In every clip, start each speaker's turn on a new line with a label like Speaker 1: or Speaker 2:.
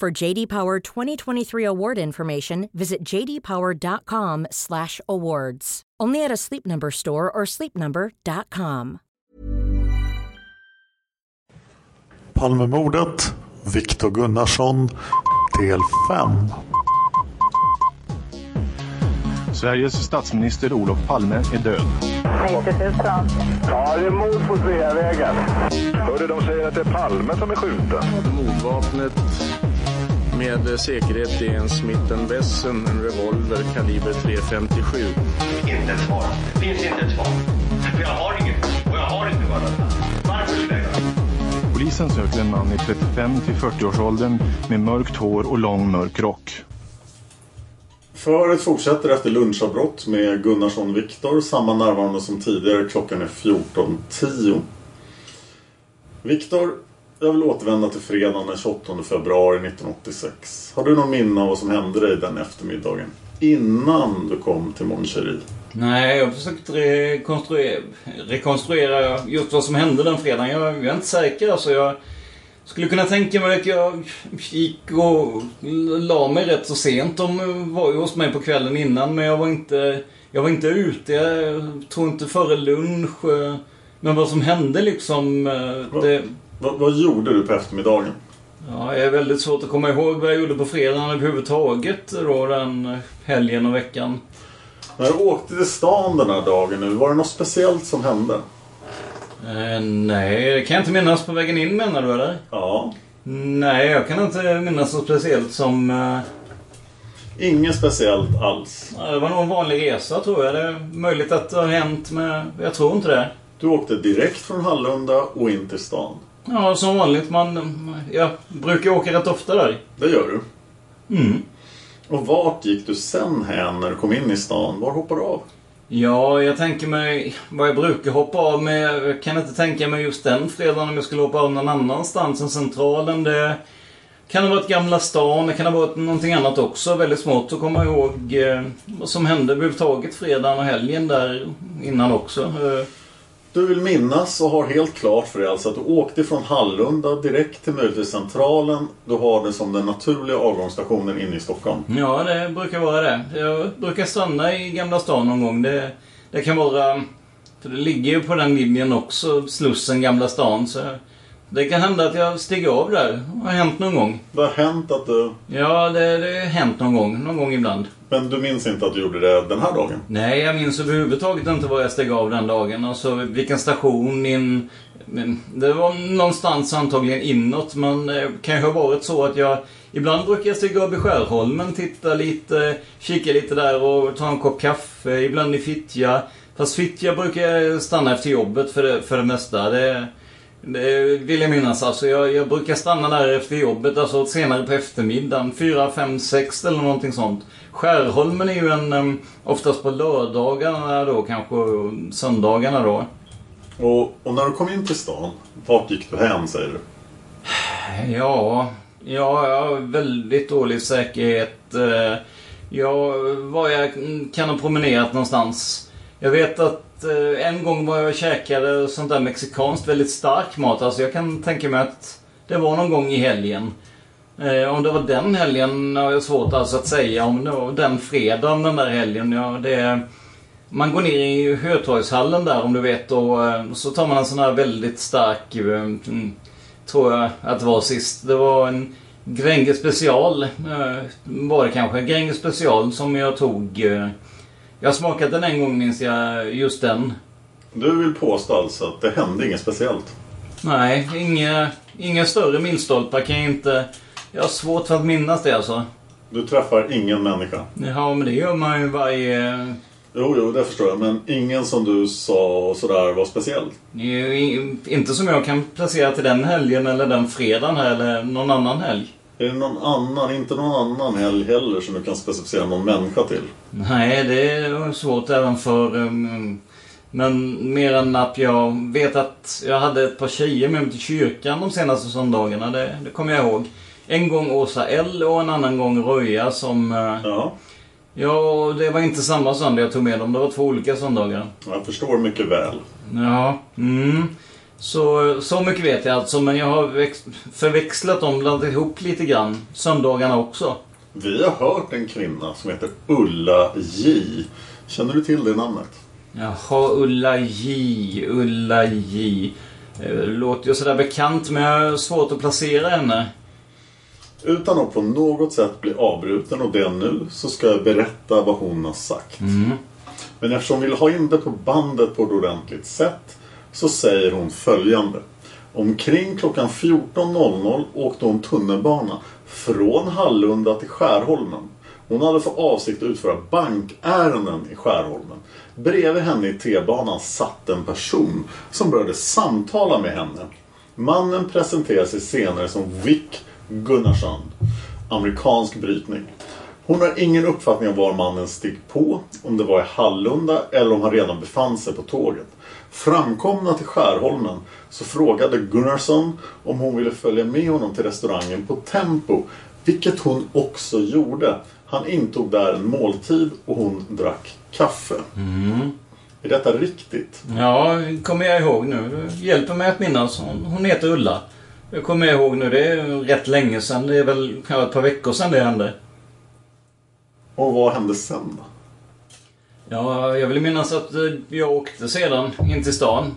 Speaker 1: For JD Power 2023 award information, visit jdpower.com/awards. Only at a Sleep Number store or sleepnumber.com.
Speaker 2: Palmemordet, Viktor Gunnarsson, del 5.
Speaker 3: Sveriges statsminister Olof Palme är död.
Speaker 4: 90 000.
Speaker 5: Ja, det är mord på Sveavägen. Hörde de säger att det är Palme som är skjuten.
Speaker 6: Mordvapnet med säkerhet är en Smith Wesson, en revolver kaliber .357.
Speaker 7: Inte ett svar. Det finns inte ett svar. För jag har inget. Och jag har inte varit. Varför skulle jag göra det?
Speaker 3: Polisen söker en man i 35 till 40-årsåldern med mörkt hår och lång mörk rock.
Speaker 2: Föret fortsätter efter lunchavbrott med Gunnarsson Viktor, samma närvarande som tidigare. Klockan är 14.10. Viktor, jag vill återvända till fredagen den 28 februari 1986. Har du någon minne av vad som hände dig den eftermiddagen? Innan du kom till Moncherie?
Speaker 8: Nej, jag har försökt rekonstruera, rekonstruera just vad som hände den fredagen. Jag, jag är inte säker alltså. Jag skulle kunna tänka mig att jag gick och la mig rätt så sent. De var ju hos mig på kvällen innan men jag var inte, jag var inte ute. Jag tror inte före lunch. eh, Men vad som hände liksom. eh, Det,
Speaker 2: Vad, vad gjorde du på eftermiddagen?
Speaker 8: ja, det är väldigt svårt att komma ihåg vad jag gjorde på fredagen överhuvudtaget då den eh, helgen och veckan.
Speaker 2: När du åkte till stan den här dagen nu, var det något speciellt som hände?
Speaker 8: Eh, nej, det kan jag inte minnas på vägen in menar du eller?
Speaker 2: Ja.
Speaker 8: Nej, jag kan inte minnas något speciellt som... eh,
Speaker 2: Inget speciellt alls.
Speaker 8: Det var nog en vanlig resa tror jag. Det är möjligt att det har hänt men jag tror inte det.
Speaker 2: Du åkte direkt från Hallunda och in till stan.
Speaker 8: Ja, som vanligt. Man, jag brukar åka rätt ofta där.
Speaker 2: Det gör du.
Speaker 8: Mm.
Speaker 2: Och vart gick du sen hän när du kom in i stan? Var hoppade du av?
Speaker 8: Ja, jag tänker mig vad jag brukar hoppa av med. Jag kan inte tänka mig just den fredagen om jag skulle hoppa av någon annanstans än Centralen. Det kan ha varit Gamla stan, det kan ha varit någonting annat också. Väldigt svårt att komma ihåg eh, vad som hände överhuvudtaget fredagen och helgen där innan också. Eh,
Speaker 2: Du vill minnas och har helt klart för dig alltså att du åkte från Hallunda direkt till möjligtvis Centralen. Du har det som den naturliga avgångsstationen inne i Stockholm.
Speaker 8: Ja, det brukar vara det. Jag brukar stanna i Gamla stan någon gång. Det, det kan vara... För det ligger ju på den linjen också, Slussen, Gamla stan. Så det kan hända att jag stiger av där. Det har hänt någon gång.
Speaker 2: Det har hänt att du...
Speaker 8: Ja, det, det har hänt någon gång. Någon gång ibland.
Speaker 2: Men du minns inte att du gjorde det den här dagen?
Speaker 8: Nej, jag minns överhuvudtaget inte var jag steg av den dagen. Alltså vilken station, in... men Det var någonstans antagligen inåt, men eh, kanske har varit så att jag... Ibland brukar jag stiga av i Skärholmen, titta lite, kika lite där och ta en kopp kaffe. Ibland i Fittja. Fast Fittja brukar jag stanna efter jobbet för det, för det mesta. Det, det vill jag minnas. Alltså jag, jag brukar stanna där efter jobbet, alltså senare på eftermiddagen. fyra, fem, sex eller någonting sånt. Skärholmen är ju en, em, oftast på lördagarna då kanske, och söndagarna då.
Speaker 2: Och, och när du kom in till stan, vart gick du hän säger du?
Speaker 8: Ja, Ja, jag har väldigt dålig säkerhet. Eh, Jag, var jag mm, kan ha promenerat någonstans. Jag vet att eh, en gång var jag och käkade sånt där mexikanskt, väldigt stark mat. Alltså jag kan tänka mig att det var någon gång i helgen. Eh, Om det var den helgen har jag svårt alltså att säga. Om det var den fredagen den där helgen. Ja, det, man går ner i Hötorgshallen där om du vet och eh, så tar man en sån här väldigt stark eh, mm, Tror jag att det var sist. Det var en Gränges special eh, var det kanske. Gränges special som jag tog. eh, Jag har smakat den en gång minns jag, just den.
Speaker 2: Du vill påstå alltså att det hände inget speciellt?
Speaker 8: Nej, inga, inga större milstolpar kan jag inte... Jag har svårt för att minnas det alltså.
Speaker 2: Du träffar ingen människa?
Speaker 8: Ja, men det gör man ju varje...
Speaker 2: Jo, jo, det förstår jag. Men ingen som du sa och sådär var speciell?
Speaker 8: Det är ju in- inte som jag kan placera till den helgen eller den fredagen här eller någon annan helg.
Speaker 2: Är det någon annan, inte någon annan helg heller som du kan specificera någon människa till?
Speaker 8: Nej, det är svårt även för... ehm, Men mer än att jag vet att jag hade ett par tjejer med mig till kyrkan de senaste söndagarna. Det, det kommer jag ihåg. En gång Åsa L och en annan gång Röja som... eh,
Speaker 2: Ja.
Speaker 8: Ja, det var inte samma söndag jag tog med dem. Det var två olika söndagar.
Speaker 2: Jag förstår mycket väl.
Speaker 8: Ja. Mm. Så, så mycket vet jag alltså, men jag har väx- förväxlat dem, blandat ihop lite grann. Söndagarna också.
Speaker 2: Vi har hört en kvinna som heter Ulla J. Känner du till det namnet?
Speaker 8: Jaha, Ulla J, Ulla J. Eh, Låter ju sådär bekant, men jag har svårt att placera henne.
Speaker 2: Utan att på något sätt bli avbruten och det nu så ska jag berätta vad hon har sagt. Men eftersom vi vill ha in det på bandet på ett ordentligt sätt så säger hon följande. Omkring klockan 14.00 åkte hon tunnelbana från Hallunda till Skärholmen. Hon hade för avsikt att utföra bankärenden i Skärholmen. Bredvid henne i T-banan satt en person som började samtala med henne. Mannen presenterar sig senare som Vic Gunnarsson. Amerikansk brytning. Hon har ingen uppfattning om var mannen steg på, om det var i Hallunda eller om han redan befann sig på tåget. Framkomna till Skärholmen så frågade Gunnarsson om hon ville följa med honom till restaurangen på Tempo, vilket hon också gjorde. Han intog där en måltid och hon drack kaffe. Är detta riktigt?
Speaker 8: Ja, kommer jag ihåg nu. Du hjälper mig att minnas. Hon, hon heter Ulla. Det kommer jag ihåg nu. Det är rätt länge sedan. Det är väl ja, ett par veckor sedan det hände.
Speaker 2: Och vad hände sen då?
Speaker 8: Ja, jag vill minnas att eh, jag åkte sedan in till stan.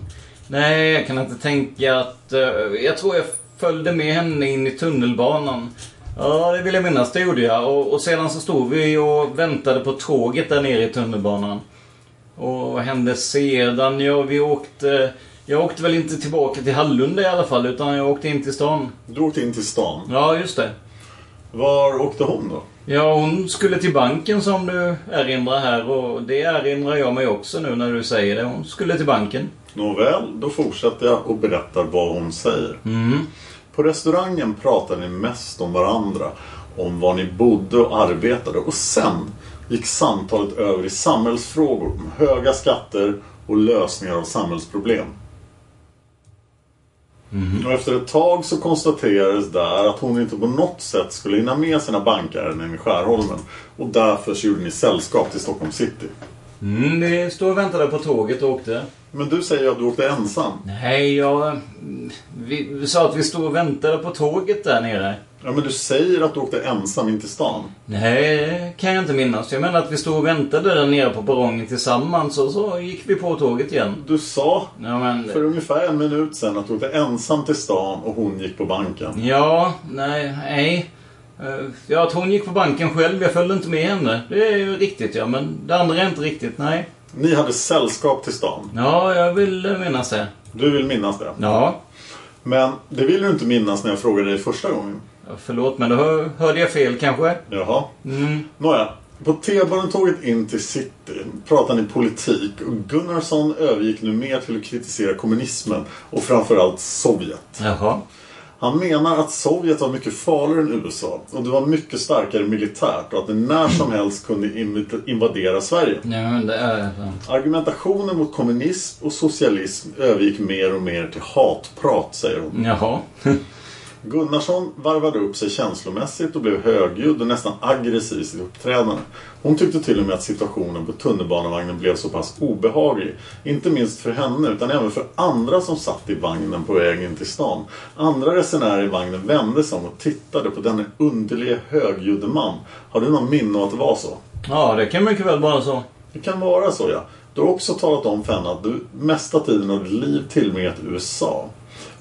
Speaker 8: Nej, jag kan inte tänka att... eh, Jag tror jag följde med henne in i tunnelbanan. Ja, det vill jag minnas. Det gjorde jag. Och, och sedan så stod vi och väntade på tåget där nere i tunnelbanan. Och vad hände sedan? Ja, vi åkte... Jag åkte väl inte tillbaka till Hallunda i alla fall, utan jag åkte in till stan.
Speaker 2: Du åkte in till stan?
Speaker 8: Ja, just det.
Speaker 2: Var åkte hon då?
Speaker 8: Ja, hon skulle till banken som du erinrar här och det erinrar jag mig också nu när du säger det. Hon skulle till banken.
Speaker 2: Nåväl, då fortsätter jag och berättar vad hon säger. På restaurangen pratade ni mest om varandra, om var ni bodde och arbetade och sen gick samtalet över i samhällsfrågor om höga skatter och lösningar av samhällsproblem. Och efter ett tag så konstaterades där att hon inte på något sätt skulle hinna med sina bankärenden i Skärholmen och därför så gjorde ni sällskap till Stockholm city.
Speaker 8: Mm, vi stod och väntade på tåget och åkte.
Speaker 2: Men du säger ju att du åkte ensam.
Speaker 8: Nej, jag... Vi, vi sa att vi stod och väntade på tåget där nere.
Speaker 2: Ja, men du säger att du åkte ensam in till stan.
Speaker 8: Nej, det kan jag inte minnas. Jag menar att vi stod och väntade där nere på perrongen tillsammans och så gick vi på tåget igen.
Speaker 2: Du sa
Speaker 8: Ja, men...
Speaker 2: för ungefär en minut sedan att du åkte ensam till stan och hon gick på banken.
Speaker 8: Ja, nej, nej. Eh, Ja, att hon gick på banken själv. Jag följde inte med henne. Det är ju riktigt, ja. Men det andra är inte riktigt, nej.
Speaker 2: Ni hade sällskap till stan.
Speaker 8: Ja, jag vill minnas det.
Speaker 2: Du vill minnas det.
Speaker 8: Ja.
Speaker 2: Men det vill du inte minnas när jag frågade dig första gången.
Speaker 8: Förlåt, men då hör- hörde jag fel kanske.
Speaker 2: Jaha. Nåja. På T-banan-tåget in till city pratade ni politik och Gunnarsson övergick nu mer till att kritisera kommunismen och framförallt Sovjet.
Speaker 8: Jaha.
Speaker 2: Han menar att Sovjet var mycket farligare än USA och det var mycket starkare militärt och att det när som helst kunde inv- invadera Sverige.
Speaker 8: Nej, men det är...
Speaker 2: Argumentationen mot kommunism och socialism övergick mer och mer till hatprat, säger hon.
Speaker 8: Jaha.
Speaker 2: Gunnarsson varvade upp sig känslomässigt och blev högljudd och nästan aggressiv i sitt uppträdande. Hon tyckte till och med att situationen på tunnelbanevagnen blev så pass obehaglig. Inte minst för henne utan även för andra som satt i vagnen på vägen till stan. Andra resenärer i vagnen vände sig om och tittade på denne underlige högljudde man. Har du någon minne av att det var så?
Speaker 8: Ja, det kan mycket väl vara så.
Speaker 2: Det kan vara så ja. Du har också talat om för henne att du mesta tiden av ditt liv tillbringat i USA.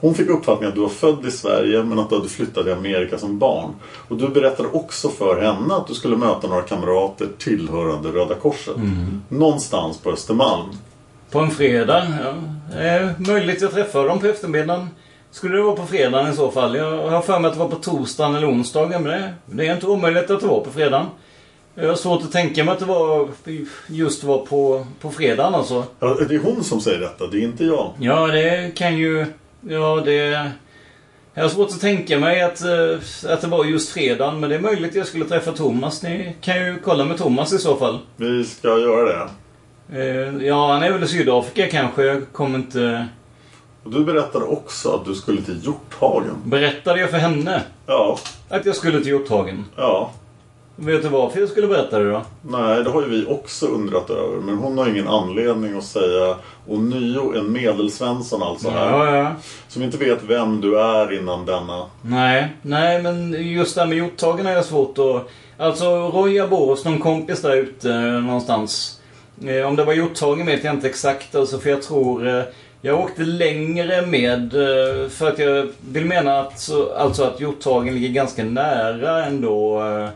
Speaker 2: Hon fick uppfattningen att du var född i Sverige men att du hade flyttat till Amerika som barn. Och du berättade också för henne att du skulle möta några kamrater tillhörande Röda Korset.
Speaker 8: Mm.
Speaker 2: Någonstans på Östermalm.
Speaker 8: På en fredag, ja. Eh, möjligt jag träffade dem på eftermiddagen. Skulle det vara på fredagen i så fall? Jag har för mig att det var på torsdagen eller onsdagen. Men det, det är inte omöjligt att det var på fredagen. Jag har svårt att tänka mig att det var just var på, på fredagen alltså.
Speaker 2: Ja, det är hon som säger detta, det är inte jag.
Speaker 8: Ja, det kan ju... Ja, det... Jag har svårt att tänka mig att, eh, att det var just fredagen, men det är möjligt att jag skulle träffa Thomas. Ni kan ju kolla med Thomas i så fall.
Speaker 2: Vi ska göra det.
Speaker 8: Eh, Ja, han är väl i Sydafrika kanske. Jag kommer inte...
Speaker 2: Och du berättade också att du skulle till Hjorthagen.
Speaker 8: Berättade jag för henne?
Speaker 2: Ja.
Speaker 8: Att jag skulle till Hjorthagen?
Speaker 2: Ja.
Speaker 8: Vet du varför jag skulle berätta det då?
Speaker 2: Nej, det har ju vi också undrat över. Men hon har ingen anledning att säga ånyo en medelsvensson alltså här.
Speaker 8: Ja, ja.
Speaker 2: Som inte vet vem du är innan denna.
Speaker 8: Nej, nej men just det här med hjorthagen är jag svårt att... Alltså Roy Borås, någon kompis där ute eh, någonstans. Eh, om det var hjorthagen vet jag inte exakt alltså för jag tror... Eh, jag åkte längre med eh, för att jag vill mena att, så, alltså att hjorthagen ligger ganska nära ändå. Eh,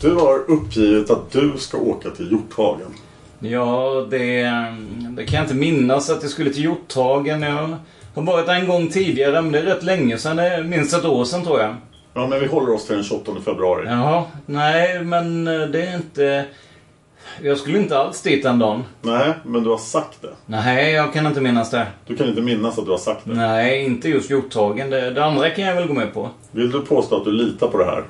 Speaker 2: Du har uppgivit att du ska åka till Hjorthagen.
Speaker 8: Ja, det, mm, det kan jag inte minnas att jag skulle till Hjorthagen. Jag har varit där en gång tidigare, men det är rätt länge sedan. Det är minst ett år sedan tror jag.
Speaker 2: Ja, men vi håller oss till den 28 februari.
Speaker 8: Jaha, nej, men eh, det är inte... Jag skulle inte alls dit den dagen.
Speaker 2: Nej, men du har sagt det.
Speaker 8: Nej, jag kan inte minnas det.
Speaker 2: Du kan inte minnas att du har sagt det.
Speaker 8: Nej, inte just Hjorthagen. Det, det andra kan jag väl gå med på.
Speaker 2: Vill du påstå att du litar på det här?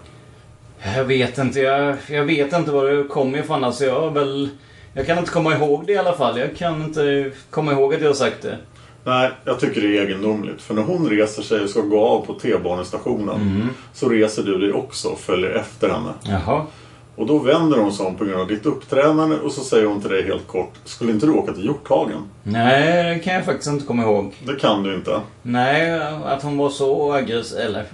Speaker 8: Jag vet inte. Jag, jag vet inte var det kommer ifrån. Alltså, jag har väl... Jag kan inte komma ihåg det i alla fall. Jag kan inte komma ihåg att jag har sagt det.
Speaker 2: Nej, jag tycker det är egendomligt. För när hon reser sig och ska gå av på T-banestationen
Speaker 8: Mm.
Speaker 2: så reser du dig också och följer efter henne.
Speaker 8: Jaha.
Speaker 2: Och då vänder hon sig om på grund av ditt uppträdande och så säger hon till dig helt kort Skulle inte du åka till Hjorthagen?
Speaker 8: Nej, det kan jag faktiskt inte komma ihåg.
Speaker 2: Det kan du inte.
Speaker 8: Nej, att hon var så aggressiv. Eller,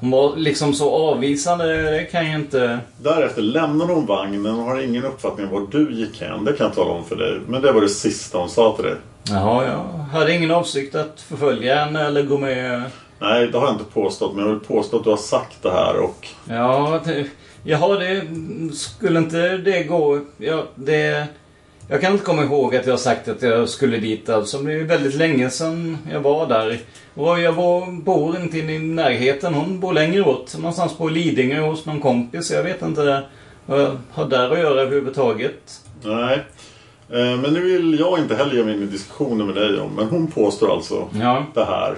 Speaker 8: hon var liksom så avvisande, det kan jag inte...
Speaker 2: Därefter lämnar hon vagnen och har ingen uppfattning om var du gick hän. Det kan jag tala om för dig. Men det var det sista hon sa till dig.
Speaker 8: Jaha, jag hade ingen avsikt att förfölja henne eller gå med...
Speaker 2: Nej, det har jag inte påstått. Men jag vill påstå att du har sagt det här och
Speaker 8: Ja, det, jaha, det... Skulle inte det gå... Ja, det... Jag kan inte komma ihåg att jag har sagt att jag skulle dit alltså. Det är ju väldigt länge sedan jag var där. Och jag var, bor inte i närheten. Hon bor längre åt. Någonstans på Lidingö hos någon kompis. Jag vet inte vad jag har där att göra överhuvudtaget.
Speaker 2: Nej. Eh, Men nu vill jag inte heller ge mig in i diskussioner med dig om. Men hon påstår alltså
Speaker 8: Ja.
Speaker 2: det här.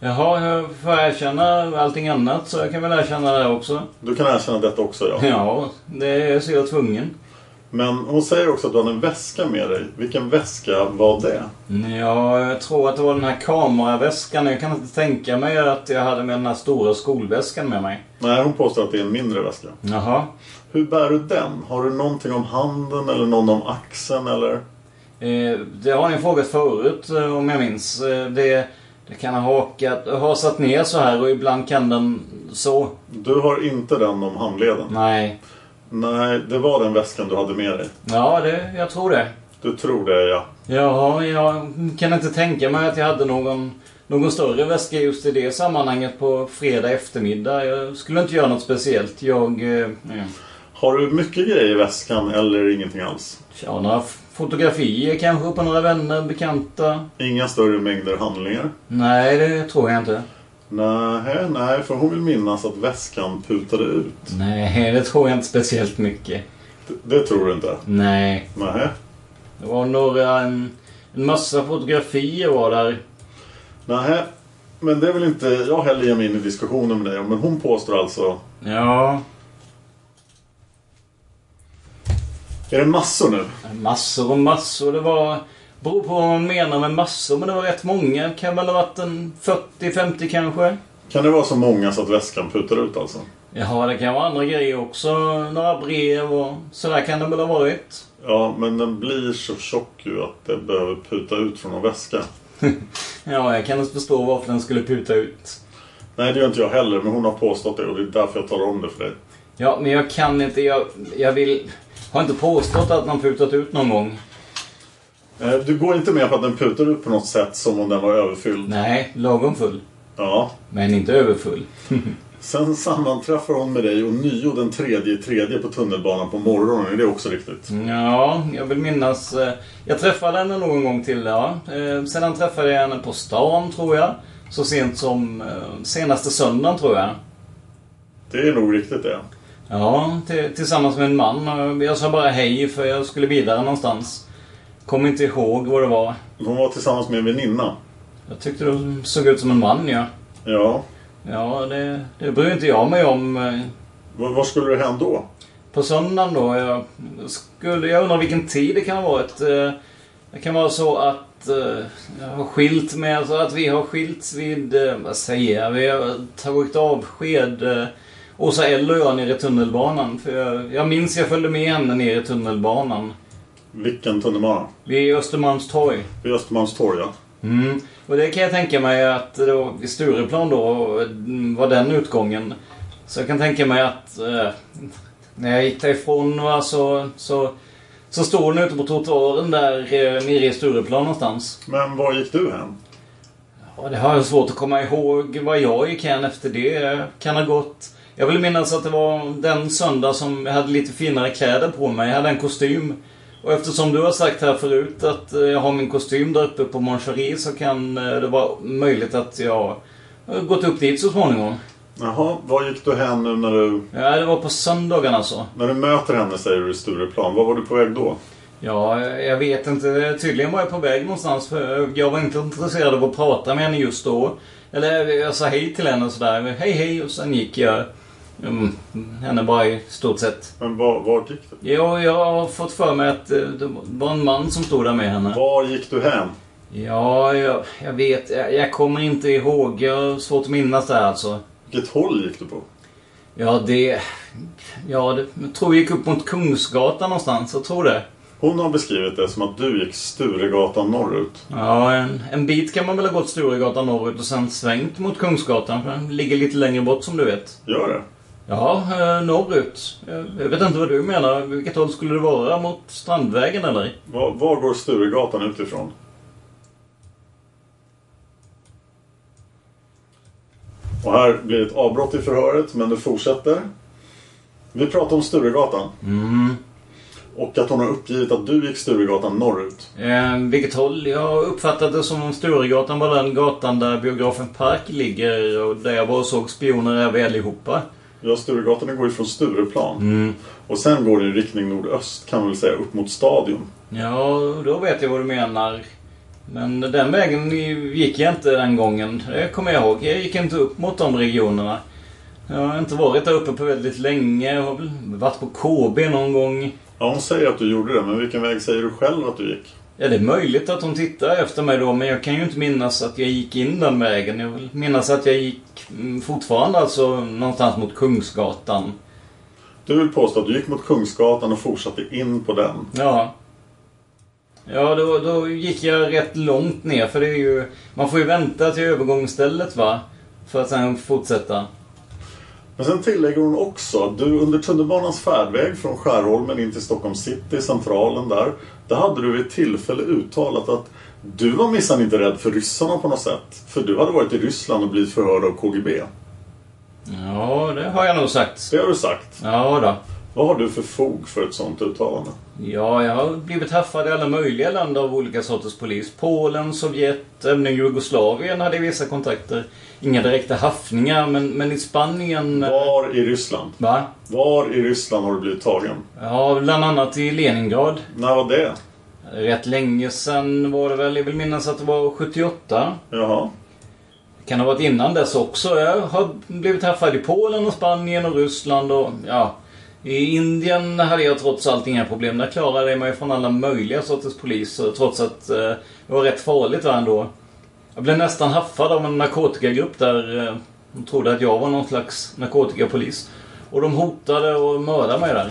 Speaker 8: Jaha, jag får erkänna allting annat så jag kan väl erkänna det också.
Speaker 2: Du kan erkänna detta också ja.
Speaker 8: Ja, det är så jag är tvungen.
Speaker 2: Men hon säger också att du hade en väska med dig. Vilken väska var det?
Speaker 8: Ja, jag tror att det var den här kameraväskan. Jag kan inte tänka mig att jag hade med den här stora skolväskan med mig.
Speaker 2: Nej, hon påstår att det är en mindre väska.
Speaker 8: Jaha.
Speaker 2: Hur bär du den? Har du någonting om handen eller någon om axeln eller?
Speaker 8: Eh, det har ni frågat förut eh, om jag minns. Eh, det, det kan ha hakat, hasat ner så här och ibland kan den så.
Speaker 2: Du har inte den om handleden?
Speaker 8: Nej.
Speaker 2: Nej, det var den väskan du hade med dig.
Speaker 8: Ja, det, jag tror det.
Speaker 2: Du tror det ja.
Speaker 8: Jaha, jag kan inte tänka mig att jag hade någon, någon större väska just i det sammanhanget på fredag eftermiddag. Jag skulle inte göra något speciellt. Jag... Eh, eh,
Speaker 2: Har du mycket grejer i väskan eller ingenting alls?
Speaker 8: ja, några f- fotografier kanske på några vänner, bekanta.
Speaker 2: Inga större mängder handlingar?
Speaker 8: Nej, det tror jag inte.
Speaker 2: Nej, nej, för hon vill minnas att väskan putade ut.
Speaker 8: Nej, det tror jag inte speciellt mycket.
Speaker 2: Det, det tror du inte?
Speaker 8: Nej.
Speaker 2: Nej.
Speaker 8: Det var några... En, en massa fotografier var där.
Speaker 2: Nej, men det vill inte jag heller ge mig in i diskussionen med dig om. Men hon påstår alltså...
Speaker 8: Ja,
Speaker 2: Är det massor nu?
Speaker 8: Massor och massor. Det var Beror på vad man menar med massor, men det var rätt många. Kan väl ha varit en 40-50 kanske?
Speaker 2: Kan det vara så många så att väskan putar ut alltså?
Speaker 8: Ja, det kan vara andra grejer också. Några brev och sådär kan det väl ha varit.
Speaker 2: Ja, men den blir så tjock ju att det behöver puta ut från en väska.
Speaker 8: Ja, jag kan inte förstå varför den skulle puta ut.
Speaker 2: Nej, det gör inte jag heller, men hon har påstått det och det är därför jag talar om det för dig.
Speaker 8: Ja, men jag kan inte. Jag, jag vill... Har inte påstått att den putat ut någon gång.
Speaker 2: Eh, Du går inte med på att den putar ut på något sätt som om den var överfylld?
Speaker 8: Nej, lagom full.
Speaker 2: Ja.
Speaker 8: Men inte överfull.
Speaker 2: Sen sammanträffar hon med dig och nio den tredje i tredje på tunnelbanan på morgonen. Är det också riktigt?
Speaker 8: Ja, jag vill minnas. eh, Jag träffade henne någon gång till, ja. Eh, Sedan träffade jag henne på stan, tror jag. Så sent som eh, senaste söndagen, tror jag.
Speaker 2: Det är nog riktigt det.
Speaker 8: Ja, till- tillsammans med en man. Eh, Jag sa bara hej för jag skulle vidare någonstans. Kommer inte ihåg vad det var.
Speaker 2: Hon var tillsammans med en väninna.
Speaker 8: Jag tyckte du såg ut som en man, ja.
Speaker 2: Ja.
Speaker 8: Ja, det, det bryr inte jag mig om. eh.
Speaker 2: Var skulle det hända då?
Speaker 8: På söndagen då? Jag, skulle, jag undrar vilken tid det kan ha varit. Eh, Det kan vara så att eh, jag har skilt med, alltså att vi har skilts vid, eh, vad säger jag, vi har tagit avsked. eh, Åsa L och jag nere i tunnelbanan. För jag, jag minns jag följde med henne ner i tunnelbanan.
Speaker 2: Vilken tunnelbana?
Speaker 8: Vid Östermalms torg.
Speaker 2: Vid Östermalmstorg, ja.
Speaker 8: Mm. Och det kan jag tänka mig att det var vid Stureplan då var den utgången. Så jag kan tänka mig att eh, när jag gick därifrån va, så, så, så stod hon ute på trottoaren där eh, nere i Stureplan någonstans.
Speaker 2: Men var gick du hem?
Speaker 8: Ja, det har jag svårt att komma ihåg vad jag gick än efter det. Jag Kan ha gått... Jag vill minnas att det var den söndag som jag hade lite finare kläder på mig. Jag hade en kostym. Och eftersom du har sagt här förut att eh, jag har min kostym där uppe på Moncherie så kan eh, det vara möjligt att jag har gått upp dit så småningom.
Speaker 2: Jaha, var gick du hem nu när du...
Speaker 8: Ja, det var på söndagen alltså.
Speaker 2: När du möter henne säger du i Stureplan. Var var du på väg då?
Speaker 8: Ja, jag vet inte. Tydligen var jag på väg någonstans för jag var inte intresserad av att prata med henne just då. Eller jag sa hej till henne och sådär. Hej hej och sen gick jag. Mm, henne bara i stort sett.
Speaker 2: Men var, vart gick du?
Speaker 8: Jo, jag har fått för mig att eh, det var en man som stod där med henne.
Speaker 2: Var gick du hem?
Speaker 8: Ja, jag, jag vet. Jag, jag kommer inte ihåg. Jag har svårt att minnas det här alltså.
Speaker 2: Vilket håll gick du på?
Speaker 8: Ja, det... Ja, det, jag tror vi gick upp mot Kungsgatan någonstans. Jag tror det.
Speaker 2: Hon har beskrivit det som att du gick Sturegatan norrut.
Speaker 8: Ja, en, en bit kan man väl ha gått Sturegatan norrut och sen svängt mot Kungsgatan. För den ligger lite längre bort som du vet.
Speaker 2: Gör det?
Speaker 8: Ja, eh, norrut. Jag, jag vet inte vad du menar. Vilket håll skulle det vara? Mot Strandvägen eller?
Speaker 2: Var, var går Sturegatan utifrån? Och här blir ett avbrott i förhöret, men du fortsätter. Vi pratar om Sturegatan. Och att hon har uppgivit att du gick Sturegatan norrut.
Speaker 8: Eh, vilket håll? Jag har uppfattat det som om Sturegatan var den gatan där biografen Park ligger och där jag var och såg Spioner är vi allihopa.
Speaker 2: Ja, Sturegatan går ju från Stureplan. Och sen går det i riktning nordöst, kan man väl säga, upp mot Stadion.
Speaker 8: Ja, då vet jag vad du menar. Men den vägen gick jag inte den gången. Det kommer jag ihåg. Jag gick inte upp mot de regionerna. Jag har inte varit där uppe på väldigt länge. Jag har väl varit på KB någon gång.
Speaker 2: Ja, hon säger att du gjorde det, men vilken väg säger du själv att du gick?
Speaker 8: Ja, det är möjligt att hon tittar efter mig då, men jag kan ju inte minnas att jag gick in den vägen. Jag vill minnas att jag gick mm, fortfarande alltså någonstans mot Kungsgatan.
Speaker 2: Du vill påstå att du gick mot Kungsgatan och fortsatte in på den.
Speaker 8: Ja. Ja, då, då gick jag rätt långt ner för det är ju... Man får ju vänta till övergångsstället va? För att sen fortsätta.
Speaker 2: Men sen tillägger hon också att du under tunnelbanans färdväg från Skärholmen in till Stockholms city, centralen där. Där hade du vid ett tillfälle uttalat att du var minsann inte rädd för ryssarna på något sätt. För du hade varit i Ryssland och blivit förhörd av KGB.
Speaker 8: Ja, det har jag nog sagt.
Speaker 2: Det har du sagt.
Speaker 8: Ja då.
Speaker 2: Vad har du för fog för ett sånt uttalande?
Speaker 8: Ja, jag har blivit haffad i alla möjliga länder av olika sorters polis. Polen, Sovjet, även i Jugoslavien hade jag vissa kontakter. Inga direkta haffningar, men, men i Spanien...
Speaker 2: Var i Ryssland?
Speaker 8: Va?
Speaker 2: Var i Ryssland har du blivit tagen?
Speaker 8: Ja, bland annat i Leningrad.
Speaker 2: När var det?
Speaker 8: Rätt länge sen var det väl. Jag vill minnas att det var 78.
Speaker 2: Jaha.
Speaker 8: Kan ha varit innan dess också. Jag har blivit träffad i Polen och Spanien och Ryssland och ja. I Indien hade jag trots allt inga problem. Där klarade jag mig från alla möjliga sorters poliser trots att eh, det var rätt farligt där ändå. Jag blev nästan haffad av en narkotikagrupp där. Eh, de trodde att jag var någon slags narkotikapolis. Och de hotade och mördade mig där.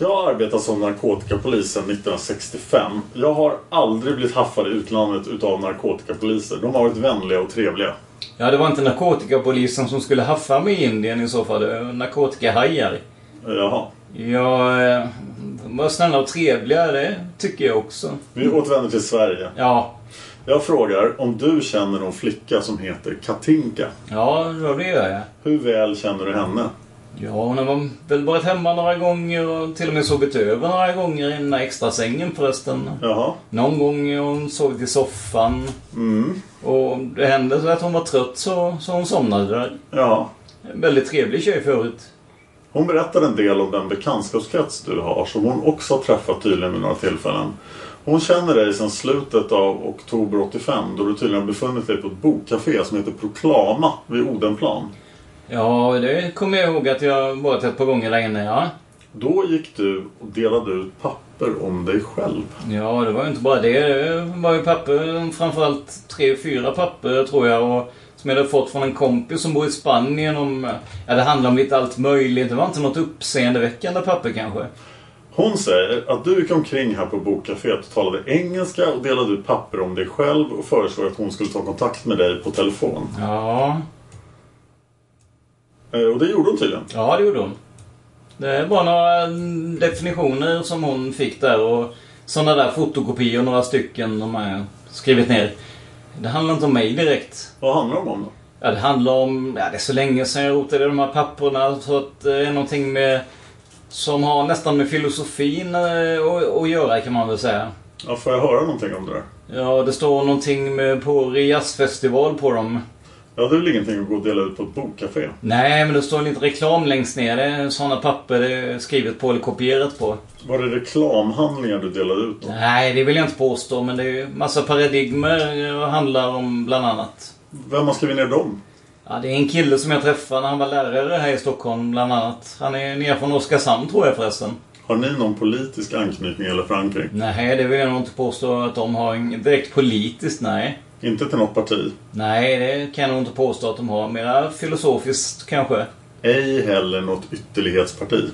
Speaker 2: Jag har arbetat som narkotikapolis sedan 1965. Jag har aldrig blivit haffad i utlandet utav narkotikapoliser. De har varit vänliga och trevliga.
Speaker 8: Ja, det var inte narkotikapolisen som skulle haffa mig i Indien i så fall. Det var Narkotikahajar.
Speaker 2: Jaha.
Speaker 8: Ja, eh, de var snälla och trevliga. Det tycker jag också.
Speaker 2: Vi återvänder till Sverige.
Speaker 8: Ja.
Speaker 2: Jag frågar om du känner någon flicka som heter Katinka?
Speaker 8: Ja, det gör jag.
Speaker 2: Hur väl känner du henne?
Speaker 8: Ja, hon har väl varit hemma några gånger och till och med sovit över några gånger i den där extra sängen förresten.
Speaker 2: Jaha.
Speaker 8: Någon gång har hon sovit i soffan.
Speaker 2: Mm.
Speaker 8: Och det hände så att hon var trött så, så hon somnade där.
Speaker 2: Ja.
Speaker 8: En väldigt trevlig tjej förut.
Speaker 2: Hon berättade en del om den bekantskapskrets du har som hon också har träffat tydligen vid några tillfällen. Hon känner dig sedan slutet av oktober 85 då du tydligen har befunnit dig på ett bokcafé som heter Proklama vid Odenplan.
Speaker 8: Ja, det kommer jag ihåg att jag varit ett par gånger där inne, ja.
Speaker 2: Då gick du och delade ut papper om dig själv.
Speaker 8: Ja, det var ju inte bara det. Det var ju papper, framförallt tre, fyra papper tror jag. Och, som jag hade fått från en kompis som bor i Spanien om... Ja, det handlade om lite allt möjligt. Det var inte något uppseendeväckande papper kanske.
Speaker 2: Hon säger att du gick omkring här på bokcaféet och talade engelska och delade ut papper om dig själv och föreslår att hon skulle ta kontakt med dig på telefon.
Speaker 8: Ja,
Speaker 2: Eh, Och det gjorde hon tydligen.
Speaker 8: ja det gjorde hon. Det var några mm, definitioner som hon fick där och sådana där fotokopior, några stycken, de har jag skrivit ner. Det handlar inte om mig direkt.
Speaker 2: Vad handlar de om då?
Speaker 8: Ja, det handlar om... Ja, det är så länge sedan jag rotade i de här papperna så att det är någonting med... Som har nästan med filosofin eh, att- att göra kan man väl säga.
Speaker 2: Ja, får jag höra någonting om det där?
Speaker 8: Ja, det står någonting med på jazzfestival på dem.
Speaker 2: Ja, det är väl ingenting att gå och dela ut på ett bokcafé?
Speaker 8: Nej, men det står lite reklam längst ner. Det är sådana papper det är skrivet på eller kopierat på.
Speaker 2: Var det reklamhandlingar du delade ut då?
Speaker 8: Nej, det vill jag inte påstå, men det är ju massa paradigmer eh, och handlar om bland annat.
Speaker 2: Vem har skrivit ner dem?
Speaker 8: Ja, det är en kille som jag träffade när han var lärare här i Stockholm bland annat. Han är nere från Oskarshamn tror jag förresten.
Speaker 2: Har ni någon politisk anknytning eller förankring?
Speaker 8: Nej, det vill jag nog inte påstå att de har ing- direkt politiskt, nej.
Speaker 2: Inte till något parti?
Speaker 8: Nej, det kan jag nog inte påstå att de har. Mera filosofiskt kanske.
Speaker 2: Ej heller något ytterlighetsparti?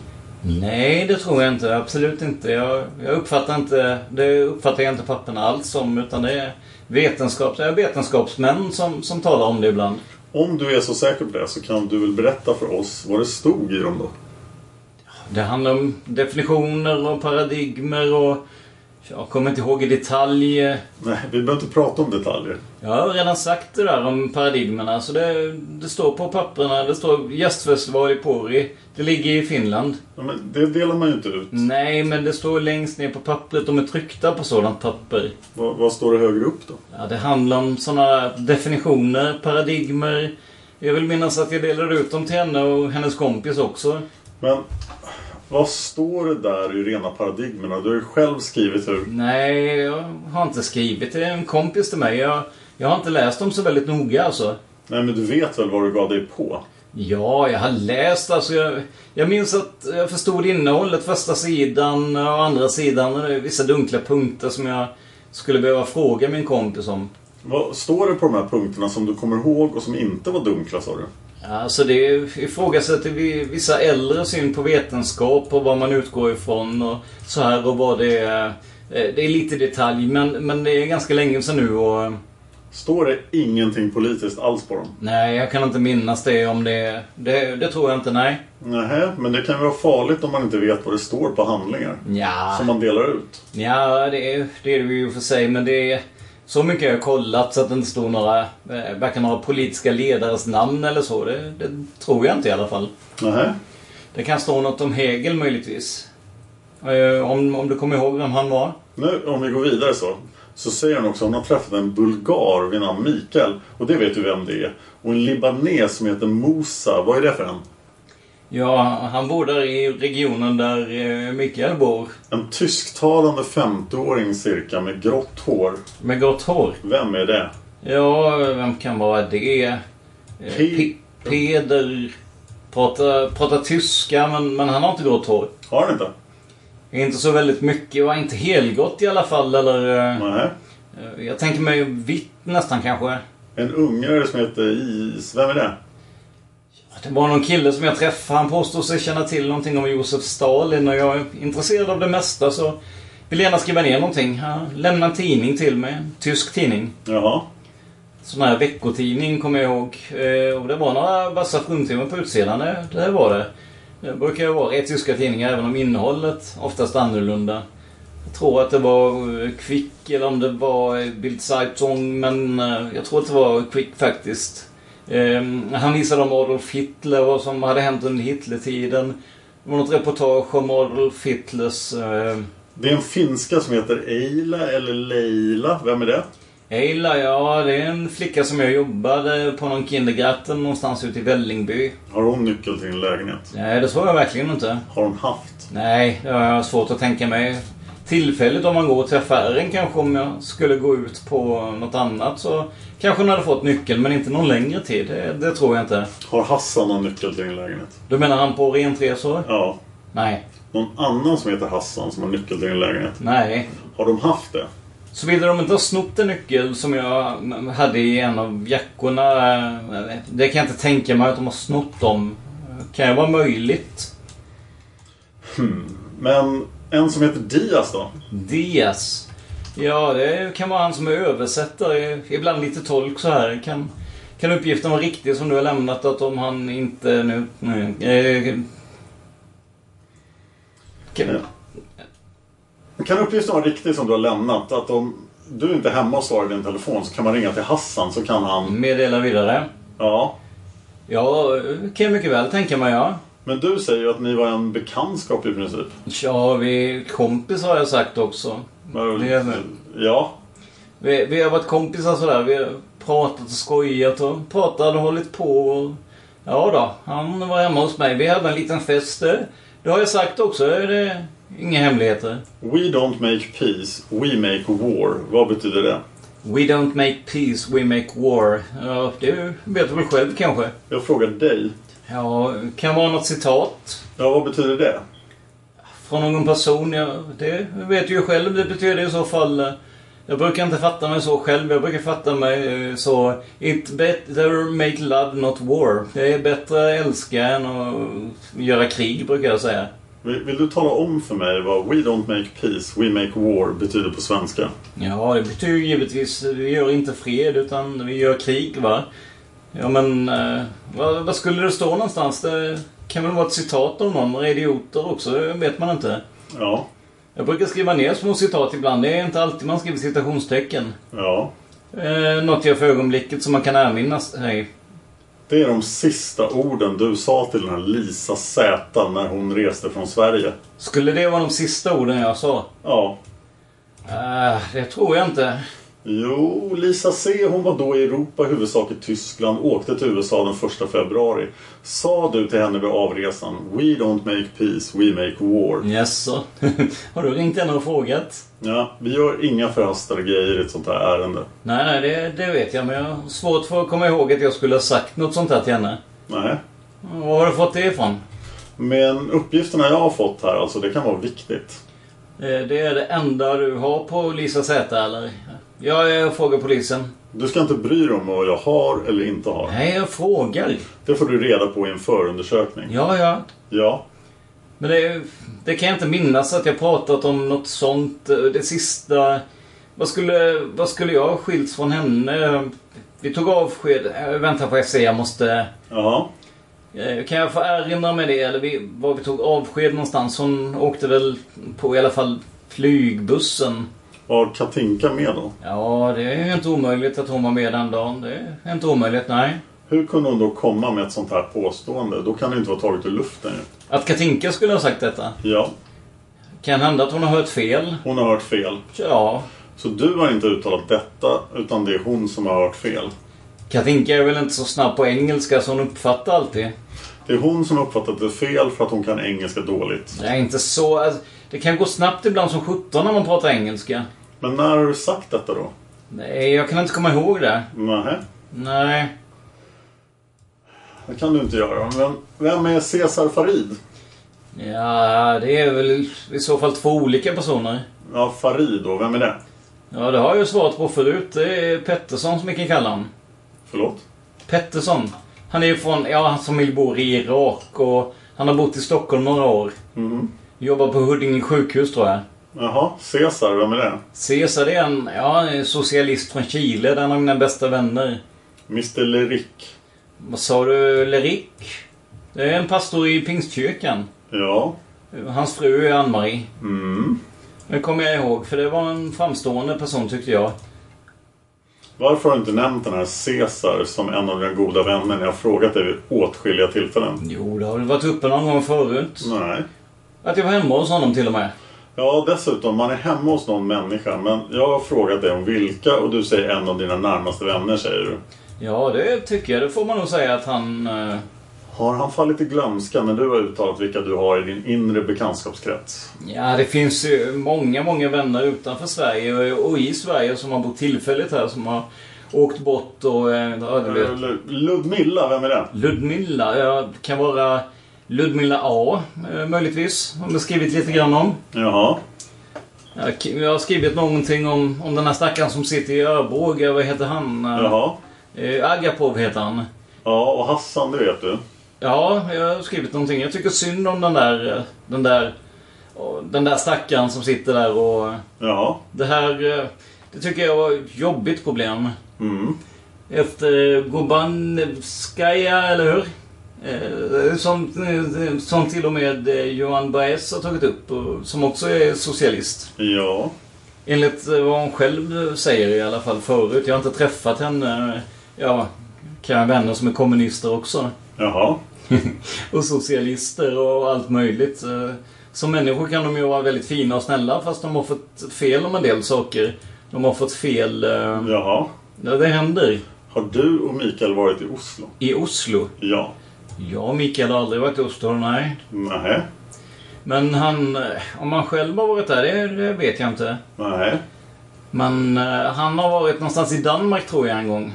Speaker 8: Nej, det tror jag inte. Absolut inte. Jag, jag uppfattar inte... Det uppfattar jag inte papperna alls som. Utan det är, vetenskaps, det är vetenskapsmän som, som talar om det ibland.
Speaker 2: Om du är så säker på det så kan du väl berätta för oss vad det stod i dem då?
Speaker 8: Det handlar om definitioner och paradigmer och... Jag kommer inte ihåg i detalj. eh,
Speaker 2: Nej, vi behöver inte prata om detaljer.
Speaker 8: Jag har redan sagt det där om paradigmerna. Så det, det står på papperna. Det står gästfestival i Pori. Det ligger i Finland.
Speaker 2: Ja, men det delar man ju inte ut.
Speaker 8: Nej, men det står längst ner på pappret. De är tryckta på sådant papper.
Speaker 2: Vad, vad står det högre upp då?
Speaker 8: Ja, det handlar om sådana definitioner, paradigmer. Jag vill minnas att jag delade ut dem till henne och hennes kompis också.
Speaker 2: Men vad står det där i rena paradigmerna? Du har ju själv skrivit hur...
Speaker 8: Nej, jag har inte skrivit. Det är en kompis till mig. Jag, jag har inte läst dem så väldigt noga alltså.
Speaker 2: Nej, men du vet väl vad du gav dig på?
Speaker 8: Ja, jag har läst alltså. Jag, jag minns att jag förstod innehållet, första sidan och andra sidan. Och det är vissa dunkla punkter som jag skulle behöva fråga min kompis om.
Speaker 2: Vad står det på de här punkterna som du kommer ihåg och som inte var dunkla sa du?
Speaker 8: Alltså det ifrågasätter vi- vissa äldre syn på vetenskap och vad man utgår ifrån och så här och vad det är. Eh, Det är lite detalj men, men det är ganska länge sedan nu och eh,
Speaker 2: Står det ingenting politiskt alls på dem?
Speaker 8: nej jag kan inte minnas det om det. Det, det tror jag inte, nej.
Speaker 2: Nej, men det kan ju vara farligt om man inte vet vad det står på handlingar
Speaker 8: Ja.
Speaker 2: som man delar ut.
Speaker 8: Ja, det är det, är det ju för sig men det är så mycket jag har kollat så att det inte står några, eh, varken några politiska ledares namn eller så. Det, det tror jag inte i alla fall.
Speaker 2: Nej.
Speaker 8: Det kan stå något om Hegel möjligtvis. Eh, Om, om du kommer ihåg vem han var?
Speaker 2: Nu, om vi går vidare så. Så säger hon också att hon har träffat en bulgar vid namn Mikael. Och det vet du vem det är. Och en libanes som heter Mosa. Vad är det för en?
Speaker 8: Ja, han bor där i regionen där eh, Mikael bor.
Speaker 2: En tysktalande 50-åring cirka med grått hår.
Speaker 8: Med grått hår.
Speaker 2: Vem är det?
Speaker 8: Ja, vem kan vara det? Eh,
Speaker 2: Pe-
Speaker 8: Pe- Peder... Pratar, pratar tyska, men, men han har inte grått hår.
Speaker 2: Har han inte?
Speaker 8: Inte så väldigt mycket, och inte helgott i alla fall. Eller, eh,
Speaker 2: Nej.
Speaker 8: eh, jag tänker mig vitt nästan kanske.
Speaker 2: En ungare som heter Is... Vem är det?
Speaker 8: Det var någon kille som jag träffade. Han påstod sig känna till någonting om Josef Stalin och jag är intresserad av det mesta så vill gärna skriva ner någonting. Han lämnade en tidning till mig. En tysk tidning.
Speaker 2: Jaha.
Speaker 8: Sån här veckotidning kommer jag ihåg. Eh, Och det var några vassa fruntimmer på utsidan. Det, det var det. Det brukar ju vara i tyska tidningar även om innehållet oftast är annorlunda. Jag tror att det var eh, Quick eller om det var eh, Bild Zeitung men eh, jag tror att det var Quick faktiskt. Eh, Han visade om Adolf Hitler, vad som hade hänt under Hitlertiden. Det var något reportage om Adolf Hitlers... eh,
Speaker 2: Det är en finska som heter Eila eller Leila. Vem är det?
Speaker 8: Eila, ja det är en flicka som jag jobbade på någon kindergarten någonstans ute i Vällingby.
Speaker 2: Har hon nyckel till din lägenhet?
Speaker 8: Nej, det såg jag verkligen inte.
Speaker 2: Har hon haft?
Speaker 8: Nej, det har jag svårt att tänka mig. Tillfälligt om man går till affären kanske om jag skulle gå ut på något annat så kanske hon hade fått nyckeln men inte någon längre tid. Det, det tror jag inte.
Speaker 2: Har Hassan någon nyckel till din lägenhet?
Speaker 8: Du menar han på rentresor?
Speaker 2: Ja.
Speaker 8: Nej.
Speaker 2: Någon annan som heter Hassan som har nyckel till din lägenhet?
Speaker 8: Nej.
Speaker 2: Har de haft det?
Speaker 8: Såvida de inte har snott en nyckel som jag hade i en av jackorna. eh, Det kan jag inte tänka mig att de har snott dem. Kan det vara möjligt?
Speaker 2: Men en som heter Diaz då?
Speaker 8: Diaz. Ja, det kan vara han som är översättare. Ibland lite tolk så här. Kan, kan uppgiften vara riktig som du har lämnat att om han inte nu... nu eh, kan,
Speaker 2: Kan uppgiften vara riktig som du har lämnat? Att om du inte är hemma och svarar i din telefon så kan man ringa till Hassan så kan han...
Speaker 8: meddela vidare.
Speaker 2: Ja.
Speaker 8: Ja, kan jag mycket väl tänka mig, ja.
Speaker 2: Men du säger ju att ni var en bekantskap i princip.
Speaker 8: Ja, vi kompis har jag sagt också. Det är det.
Speaker 2: Ja.
Speaker 8: Vi, vi har varit kompisar sådär. Vi har pratat och skojat och pratat och hållit på. Och... Ja då, han var hemma hos mig. Vi hade en liten fest. eh. Det har jag sagt också. Det är inga hemligheter.
Speaker 2: We don't make peace, we make war. Vad betyder det?
Speaker 8: We don't make peace, we make war. Ja, det vet du väl själv kanske?
Speaker 2: Jag frågar dig.
Speaker 8: Ja, kan vara något citat
Speaker 2: Ja, vad betyder det?
Speaker 8: från någon person. Ja, det vet du ju själv. Det betyder i så fall... eh, Jag brukar inte fatta mig så själv. Jag brukar fatta mig eh, så... It better make love not war. Det är bättre att älska än att göra krig, brukar jag säga.
Speaker 2: Vill, vill du tala om för mig vad We don't make peace, we make war betyder på svenska?
Speaker 8: Ja, det betyder ju givetvis... eh, Vi gör inte fred, utan vi gör krig, va? Ja, men... Eh, vad, vad skulle det stå någonstans? Det kan väl vara ett citat av någon. Några idioter också, det vet man inte.
Speaker 2: Ja.
Speaker 8: Jag brukar skriva ner små citat ibland. Det är inte alltid man skriver citationstecken.
Speaker 2: Ja.
Speaker 8: Eh, något jag för ögonblicket som man kan erinra sig.
Speaker 2: Det är de sista orden du sa till den här Lisa Z när hon reste från Sverige.
Speaker 8: Skulle det vara de sista orden jag sa?
Speaker 2: Ja.
Speaker 8: Eh, det tror jag inte.
Speaker 2: Jo, Lisa C hon var då i Europa, i huvudsak i Tyskland, åkte till USA den 1 februari. Sa du till henne vid avresan We don't make peace, we make war.
Speaker 8: Jaså? Har du ringt henne och frågat?
Speaker 2: Ja, vi gör inga förhastade grejer i ett sånt här ärende.
Speaker 8: Nej, nej, det, det vet jag. Men jag har svårt för att komma ihåg att jag skulle ha sagt något sånt här till henne.
Speaker 2: Nej.
Speaker 8: Var har du fått det ifrån?
Speaker 2: Men uppgifterna jag har fått här, alltså det kan vara viktigt.
Speaker 8: Eh, det är det enda du har på Lisa Z, eller? Ja, jag frågar polisen.
Speaker 2: Du ska inte bry dig om vad jag har eller inte har.
Speaker 8: Nej, jag frågar.
Speaker 2: Det får du reda på i en förundersökning.
Speaker 8: Ja, ja.
Speaker 2: Ja.
Speaker 8: Men det, det kan jag inte minnas att jag pratat om något sånt. eh, Det sista... Vad skulle, vad skulle jag ha skilts från henne? Vi tog avsked. Äh, Vänta får jag se, jag måste...
Speaker 2: Ja.
Speaker 8: eh, Kan jag få erinra mig det? Eller vi, var vi tog avsked någonstans? Hon åkte väl på i alla fall flygbussen.
Speaker 2: Var Katinka med då?
Speaker 8: Ja, det är ju inte omöjligt att hon var med den dagen. Det är inte omöjligt, nej.
Speaker 2: Hur kunde hon då komma med ett sånt här påstående? Då kan det inte vara taget ur luften ju.
Speaker 8: Att Katinka skulle ha sagt detta.
Speaker 2: Ja,
Speaker 8: Kan hända att hon har hört fel.
Speaker 2: hon har hört fel.
Speaker 8: Ja,
Speaker 2: Så du har inte uttalat detta, utan det är hon som har hört fel.
Speaker 8: Katinka är väl inte så snabb på engelska så hon uppfattar alltid.
Speaker 2: Det är hon som har uppfattat det fel för att hon kan engelska dåligt.
Speaker 8: Nej, inte så. Alltså, Det kan gå snabbt ibland som sjutton när man pratar engelska.
Speaker 2: Men när har du sagt detta då?
Speaker 8: Nej, jag kan inte komma ihåg det.
Speaker 2: Nähä?
Speaker 8: Nej.
Speaker 2: Det kan du inte göra. Men vem är Cesar Farid?
Speaker 8: Ja, det är väl i så fall två olika personer.
Speaker 2: Ja, Farid då. Vem är det?
Speaker 8: Ja, det har jag ju svarat på förut. Det är Pettersson som vi kan kalla honom.
Speaker 2: Förlåt?
Speaker 8: Pettersson. Han är ju från, ja hans familj bor i Irak och han har bott i Stockholm några år.
Speaker 2: Mhm.
Speaker 8: Jobbar på Huddinge sjukhus tror jag.
Speaker 2: Jaha, Cesar. Vem är det?
Speaker 8: Cesar är en, ja, en socialist från Chile. Det är en av mina bästa vänner.
Speaker 2: Mr Leric.
Speaker 8: Vad sa du? Leric? Det är en pastor i Pingstkyrkan.
Speaker 2: Ja.
Speaker 8: Hans fru är Ann-Marie.
Speaker 2: Mm.
Speaker 8: Det kommer jag ihåg, för det var en framstående person tyckte jag.
Speaker 2: Varför har du inte nämnt den här Cesar som en av dina goda vänner när jag har frågat dig vid åtskilliga tillfällen?
Speaker 8: Jo, det har väl varit uppe någon gång förut.
Speaker 2: Nej.
Speaker 8: Att jag var hemma hos honom till och med.
Speaker 2: Ja, dessutom, man är hemma hos någon människa. Men jag har frågat dig om vilka och du säger en av dina närmaste vänner, säger du.
Speaker 8: Ja, det tycker jag. Det får man nog säga att han... Eh,
Speaker 2: Har han fallit i glömska när du har uttalat vilka du har i din inre bekantskapskrets?
Speaker 8: ja, det finns ju många, många vänner utanför Sverige och i Sverige som har bott tillfälligt här som har åkt bort och... Eh, ja, du vet.
Speaker 2: Eller Ludmilla, vem är det?
Speaker 8: Ludmilla, ja, kan vara Ludmilla A eh, möjligtvis. Har jag skrivit lite grann om.
Speaker 2: Jaha.
Speaker 8: Jag, jag har skrivit någonting om, om den här stackaren som sitter i Örebro. Vad heter han? Eh,
Speaker 2: Jaha.
Speaker 8: Eh, Agapov heter han.
Speaker 2: Ja, och Hassan, det vet du.
Speaker 8: Ja, jag har skrivit någonting. Jag tycker synd om den där... eh, Den där, eh, den där stackaren som sitter där och... eh,
Speaker 2: Jaha.
Speaker 8: Det här... eh, Det tycker jag var ett jobbigt problem.
Speaker 2: Mm.
Speaker 8: Efter Gobanevskaja, eller hur? Eh, Som, eh, som till och med eh, Johan Baez har tagit upp, och som också är socialist.
Speaker 2: Ja.
Speaker 8: Enligt eh, vad hon själv säger i alla fall förut. Jag har inte träffat henne. eh, Ja, kan jag ha vänner som är kommunister också.
Speaker 2: Jaha.
Speaker 8: och socialister och allt möjligt. Eh, Som människor kan de ju vara väldigt fina och snälla fast de har fått fel om en del saker. De har fått fel... eh,
Speaker 2: Jaha.
Speaker 8: Ja, det händer.
Speaker 2: Har du och Mikael varit i Oslo?
Speaker 8: I Oslo.
Speaker 2: Ja.
Speaker 8: Jag och Mikael har aldrig varit i Oslo, nej.
Speaker 2: Nej.
Speaker 8: Men han... eh, Om han själv har varit där, det, det vet jag inte.
Speaker 2: Nej.
Speaker 8: Men eh, han har varit någonstans i Danmark tror jag en gång.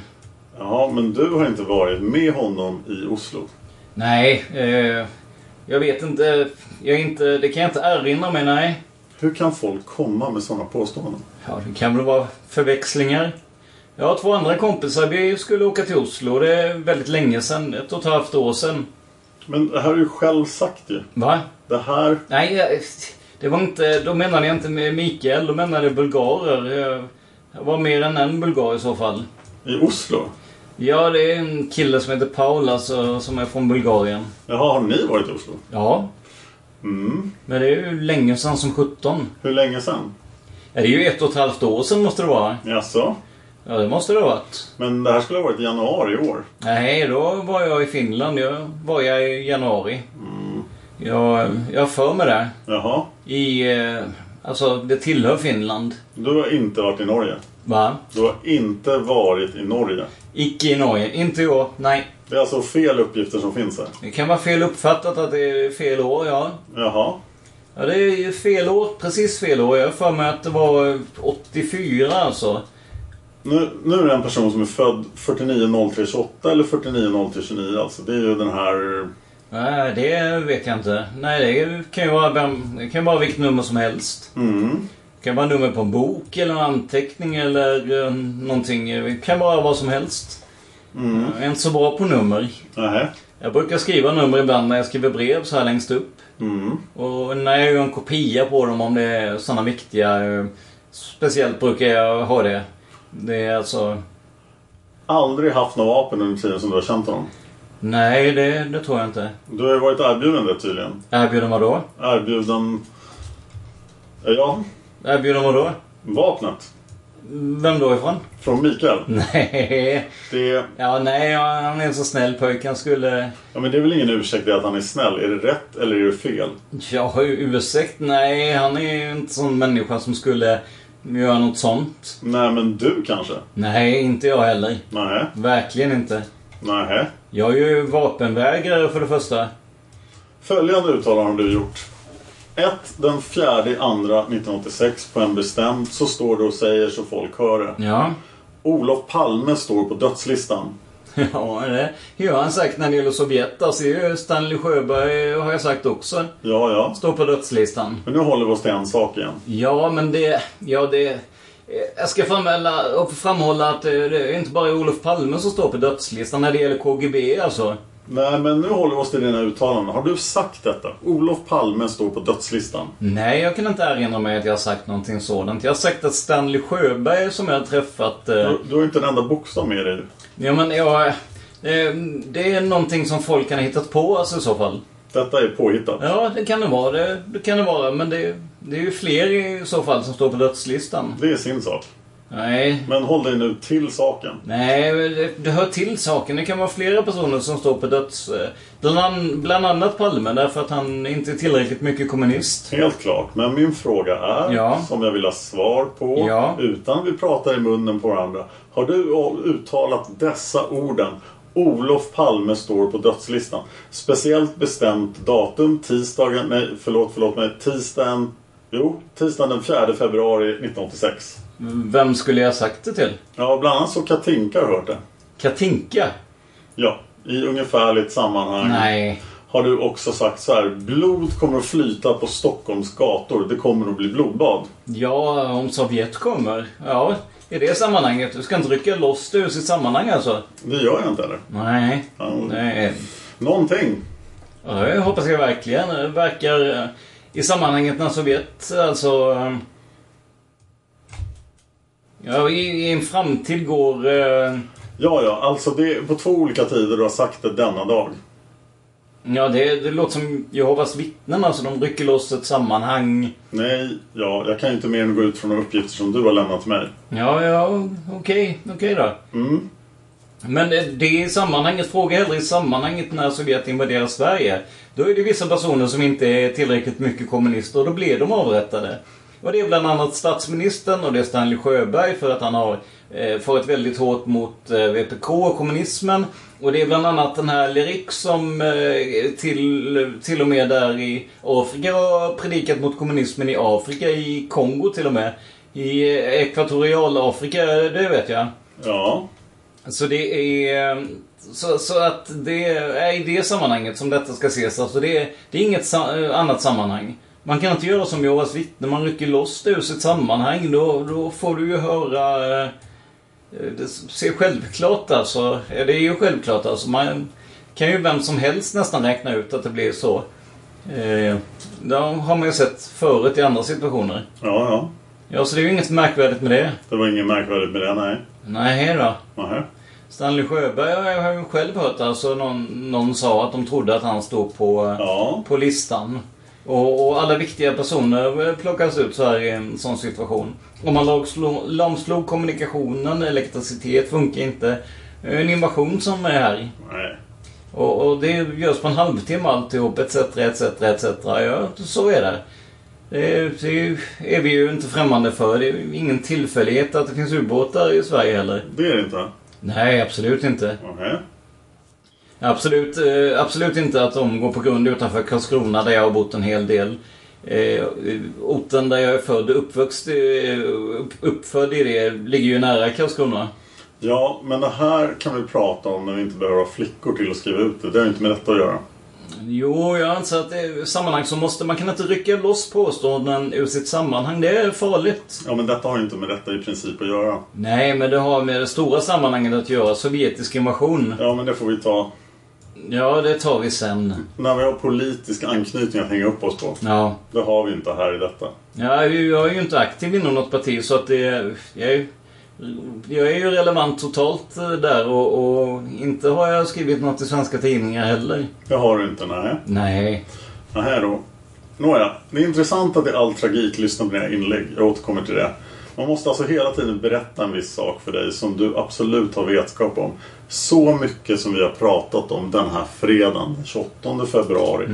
Speaker 2: Jaha, men du har inte varit med honom i Oslo?
Speaker 8: Nej, eh, jag vet inte. Jag är inte. Det kan jag inte erinra mig, nej.
Speaker 2: Hur kan folk komma med sådana påståenden?
Speaker 8: Ja, det kan väl vara förväxlingar. Jag har två andra kompisar. Vi skulle åka till Oslo. Det är väldigt länge sedan. Ett och ett halvt år sedan.
Speaker 2: Men det här har du själv sagt ju.
Speaker 8: Va?
Speaker 2: Det här...
Speaker 8: Nej, jag- det var inte... Då menade jag inte med Mikael. Då menade jag bulgarer. Jag- Jag var mer än en bulgar i så fall.
Speaker 2: I Oslo?
Speaker 8: Ja, det är en kille som heter Paul alltså, som är från Bulgarien.
Speaker 2: Jaha, har ni varit i Oslo?
Speaker 8: Ja,
Speaker 2: Mm.
Speaker 8: men det är ju länge sedan som 17.
Speaker 2: Hur länge sedan?
Speaker 8: Ja, det är ju ett och ett halvt år sedan måste det vara.
Speaker 2: Jaså?
Speaker 8: Ja, det måste det ha varit.
Speaker 2: Men det här skulle ha varit i januari i år.
Speaker 8: Nej, då var jag i Finland. Jag var jag i januari. Jag, jag har för mig det.
Speaker 2: Jaha.
Speaker 8: I... eh, Alltså, det tillhör Finland.
Speaker 2: Du har inte varit i Norge?
Speaker 8: Va?
Speaker 2: Du har inte varit i Norge?
Speaker 8: Icke i Norge. Inte i år. Nej.
Speaker 2: Det är alltså fel uppgifter som finns här?
Speaker 8: Det kan vara fel uppfattat att det är fel år, ja.
Speaker 2: Jaha.
Speaker 8: Ja, det är ju fel år. Precis fel år. Jag har för mig att det var 84 alltså.
Speaker 2: Nu, nu är det en person som är född 49.03.28 eller 49.03.29 alltså. Det är ju den här...
Speaker 8: Nej, det vet jag inte. Nej, det kan ju vara, vem- det kan vara vilket nummer som helst.
Speaker 2: Mm.
Speaker 8: Det kan vara nummer på en bok eller en anteckning eller eh, någonting. Det kan vara vad som helst. Jag är inte så bra på nummer.
Speaker 2: Nähä.
Speaker 8: Jag brukar skriva nummer ibland när jag skriver brev så här längst upp.
Speaker 2: Mm.
Speaker 8: Och när jag gör en kopia på dem om det är sådana viktiga... eh, Speciellt brukar jag ha det. Det är alltså...
Speaker 2: Aldrig haft några vapen under tiden som du har känt honom.
Speaker 8: Nej, det, det tror jag inte.
Speaker 2: Du har ju varit erbjuden det tydligen.
Speaker 8: Erbjuden vad då?
Speaker 2: Erbjuden... eh, Ja,
Speaker 8: Erbjuden vad då?
Speaker 2: vapnet.
Speaker 8: Vem då ifrån?
Speaker 2: Från Mikael.
Speaker 8: Nej.
Speaker 2: Det,
Speaker 8: Ja, nej, han är så snäll pojk. Han skulle...
Speaker 2: ja, men det är väl ingen ursäkt det att han är snäll. Är det rätt eller är det fel?
Speaker 8: Ja, ursäkt? Nej, han är ju inte sån människa som skulle göra något sånt.
Speaker 2: Nej, men du kanske?
Speaker 8: Nej, inte jag heller.
Speaker 2: Nej,
Speaker 8: Verkligen inte.
Speaker 2: nej.
Speaker 8: Jag är ju vapenvägrare för det första.
Speaker 2: Följande uttalande har du gjort. 1. Den 4 2 1986 på en bestämd så står du och säger så folk hör det.
Speaker 8: Ja.
Speaker 2: Olof Palme står på dödslistan.
Speaker 8: Ja, det gör han säkert när det gäller Sovjet. Där ser ju Stanley Sjöberg, har jag sagt också.
Speaker 2: Ja, ja.
Speaker 8: Står på dödslistan.
Speaker 2: Men nu håller vi oss till en sak igen.
Speaker 8: Ja, men det... Ja, det... eh, Jag ska framhålla, och framhålla att eh, det är inte bara Olof Palme som står på dödslistan när det gäller KGB alltså.
Speaker 2: Nej, men nu håller vi oss till dina uttalanden. Har du sagt detta? Olof Palme står på dödslistan.
Speaker 8: Nej, jag kan inte erinra mig att jag har sagt någonting sådant. Jag har sagt att Stanley Sjöberg som jag har träffat... eh,
Speaker 2: Du, du har inte en enda bokstav med dig.
Speaker 8: Ja, men jag... eh, Det är någonting som folk kan ha hittat på alltså i så fall.
Speaker 2: Detta är påhittat.
Speaker 8: Ja, det kan det vara. Det, det kan det vara. Men det, det är ju fler i så fall som står på dödslistan.
Speaker 2: Det är sin sak.
Speaker 8: Nej.
Speaker 2: Men håll dig nu till saken.
Speaker 8: Nej, det, det hör till saken. Det kan vara flera personer som står på döds... eh, Bland, an- bland annat Palme, därför att han inte är tillräckligt mycket kommunist.
Speaker 2: Helt klart. Men min fråga är,
Speaker 8: Ja.
Speaker 2: som jag vill ha svar på,
Speaker 8: Ja.
Speaker 2: utan vi pratar i munnen på varandra. Har du o- uttalat dessa orden? Olof Palme står på dödslistan. Speciellt bestämt datum, tisdagen, nej förlåt, förlåt mig, tisdagen, jo, tisdagen den 4 februari 1986.
Speaker 8: Vem skulle jag ha sagt det till?
Speaker 2: Ja, bland annat så Katinka har hört det.
Speaker 8: Katinka?
Speaker 2: Ja, i ungefärligt sammanhang.
Speaker 8: Nej.
Speaker 2: Har du också sagt så här, blod kommer att flyta på Stockholms gator, det kommer att bli blodbad.
Speaker 8: Ja, om Sovjet kommer. Ja, i det sammanhanget. Du ska inte rycka loss det ur sitt sammanhang alltså.
Speaker 2: Det gör jag inte heller.
Speaker 8: Nej. Nej.
Speaker 2: Någonting.
Speaker 8: Ja, det hoppas jag verkligen. Det verkar eh, i sammanhanget när Sovjet alltså... eh, Ja, i, i en framtid går... eh,
Speaker 2: Ja, ja, alltså det är på två olika tider du har sagt det denna dag.
Speaker 8: Ja, det, det låter som Jehovas vittnen alltså. De rycker loss ett sammanhang.
Speaker 2: Nej, ja, jag kan ju inte mer än gå ut från de uppgifter som du har lämnat till mig.
Speaker 8: Ja, ja, okej, okej då.
Speaker 2: Mm.
Speaker 8: Men det- det är i sammanhanget, fråga hellre i sammanhanget när Sovjet invaderar Sverige. Då är det vissa personer som inte är tillräckligt mycket kommunister och då blir de avrättade. Och det är bland annat statsministern och det är Stanley Sjöberg för att han har eh, farit väldigt hårt mot eh, VPK och kommunismen. Och det är bland annat den här Lerik som eh, till, till och med där i Afrika har predikat mot kommunismen i Afrika, i Kongo till och med. I eh, ekvatorialafrika, det vet jag.
Speaker 2: Ja.
Speaker 8: Så det är... ehm, Så, så att det är i det sammanhanget som detta ska ses. Alltså det, är- det är inget sa, eh, annat sammanhang. Man kan inte göra som Jehovas vittnen. Man rycker loss det ur sitt sammanhang. Då, då får du ju höra... eh, Det ser självklart alltså. Ja, Det är ju självklart alltså. Man kan ju vem som helst nästan räkna ut att det blir så. Eh, Det har man ju sett förut i andra situationer.
Speaker 2: Ja, ja.
Speaker 8: Ja, så det är ju inget märkvärdigt med det.
Speaker 2: Det var inget märkvärdigt med det, nej.
Speaker 8: Nej då.
Speaker 2: Nähä.
Speaker 8: Stanley Sjöberg har jag ju själv hört alltså någon, någon sa att de trodde att han stod på, på listan. Och, och alla viktiga personer eh, plockas ut så här i en sån situation. Om man lagslå- lamslog kommunikationen, elektricitet funkar inte. Eh, En invasion som är här.
Speaker 2: Nej.
Speaker 8: Och, och det görs på en halvtimme alltihop, etc, etc, etc. Ja, så är det. Det är, det är ju- är vi ju inte främmande för. Det är ju ingen tillfällighet att det finns ubåtar i Sverige heller.
Speaker 2: Det är det inte.
Speaker 8: Nej, absolut inte.
Speaker 2: Nähä.
Speaker 8: Absolut, eh, absolut inte att de går på grund utanför Karlskrona där jag har bott en hel del. Eh, orten där jag är född och uppvuxen, upp, uppfödd i det ligger ju nära Karlskrona.
Speaker 2: Ja, men det här kan vi prata om när vi inte behöver ha flickor till att skriva ut det. Det har ju inte med detta att göra.
Speaker 8: Jo, jag anser att det är sammanhang som måste... Man kan inte rycka loss påståenden ur sitt sammanhang. Det är farligt.
Speaker 2: Ja, men detta har ju inte med detta i princip att göra.
Speaker 8: Nej, men det har med det stora sammanhanget att göra. Sovjetisk invasion.
Speaker 2: Ja, men det får vi ta
Speaker 8: Ja, det tar vi sen.
Speaker 2: när vi har politisk anknytning att hänga upp oss på.
Speaker 8: Ja.
Speaker 2: Det har vi inte här i detta.
Speaker 8: Ja, jag är ju- jag är ju inte aktiv inom något parti så att det... Jag är, ju- jag är ju relevant totalt eh, där och, och inte har jag skrivit något i svenska tidningar heller.
Speaker 2: Det har du inte, nej.
Speaker 8: Nej.
Speaker 2: Nähä då. Nåja, det är intressant att i all tragik lyssna på dina inlägg. Jag återkommer till det. Man måste alltså hela tiden berätta en viss sak för dig som du absolut har vetskap om. Så mycket som vi har pratat om den här fredagen, den 28 februari.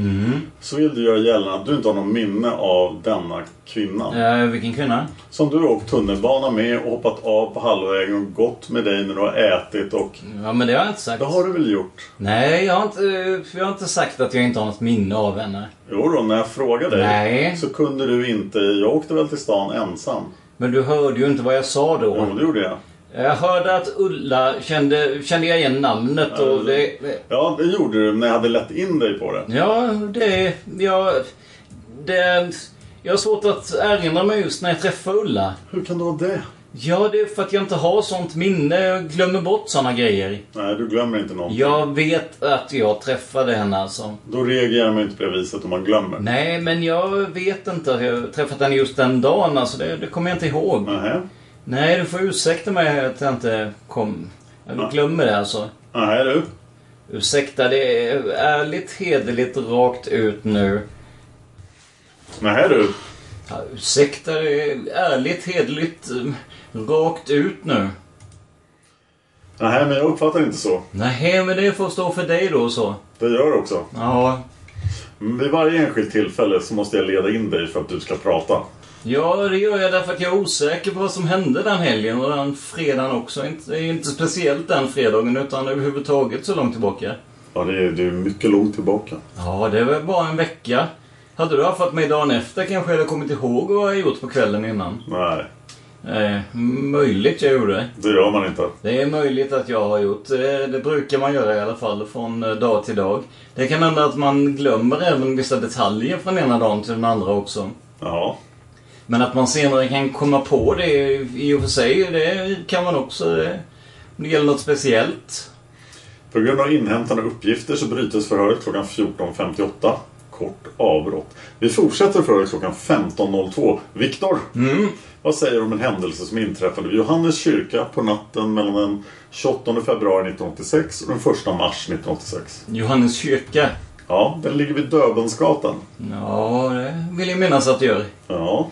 Speaker 2: Så vill du göra gällande att du inte har någon minne av denna kvinna.
Speaker 8: Eh, vilken kvinna?
Speaker 2: Som du har åkt tunnelbana med och hoppat av på halvvägen och gått med dig när du har ätit och...
Speaker 8: Ja, men det har jag inte sagt.
Speaker 2: Det har du väl gjort?
Speaker 8: Nej, jag har, inte, eh, jag har inte sagt att jag inte har något minne av henne.
Speaker 2: Jo då, när jag frågade dig
Speaker 8: Nej.
Speaker 2: så kunde du inte... Jag åkte väl till stan ensam?
Speaker 8: Men du hörde ju inte vad jag sa då.
Speaker 2: Mm. Jo, det gjorde jag.
Speaker 8: Jag hörde att Ulla kände, kände jag igen namnet och det...
Speaker 2: Ja, det gjorde du när jag hade lett in dig på det.
Speaker 8: Ja, det... Jag... Det... Jag har svårt att erinra mig just när jag träffade Ulla.
Speaker 2: Hur kan du ha det?
Speaker 8: Ja, det är för att jag inte har sånt minne. Jag glömmer bort såna grejer.
Speaker 2: Nej, du glömmer inte någonting.
Speaker 8: Jag vet att jag träffade henne alltså.
Speaker 2: Då reagerar man inte på det viset om man glömmer.
Speaker 8: Nej, men jag vet inte att jag träffat henne just den dagen. Alltså, det, det kommer jag inte ihåg.
Speaker 2: Nähä.
Speaker 8: Nej, du får ursäkta mig att jag inte kom. Jag glömmer det alltså.
Speaker 2: Nej, du.
Speaker 8: Ursäkta, det är ärligt, hederligt, rakt ut nu.
Speaker 2: Nej, du.
Speaker 8: Ja, ursäkta, det är ärligt, hederligt, eh, rakt ut nu.
Speaker 2: Nej, men jag uppfattar inte så.
Speaker 8: Nej, men det får stå för dig då så.
Speaker 2: Det gör det också.
Speaker 8: Ja.
Speaker 2: Men Vid varje enskilt tillfälle så måste jag leda in dig för att du ska prata.
Speaker 8: Ja, det gör jag därför att jag är osäker på vad som hände den helgen och den fredagen också. Inte- Det är ju inte speciellt den fredagen utan överhuvudtaget så långt tillbaka.
Speaker 2: Ja, det är, det är mycket långt tillbaka.
Speaker 8: Ja, det var bara en vecka. Hade du haft mig dagen efter kanske jag hade kommit ihåg vad jag gjort på kvällen innan.
Speaker 2: Nej,
Speaker 8: Eh, möjligt jag gjorde.
Speaker 2: det gör man inte.
Speaker 8: Det är möjligt att jag har gjort. Det, det brukar man göra i alla fall från eh, dag till dag. Det kan hända att man glömmer även vissa detaljer från ena dagen till den andra också.
Speaker 2: Ja.
Speaker 8: Men att man senare kan komma på det i och för sig, det kan man också. Det, om det gäller något speciellt.
Speaker 2: På grund av inhämtande uppgifter så brytes förhöret klockan 14.58. Kort avbrott. Vi fortsätter förhöret klockan 15.02. Viktor, vad säger du om en händelse som inträffade vid Johannes kyrka på natten mellan den 28 februari 1986 och den 1 mars 1986?
Speaker 8: Johannes kyrka.
Speaker 2: Ja, den ligger vid Döbelnsgatan.
Speaker 8: Ja, det vill jag minnas att det gör.
Speaker 2: Ja,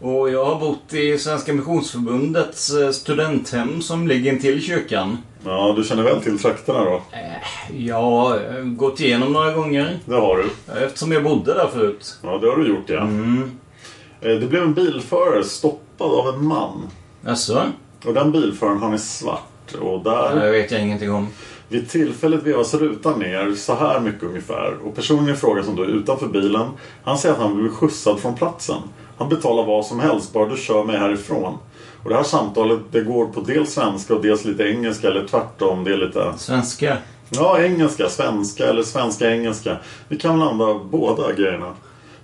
Speaker 8: Och jag har bott i Svenska Missionsförbundets eh, studenthem som ligger intill kyrkan.
Speaker 2: ja du känner väl till trakterna då?
Speaker 8: Jag har eh, gått igenom några gånger
Speaker 2: Det har du.
Speaker 8: eh, eftersom jag bodde där förut.
Speaker 2: Ja, det har du gjort ja.
Speaker 8: Mm.
Speaker 2: Eh, Det blev en bilförare stoppad av en man.
Speaker 8: Jaså?
Speaker 2: Och den bilföraren han är svart. Och där...
Speaker 8: Det vet jag ingenting om.
Speaker 2: Vid tillfället vevas rutan ner så här mycket ungefär och personen i fråga som då är utanför bilen han säger att han blir skjutsad från platsen. Han betalar vad som helst bara du kör mig härifrån. Och det här samtalet det går på dels svenska och dels lite engelska eller tvärtom. Det är lite
Speaker 8: Svenska?
Speaker 2: ja, engelska, svenska eller svenska, engelska. Vi kan väl använda båda grejerna.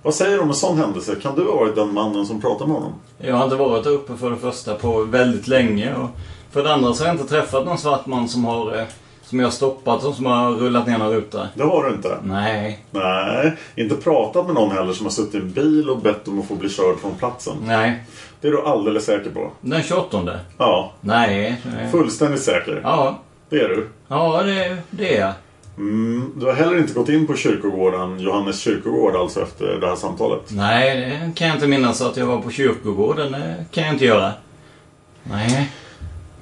Speaker 2: Vad säger du om en sån händelse? Kan du ha varit den mannen som pratar med honom?
Speaker 8: Jag har inte varit där uppe för det första på väldigt länge. Och för det andra så har jag inte träffat någon svart man som har eh, som jag har stoppat och som har rullat ner någon ruta.
Speaker 2: Det har du inte.
Speaker 8: Nej,
Speaker 2: Nej, inte pratat med någon heller som har suttit i en bil och bett om att få bli körd från platsen.
Speaker 8: nej.
Speaker 2: Det är du alldeles säker på?
Speaker 8: Den 28?
Speaker 2: Ja,
Speaker 8: Nej. eh,
Speaker 2: fullständigt säker.
Speaker 8: Ja,
Speaker 2: Det är du.
Speaker 8: ja det, det är jag.
Speaker 2: Mm, du har heller inte gått in på kyrkogården, Johannes kyrkogård, alltså efter det här samtalet.
Speaker 8: Nej, det kan jag inte minnas att jag var på kyrkogården. Det kan jag inte göra. Nej.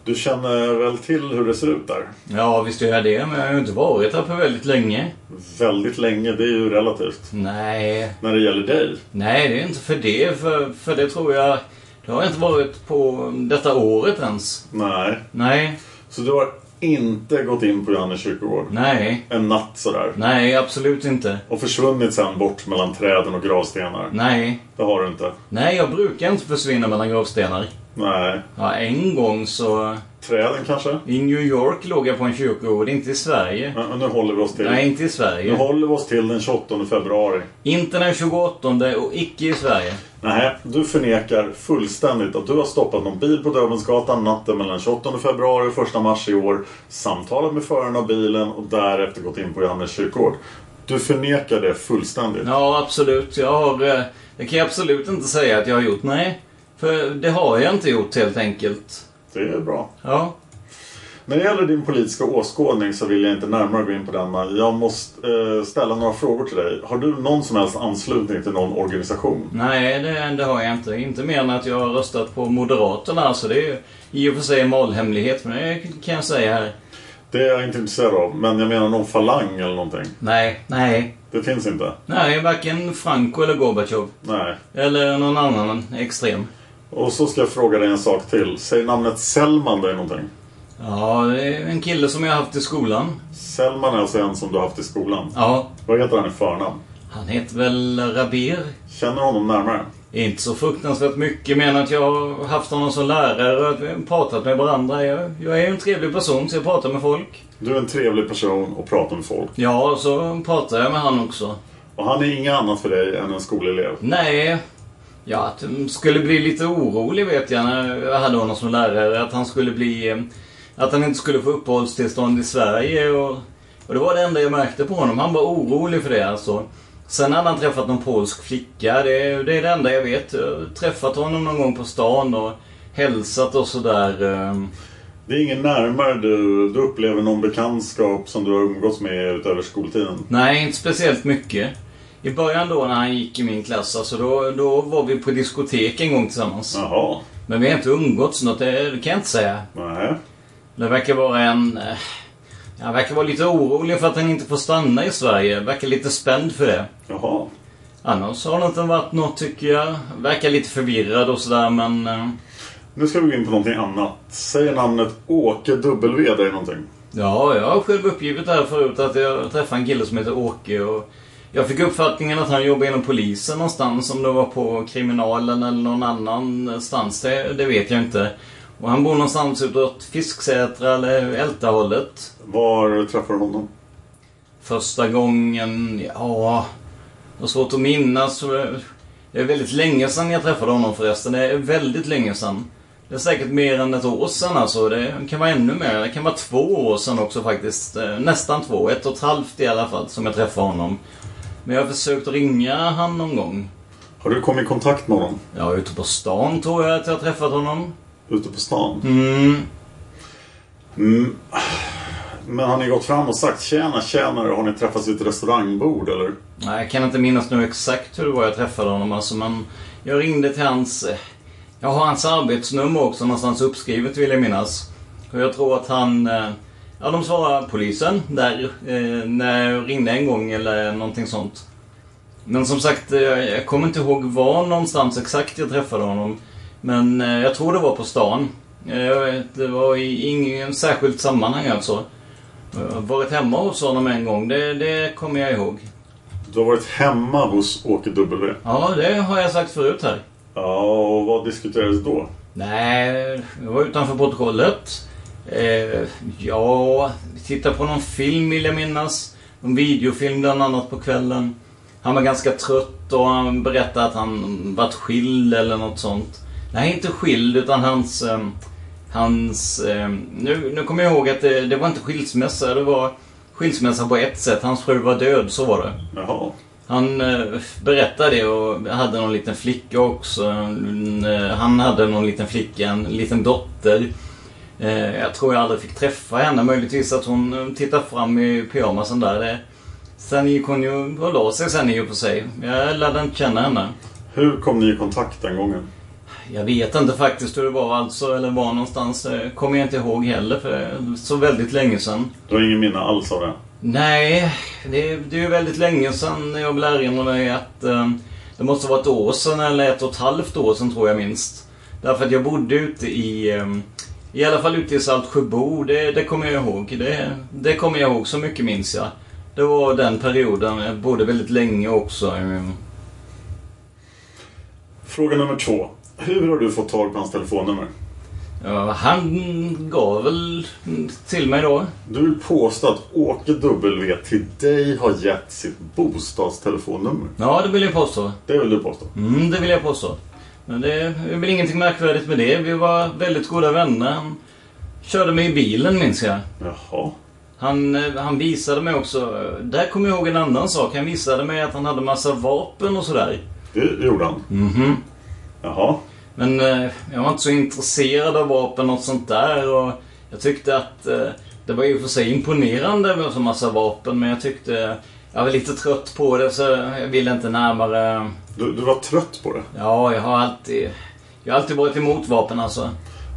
Speaker 2: Du känner väl till hur det ser ut där?
Speaker 8: Ja, visst gör jag det, men jag har ju inte varit där på väldigt länge.
Speaker 2: Väldigt länge, det är ju relativt.
Speaker 8: Nej,
Speaker 2: När det gäller dig?
Speaker 8: nej det är inte för det. För, för det tror jag... Det har jag inte varit på detta året ens.
Speaker 2: Nej.
Speaker 8: Nej,
Speaker 2: Så du har inte gått in på Johannes kyrkogård?
Speaker 8: nej,
Speaker 2: En natt sådär?
Speaker 8: nej, absolut inte.
Speaker 2: Och försvunnit sen bort mellan träden och gravstenar?
Speaker 8: Nej,
Speaker 2: Det har du inte?
Speaker 8: nej, jag brukar inte försvinna mellan gravstenar.
Speaker 2: Nej.
Speaker 8: Ja, en gång så...
Speaker 2: Träden kanske?
Speaker 8: I New York låg jag på en kyrkogård, inte i Sverige.
Speaker 2: Men nu håller vi oss till...
Speaker 8: Nej, inte i
Speaker 2: Nu
Speaker 8: Sverige.
Speaker 2: håller vi oss till den 28 februari.
Speaker 8: Inte den 28 och icke i Sverige.
Speaker 2: Nej, du förnekar fullständigt att du har stoppat någon bil på Döbelnsgatan natten mellan 28 februari och 1 mars i år, samtalat med föraren av bilen och därefter gått in på Johannes kyrkogård. Du förnekar det fullständigt.
Speaker 8: Ja, absolut. Jag har... eh, Det kan jag absolut inte säga att jag har gjort. Nej, för det har jag inte gjort helt enkelt.
Speaker 2: Det är bra.
Speaker 8: Ja,
Speaker 2: När det gäller din politiska åskådning så vill jag inte närmare gå in på denna. Jag måste eh, ställa några frågor till dig. Har du någon som helst anslutning till någon organisation?
Speaker 8: nej, det, det har jag inte. Inte mer än att jag har röstat på Moderaterna, så det är ju i och för sig en valhemlighet, men det kan jag säga här.
Speaker 2: Det är jag inte intresserad av, men jag menar någon falang eller någonting.
Speaker 8: Nej, nej.
Speaker 2: Det finns inte?
Speaker 8: Nej, varken Franco eller Gorbatjov.
Speaker 2: Nej.
Speaker 8: Eller någon annan extrem.
Speaker 2: Och så ska jag fråga dig en sak till. Säger namnet Selman dig någonting?
Speaker 8: Ja, det är en kille som jag har haft i skolan.
Speaker 2: Selman är alltså en som du har haft i skolan.
Speaker 8: Ja,
Speaker 2: Vad heter han i förnamn?
Speaker 8: han heter väl Rabir?
Speaker 2: Känner du honom närmare?
Speaker 8: Inte så fruktansvärt mycket men att jag har haft honom som lärare och att vi har pratat med varandra. Jag, jag är ju en trevlig person så jag pratar med folk.
Speaker 2: Du är en trevlig person och pratar med folk.
Speaker 8: Ja, och så pratar jag med han också.
Speaker 2: Och han är inget annat för dig än en skolelev?
Speaker 8: Nej. Ja, att de skulle bli lite orolig vet jag när jag hade honom som lärare. Att han skulle bli... eh, Att han inte skulle få uppehållstillstånd i Sverige och... Och det var det enda jag märkte på honom. Han var orolig för det alltså. Sen hade han träffat någon polsk flicka. Det, det är det enda jag vet. Jag har träffat honom någon gång på stan och hälsat och sådär. eh.
Speaker 2: Det är ingen närmare du, du upplever någon bekantskap som du har umgåtts med utöver skoltiden?
Speaker 8: Nej, inte speciellt mycket. I början då när han gick i min klass, alltså då, då var vi på diskotek en gång tillsammans.
Speaker 2: Jaha.
Speaker 8: Men vi har inte umgåtts något, det, det kan jag inte säga.
Speaker 2: Nej.
Speaker 8: Det verkar vara en... eh, Han verkar vara lite orolig för att han inte får stanna i Sverige. Verkar lite spänd för det.
Speaker 2: Jaha.
Speaker 8: Annars har det inte varit något tycker jag. Verkar lite förvirrad och sådär men... eh,
Speaker 2: Nu ska vi gå in på någonting annat. Säger namnet Åke W dig någonting?
Speaker 8: Ja, jag har själv uppgivit det här förut att jag träffade en kille som heter Åke och jag fick uppfattningen att han jobbade inom polisen någonstans, om det var på kriminalen eller någon annanstans, det, det vet jag inte. Och han bor någonstans utåt Fisksätra eller Ältahållet.
Speaker 2: Var träffade du honom?
Speaker 8: Första gången, ja... Jag har svårt att minnas. Det är väldigt länge sedan jag träffade honom förresten. Det är väldigt länge sedan. Det är säkert mer än ett år sedan alltså. Det kan vara ännu mer. Det kan vara två år sedan också faktiskt. Eh, Nästan två. Ett och ett halvt i alla fall som jag träffade honom. Men jag har försökt ringa han någon gång.
Speaker 2: Har du kommit i kontakt med honom?
Speaker 8: Ja, ute på stan tror jag att jag har träffat honom.
Speaker 2: Ute på stan?
Speaker 8: Mm.
Speaker 2: Mm. Men har ni gått fram och sagt tjena, tjenare, har ni träffats vid ett restaurangbord eller?
Speaker 8: Nej, jag kan inte minnas nu exakt hur det var jag träffade honom alltså, men jag ringde till hans... eh, Jag har hans arbetsnummer också någonstans uppskrivet vill jag minnas. Och jag tror att han... eh, Ja, de svarade polisen där eh, när jag ringde en gång eller någonting sånt. Men som sagt, eh, jag jag kommer inte ihåg var någonstans exakt jag träffade honom. Men eh, jag tror det var på stan. Eh, jag vet, Det var i ingen särskilt sammanhang alltså. Jag har varit hemma hos honom en gång, det, det kommer jag ihåg.
Speaker 2: Du har varit hemma hos Åke W?
Speaker 8: Ja, det har jag sagt förut här.
Speaker 2: Ja, och vad diskuterades då?
Speaker 8: Nej, det var utanför protokollet. Eh, ja, vi tittade på någon film vill jag minnas. En videofilm bland annat på kvällen. Han var ganska trött och han berättade att han varit skild eller något sånt. Nej, inte skild utan hans... Eh, hans eh, nu, nu kommer jag ihåg att det, det var inte skilsmässa. Det var skilsmässa på ett sätt. Hans fru var död, så var det.
Speaker 2: Jaha.
Speaker 8: Han eh, berättade det och hade någon liten flicka också. Mm, eh, Han hade någon liten flicka, en liten dotter. Eh, Jag tror jag aldrig fick träffa henne. Möjligtvis att hon eh, tittade fram i pyjamasen där. Det- Sen gick hon ju och la sig sen i och för sig. Jag lärde inte känna henne.
Speaker 2: Hur kom ni i kontakt den gången?
Speaker 8: Jag vet inte faktiskt hur det var alltså, eller var någonstans. eh, Kommer jag inte ihåg heller, för det är så väldigt länge sedan.
Speaker 2: Du har ingen minne alls av det?
Speaker 8: Nej, det, det är ju väldigt länge sedan jag vill erinra mig att eh, det måste vara ett år sedan eller ett och ett halvt år sedan tror jag minst. Därför att jag bodde ute i, eh, i alla fall ute i Saltsjöbo, det, det kommer jag ihåg. Det, det kommer jag ihåg, så mycket minns jag. Det var den perioden, jag bodde väldigt länge också. eh.
Speaker 2: Fråga nummer två. Hur har du fått tag på hans telefonnummer?
Speaker 8: Ja, han gav väl till mig då.
Speaker 2: Du vill påstå att Åke W till dig har gett sitt bostadstelefonnummer?
Speaker 8: Ja, det vill jag påstå.
Speaker 2: Det vill du påstå?
Speaker 8: Mm, det vill jag påstå. Men det är väl ingenting märkvärdigt med det. Vi var väldigt goda vänner. Han körde mig i bilen minns jag.
Speaker 2: Jaha.
Speaker 8: Han, eh, han visade mig också, där kommer jag ihåg en annan sak. Han visade mig att han hade massa vapen och sådär.
Speaker 2: Det gjorde han?
Speaker 8: Mhm.
Speaker 2: Jaha.
Speaker 8: Men eh, jag var inte så intresserad av vapen och sånt där. Och jag tyckte att eh, det var i och för sig imponerande med så massa vapen. Men jag tyckte, jag var lite trött på det så jag ville inte närmare.
Speaker 2: Du, du var trött på det?
Speaker 8: Ja, jag har alltid, jag har alltid varit emot vapen alltså.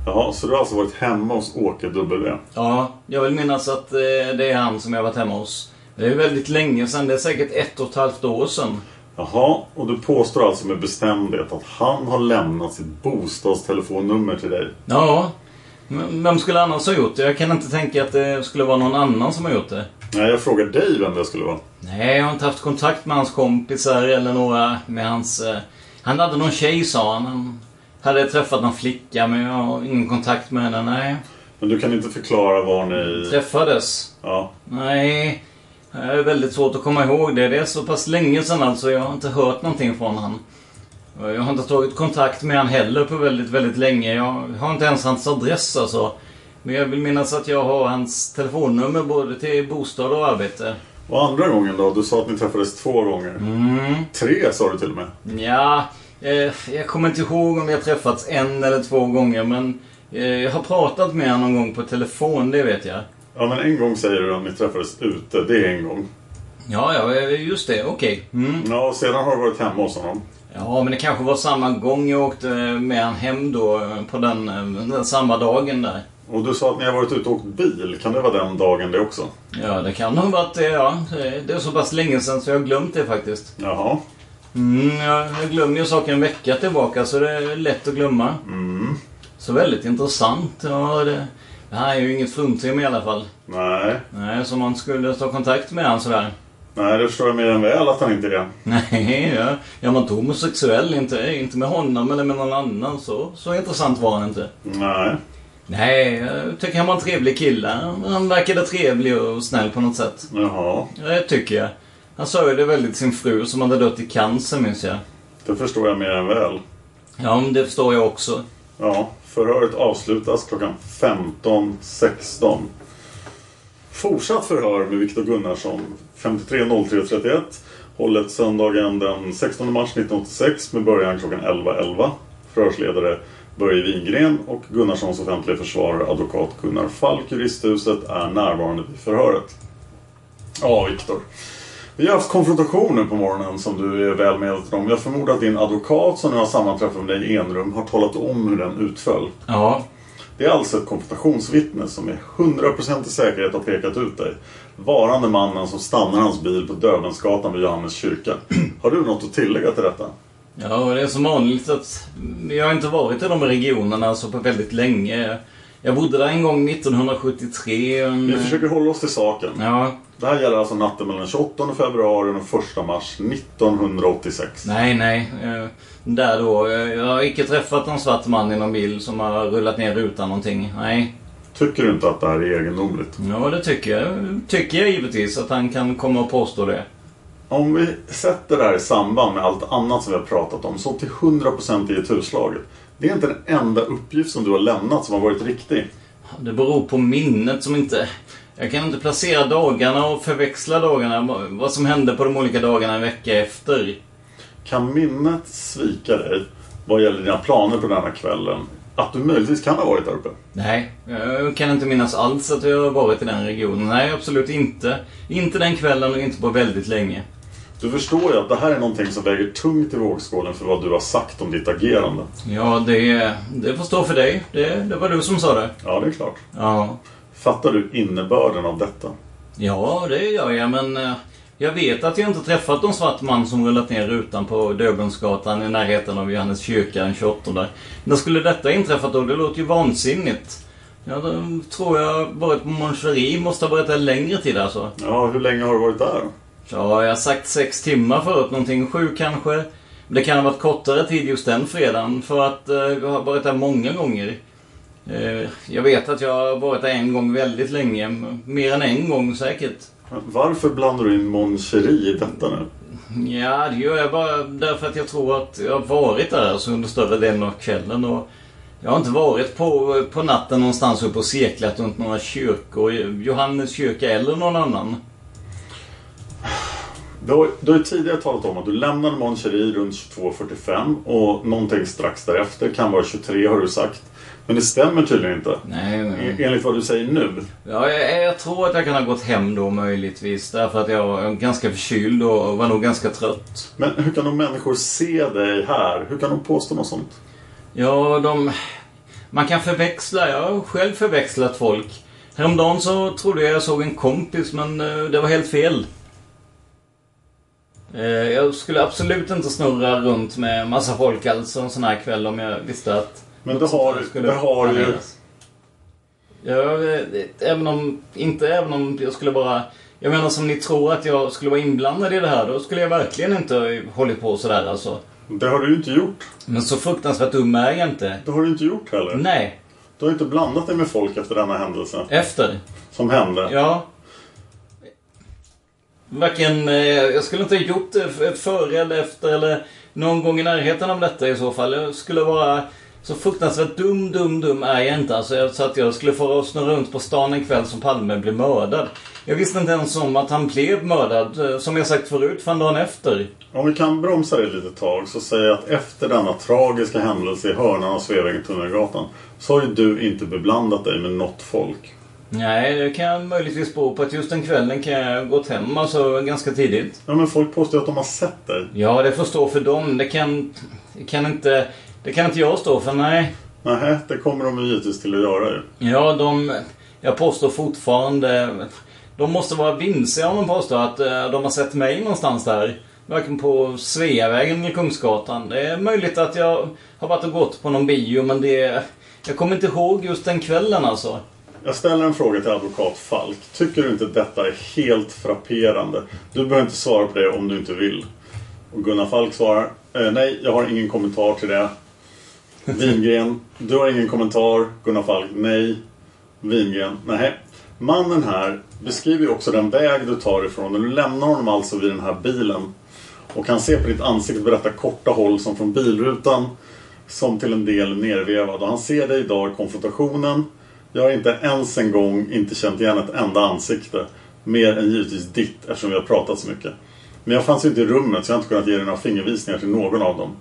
Speaker 2: Jaha, så du har alltså varit hemma hos Åke W?
Speaker 8: Ja, jag vill minnas att eh, det är han som jag har varit hemma hos. Det är väldigt länge sedan, det är säkert ett och ett halvt år sedan.
Speaker 2: Jaha, och du påstår alltså med bestämdhet att han har lämnat sitt bostadstelefonnummer till dig?
Speaker 8: Ja, men vem skulle annars ha gjort det? Jag kan inte tänka att det skulle vara någon annan som har gjort det.
Speaker 2: Nej, jag frågar dig vem det skulle vara.
Speaker 8: Nej, jag har inte haft kontakt med hans kompisar eller några med hans... eh, Han hade någon tjej sa han. Han hade träffat någon flicka men jag har ingen kontakt med henne. Nej.
Speaker 2: Men du kan inte förklara var ni...
Speaker 8: Träffades?
Speaker 2: Ja.
Speaker 8: Nej. Det är väldigt svårt att komma ihåg det. Det är så pass länge sedan alltså. Jag har inte hört någonting från han. Jag har inte tagit kontakt med han heller på väldigt, väldigt länge. Jag har inte ens hans adress alltså. Men jag vill minnas att jag har hans telefonnummer både till bostad och arbete.
Speaker 2: Och andra gången då? Du sa att ni träffades två gånger. Tre sa du till och med.
Speaker 8: Ja, eh, jag kommer inte ihåg om vi har träffats en eller två gånger men eh, jag har pratat med honom någon gång på telefon, det vet jag.
Speaker 2: Ja, men en gång säger du om ni träffades ute. Det är en gång.
Speaker 8: Ja, ja, eh, just det, okej. Mm.
Speaker 2: Ja, och sedan har du varit hemma hos honom.
Speaker 8: Ja, men det kanske var samma gång jag åkte eh, med han hem då, eh, på den, eh, den samma dagen där.
Speaker 2: Och du sa att ni har varit ute och åkt bil. Kan det vara den dagen det också?
Speaker 8: Ja, det kan nog ha varit det, ja. Eh, Det är så pass länge sedan så jag har glömt det faktiskt.
Speaker 2: Jaha.
Speaker 8: Mm, jag, jag glömmer ju saker en vecka tillbaka så det är lätt att glömma. Mm. Så väldigt intressant. Ja, det, det här är ju inget fruntim i alla fall.
Speaker 2: Nej.
Speaker 8: Nej, så man skulle ta kontakt med han sådär.
Speaker 2: Nej, det förstår jag mer än väl att han inte är.
Speaker 8: Nej, jag, jag var inte homosexuell. Inte, inte med honom eller med någon annan. Så, så intressant var han inte.
Speaker 2: Nej.
Speaker 8: Nej, jag tycker han var en trevlig kille. Han- Han verkade trevlig och snäll på något sätt.
Speaker 2: Jaha.
Speaker 8: Det tycker jag. Han sörjde väldigt sin fru som hade dött i cancer, minns jag.
Speaker 2: Det förstår jag mer än väl.
Speaker 8: Ja, men det förstår jag också.
Speaker 2: Ja, förhöret avslutas klockan 15.16. Fortsatt förhör med Viktor Gunnarsson 53.03.31 hållet söndagen den 16 mars 1986 med början klockan 11.11. Förhörsledare Börje Wingren och Gunnarssons offentliga försvarare advokat Gunnar Falk, juristhuset, är närvarande vid förhöret. Ja, Viktor. Vi har haft alltså konfrontationer på morgonen som du är väl medveten om. Jag förmodar att din advokat som nu har sammanträffat med dig i enrum har talat om hur den utföll.
Speaker 8: Ja.
Speaker 2: Det är alltså ett konfrontationsvittne som med 100% i säkerhet har pekat ut dig. Varande mannen som stannar hans bil på Dövensgatan vid Johannes kyrka. Har du något att tillägga till detta?
Speaker 8: Ja, och det är som vanligt att jag har inte varit i de regionerna alltså på väldigt länge. Jag bodde där en gång 1973. och en-
Speaker 2: Vi försöker hålla oss till saken.
Speaker 8: Ja.
Speaker 2: Det här gäller alltså natten mellan 28 februari och 1 mars 1986.
Speaker 8: Nej, nej. eh, Där då. eh, Jag har icke träffat någon svart man i någon bil som har rullat ner utan någonting. Nej.
Speaker 2: Tycker du inte att det här är egendomligt?
Speaker 8: Ja, det tycker jag. Tycker jag givetvis att han kan komma och påstå det.
Speaker 2: Om vi sätter det här i samband med allt annat som vi har pratat om så till 100% i ett huslaget. Det är inte den enda uppgift som du har lämnat som har varit riktig.
Speaker 8: Det beror på minnet som inte... Jag kan inte placera dagarna och förväxla dagarna. vad- Vad som hände på de olika dagarna en vecka efter.
Speaker 2: Kan minnet svika dig vad gäller dina planer på denna kvällen? Att du möjligtvis kan ha varit där uppe?
Speaker 8: Nej, jag kan inte minnas alls att jag har varit i den regionen. Nej, absolut inte. Inte den kvällen och inte på väldigt länge.
Speaker 2: Du förstår ju att det här är någonting som väger tungt i vågskålen för vad du har sagt om ditt agerande.
Speaker 8: Ja, det, det får stå för dig. Det, det var du som sa det.
Speaker 2: Ja, det är klart.
Speaker 8: Ja.
Speaker 2: Fattar du innebörden av detta?
Speaker 8: Ja, det gör jag, men eh, jag vet att jag inte träffat någon svart man som rullat ner rutan på Döbelnsgatan i närheten av Johannes kyrka den 28. När skulle detta inträffat då? Det låter ju vansinnigt. Jag eh, tror jag varit på Moncherie, måste ha varit där längre tid alltså.
Speaker 2: Ja, hur länge har du varit där?
Speaker 8: Ja, jag har sagt sex timmar förut, någonting sju kanske. Men det kan ha varit kortare tid just den fredagen, för att eh, jag har varit där många gånger. Eh, jag vet att jag har varit där en gång väldigt länge, m- mer än en gång säkert.
Speaker 2: Varför blandar du in Mon Cherie i detta nu?
Speaker 8: Ja, det gör jag bara därför att jag tror att jag har varit där alltså under större delen av kvällen. Och jag har inte varit på, på natten någonstans uppe och cirklat runt några kyrkor. Johannes kyrka eller någon annan.
Speaker 2: Du har, du har ju tidigare talat om att du lämnade Mon Cherie runt 22.45 och någonting strax därefter, kan vara 23 har du sagt. Men det stämmer tydligen inte.
Speaker 8: Nej, nej.
Speaker 2: E- Enligt vad du säger nu.
Speaker 8: Ja, jag, jag tror att jag kan ha gått hem då möjligtvis. Därför att jag var ganska förkyld och var nog ganska trött.
Speaker 2: Men hur kan de människor se dig här? Hur kan de påstå något sånt?
Speaker 8: Ja, de... Man kan förväxla. Jag har själv förväxlat folk. Häromdagen så trodde jag jag såg en kompis, men eh, det var helt fel. Eh, Jag skulle absolut inte snurra runt med massa folk alltså en sån här kväll om jag visste att...
Speaker 2: Men det har, det har ju...
Speaker 8: planeras. Ja, eh, även om, inte även om jag skulle bara... Jag menar som ni tror att jag skulle vara inblandad i det här, då skulle jag verkligen inte ha hållit på sådär alltså.
Speaker 2: Det har du ju inte gjort.
Speaker 8: Men så fruktansvärt dum är jag inte.
Speaker 2: Det har du inte gjort heller.
Speaker 8: Nej.
Speaker 2: Du har inte blandat dig med folk efter denna händelse.
Speaker 8: Efter?
Speaker 2: Som hände.
Speaker 8: Ja. Varken, eh, jag skulle inte ha gjort det f- före eller efter eller någon gång i närheten av detta i så fall. Jag skulle vara så fruktansvärt dum, dum, dum är jag inte. Alltså, jag, så att jag skulle få och snurra runt på stan en kväll som Palme blev mördad. Jag visste inte ens om att han blev mördad. eh, Som jag sagt förut, fan dagen efter.
Speaker 2: Om vi kan bromsa det lite tag så säger jag att efter denna tragiska händelse i hörnan av Sveavägen Tunnelgatan så har ju du inte beblandat dig med något folk.
Speaker 8: Nej, det kan möjligtvis bero på att just den kvällen kan jag ha gått hem alltså, ganska tidigt.
Speaker 2: Ja, men folk påstår att de har sett dig.
Speaker 8: Ja, det får stå för dem. Det kan, det kan, inte, det kan inte jag stå för, nej.
Speaker 2: Nej, det kommer de ju givetvis till att göra ju.
Speaker 8: Ja, de... Jag påstår fortfarande... De måste vara vimsiga om de påstår att eh, de har sett mig någonstans där. Varken på Sveavägen eller Kungsgatan. Det är möjligt att jag har varit och gått på någon bio, men det... Jag kommer inte ihåg just den kvällen alltså.
Speaker 2: Jag ställer en fråga till advokat Falk. Tycker du inte detta är helt frapperande? Du behöver inte svara på det om du inte vill. Och Gunnar Falk svarar. Eh, nej, jag har ingen kommentar till det. Wingren. Du har ingen kommentar. Gunnar Falk. Nej. Wingren. Nej. Mannen här beskriver ju också den väg du tar ifrån. Du lämnar honom alltså vid den här bilen. Och kan se på ditt ansikte berätta korta håll som från bilrutan. Som till en del nervevad. Och han ser dig idag i konfrontationen. Jag har inte ens en gång inte känt igen ett enda ansikte. Mer än givetvis ditt eftersom vi har pratat så mycket. Men jag fanns ju inte i rummet så jag har inte kunnat ge dig några fingervisningar till någon av dem.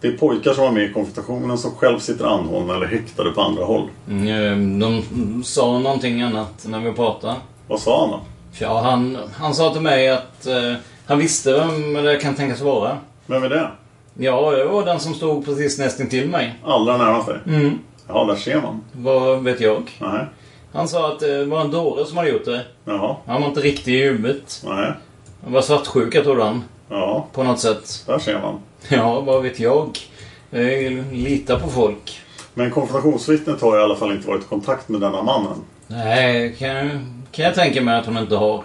Speaker 2: Det är pojkar som var med i konfrontationen som själv sitter anhållna eller häktade på andra håll.
Speaker 8: Mm, De sa någonting annat när vi pratade.
Speaker 2: Vad sa han då?
Speaker 8: Ja, han, han sa till mig att eh, han visste vem det kan tänkas vara.
Speaker 2: Vem är det?
Speaker 8: Ja, det var den som stod precis nästintill mig.
Speaker 2: Allra närmast dig?
Speaker 8: Mm.
Speaker 2: Ja, där ser man.
Speaker 8: Vad vet jag?
Speaker 2: Nej.
Speaker 8: Han sa att det var en dåre som hade gjort det.
Speaker 2: Jaha.
Speaker 8: Han var inte riktig i huvudet.
Speaker 2: Nej.
Speaker 8: Han var svartsjuk, jag trodde han.
Speaker 2: Ja.
Speaker 8: På något sätt.
Speaker 2: Där ser man.
Speaker 8: Ja, vad vet jag? Eh, Lita på folk.
Speaker 2: Men konfrontationsvittnet har i alla fall inte varit i kontakt med denna mannen.
Speaker 8: Nej, kan, kan jag tänka mig att hon inte har.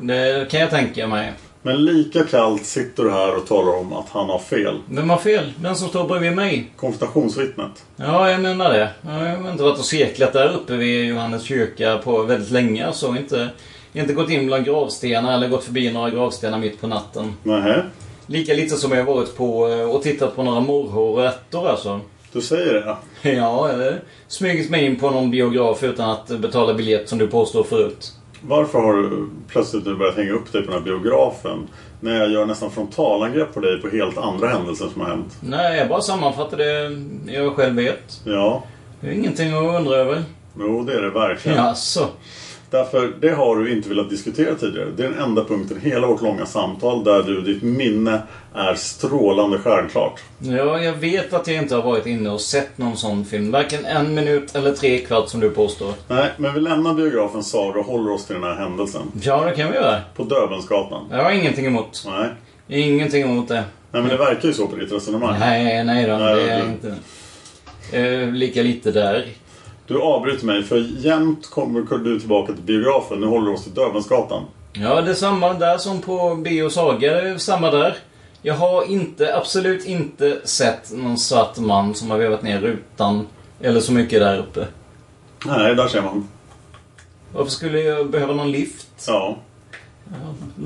Speaker 8: Det kan jag tänka mig.
Speaker 2: Men lika kallt sitter du här och talar om att han har fel.
Speaker 8: Vem har fel? Den som står bredvid mig?
Speaker 2: Konfrontationsvittnet.
Speaker 8: Ja, jag menar det. Jag har inte varit och seklat där uppe vid Johannes kyrka på väldigt länge. Så inte, inte gått in bland gravstenar eller gått förbi några gravstenar mitt på natten.
Speaker 2: Nej.
Speaker 8: Lika lite som jag varit på eh, och tittat på några morrhår och ärtor alltså.
Speaker 2: Du säger det?
Speaker 8: Ja, eller smugit mig in på någon biograf utan att betala biljett som du påstår förut.
Speaker 2: Varför har du plötsligt nu börjat hänga upp dig på den här biografen? När jag gör nästan frontalangrepp på dig på helt andra händelser som har hänt.
Speaker 8: Nej, jag bara sammanfattar det jag själv vet.
Speaker 2: Ja.
Speaker 8: Det är ingenting att undra över.
Speaker 2: Jo, det är det verkligen.
Speaker 8: Jaså?
Speaker 2: Därför, det har du inte velat diskutera tidigare. Det är den enda punkten i hela vårt långa samtal där du, ditt minne är strålande stjärnklart.
Speaker 8: Ja, jag vet att jag inte har varit inne och sett någon sån film. Varken en minut eller tre kvart som du påstår.
Speaker 2: Nej, men vi lämnar biografen Saga och håller oss till den här händelsen.
Speaker 8: Ja, det kan vi göra.
Speaker 2: På Döbelnsgatan.
Speaker 8: Jag har ingenting emot.
Speaker 2: Nej.
Speaker 8: Ingenting emot det.
Speaker 2: Nej, men det verkar ju så på ditt resonemang.
Speaker 8: Nej, nej då.
Speaker 2: Nej,
Speaker 8: Det är
Speaker 2: du-
Speaker 8: inte... Eh, lika lite där.
Speaker 2: Du avbryter mig, för jämt kommer du tillbaka till biografen. Nu håller du oss till Döbelnsgatan.
Speaker 8: Ja, det är samma där som på Bio Saga. Det är samma där. Jag har inte, absolut inte sett någon svart man som har vevat ner rutan. Eller så mycket där uppe.
Speaker 2: Nej, där ser man.
Speaker 8: Varför skulle jag behöva någon lift?
Speaker 2: Ja.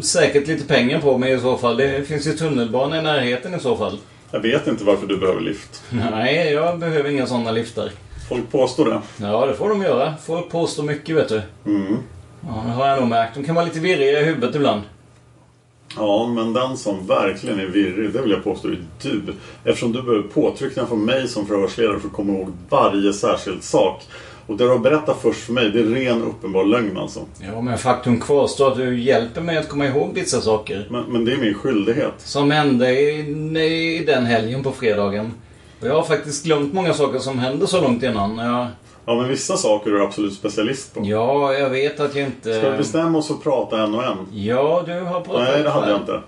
Speaker 8: Säkert lite pengar på mig i så fall. Det finns ju tunnelbana i närheten i så fall.
Speaker 2: Jag vet inte varför du behöver lift.
Speaker 8: Nej, jag behöver inga sådana liftar.
Speaker 2: Folk påstår det.
Speaker 8: Ja, det får de göra. Folk påstår mycket, vet du.
Speaker 2: Mm.
Speaker 8: Ja, det har jag nog märkt. De kan vara lite virriga i huvudet ibland.
Speaker 2: Ja, men den som verkligen är virrig, det vill jag påstå, är du. Eftersom du behöver påtryckningar från mig som förhörsledare för att komma ihåg varje särskild sak. Och det du har berättat först för mig, det är ren uppenbar lögn alltså.
Speaker 8: Ja, men faktum kvarstår att du hjälper mig att komma ihåg vissa saker.
Speaker 2: Men, men det är min skyldighet.
Speaker 8: Som hände i, i den helgen på fredagen. Och jag har faktiskt glömt många saker som hände så långt innan. Jag,
Speaker 2: Ja, men vissa saker är du absolut specialist på.
Speaker 8: ja, jag vet att jag inte...
Speaker 2: Ska vi bestämma oss för att prata en och en?
Speaker 8: Ja, du har pratat...
Speaker 2: Nej, det hade jag inte.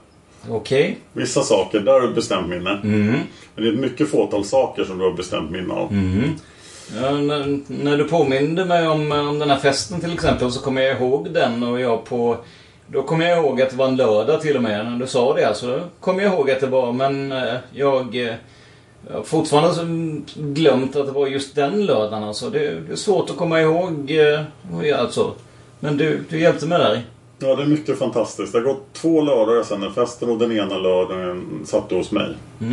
Speaker 8: Okej.
Speaker 2: Vissa saker, där har du bestämt minne.
Speaker 8: Mm.
Speaker 2: Men det är ett mycket fåtal saker som du har bestämt minne av.
Speaker 8: Mm. Ja, när, eh, när du påminde mig om, om den här festen till exempel så kommer jag ihåg den och jag på Då kommer jag ihåg att det var en lördag till och med när du sa det. Så då kommer jag ihåg att det var, men eh, jag... eh, jag har fortfarande så glömt att det var just den lördagen alltså. Det, det är svårt att komma ihåg eh, vad jag- alltså. Men du, du hjälpte mig där.
Speaker 2: Ja, det är mycket fantastiskt. Det har gått två lördagar sedan den festen och den ena lördagen satt du hos mig.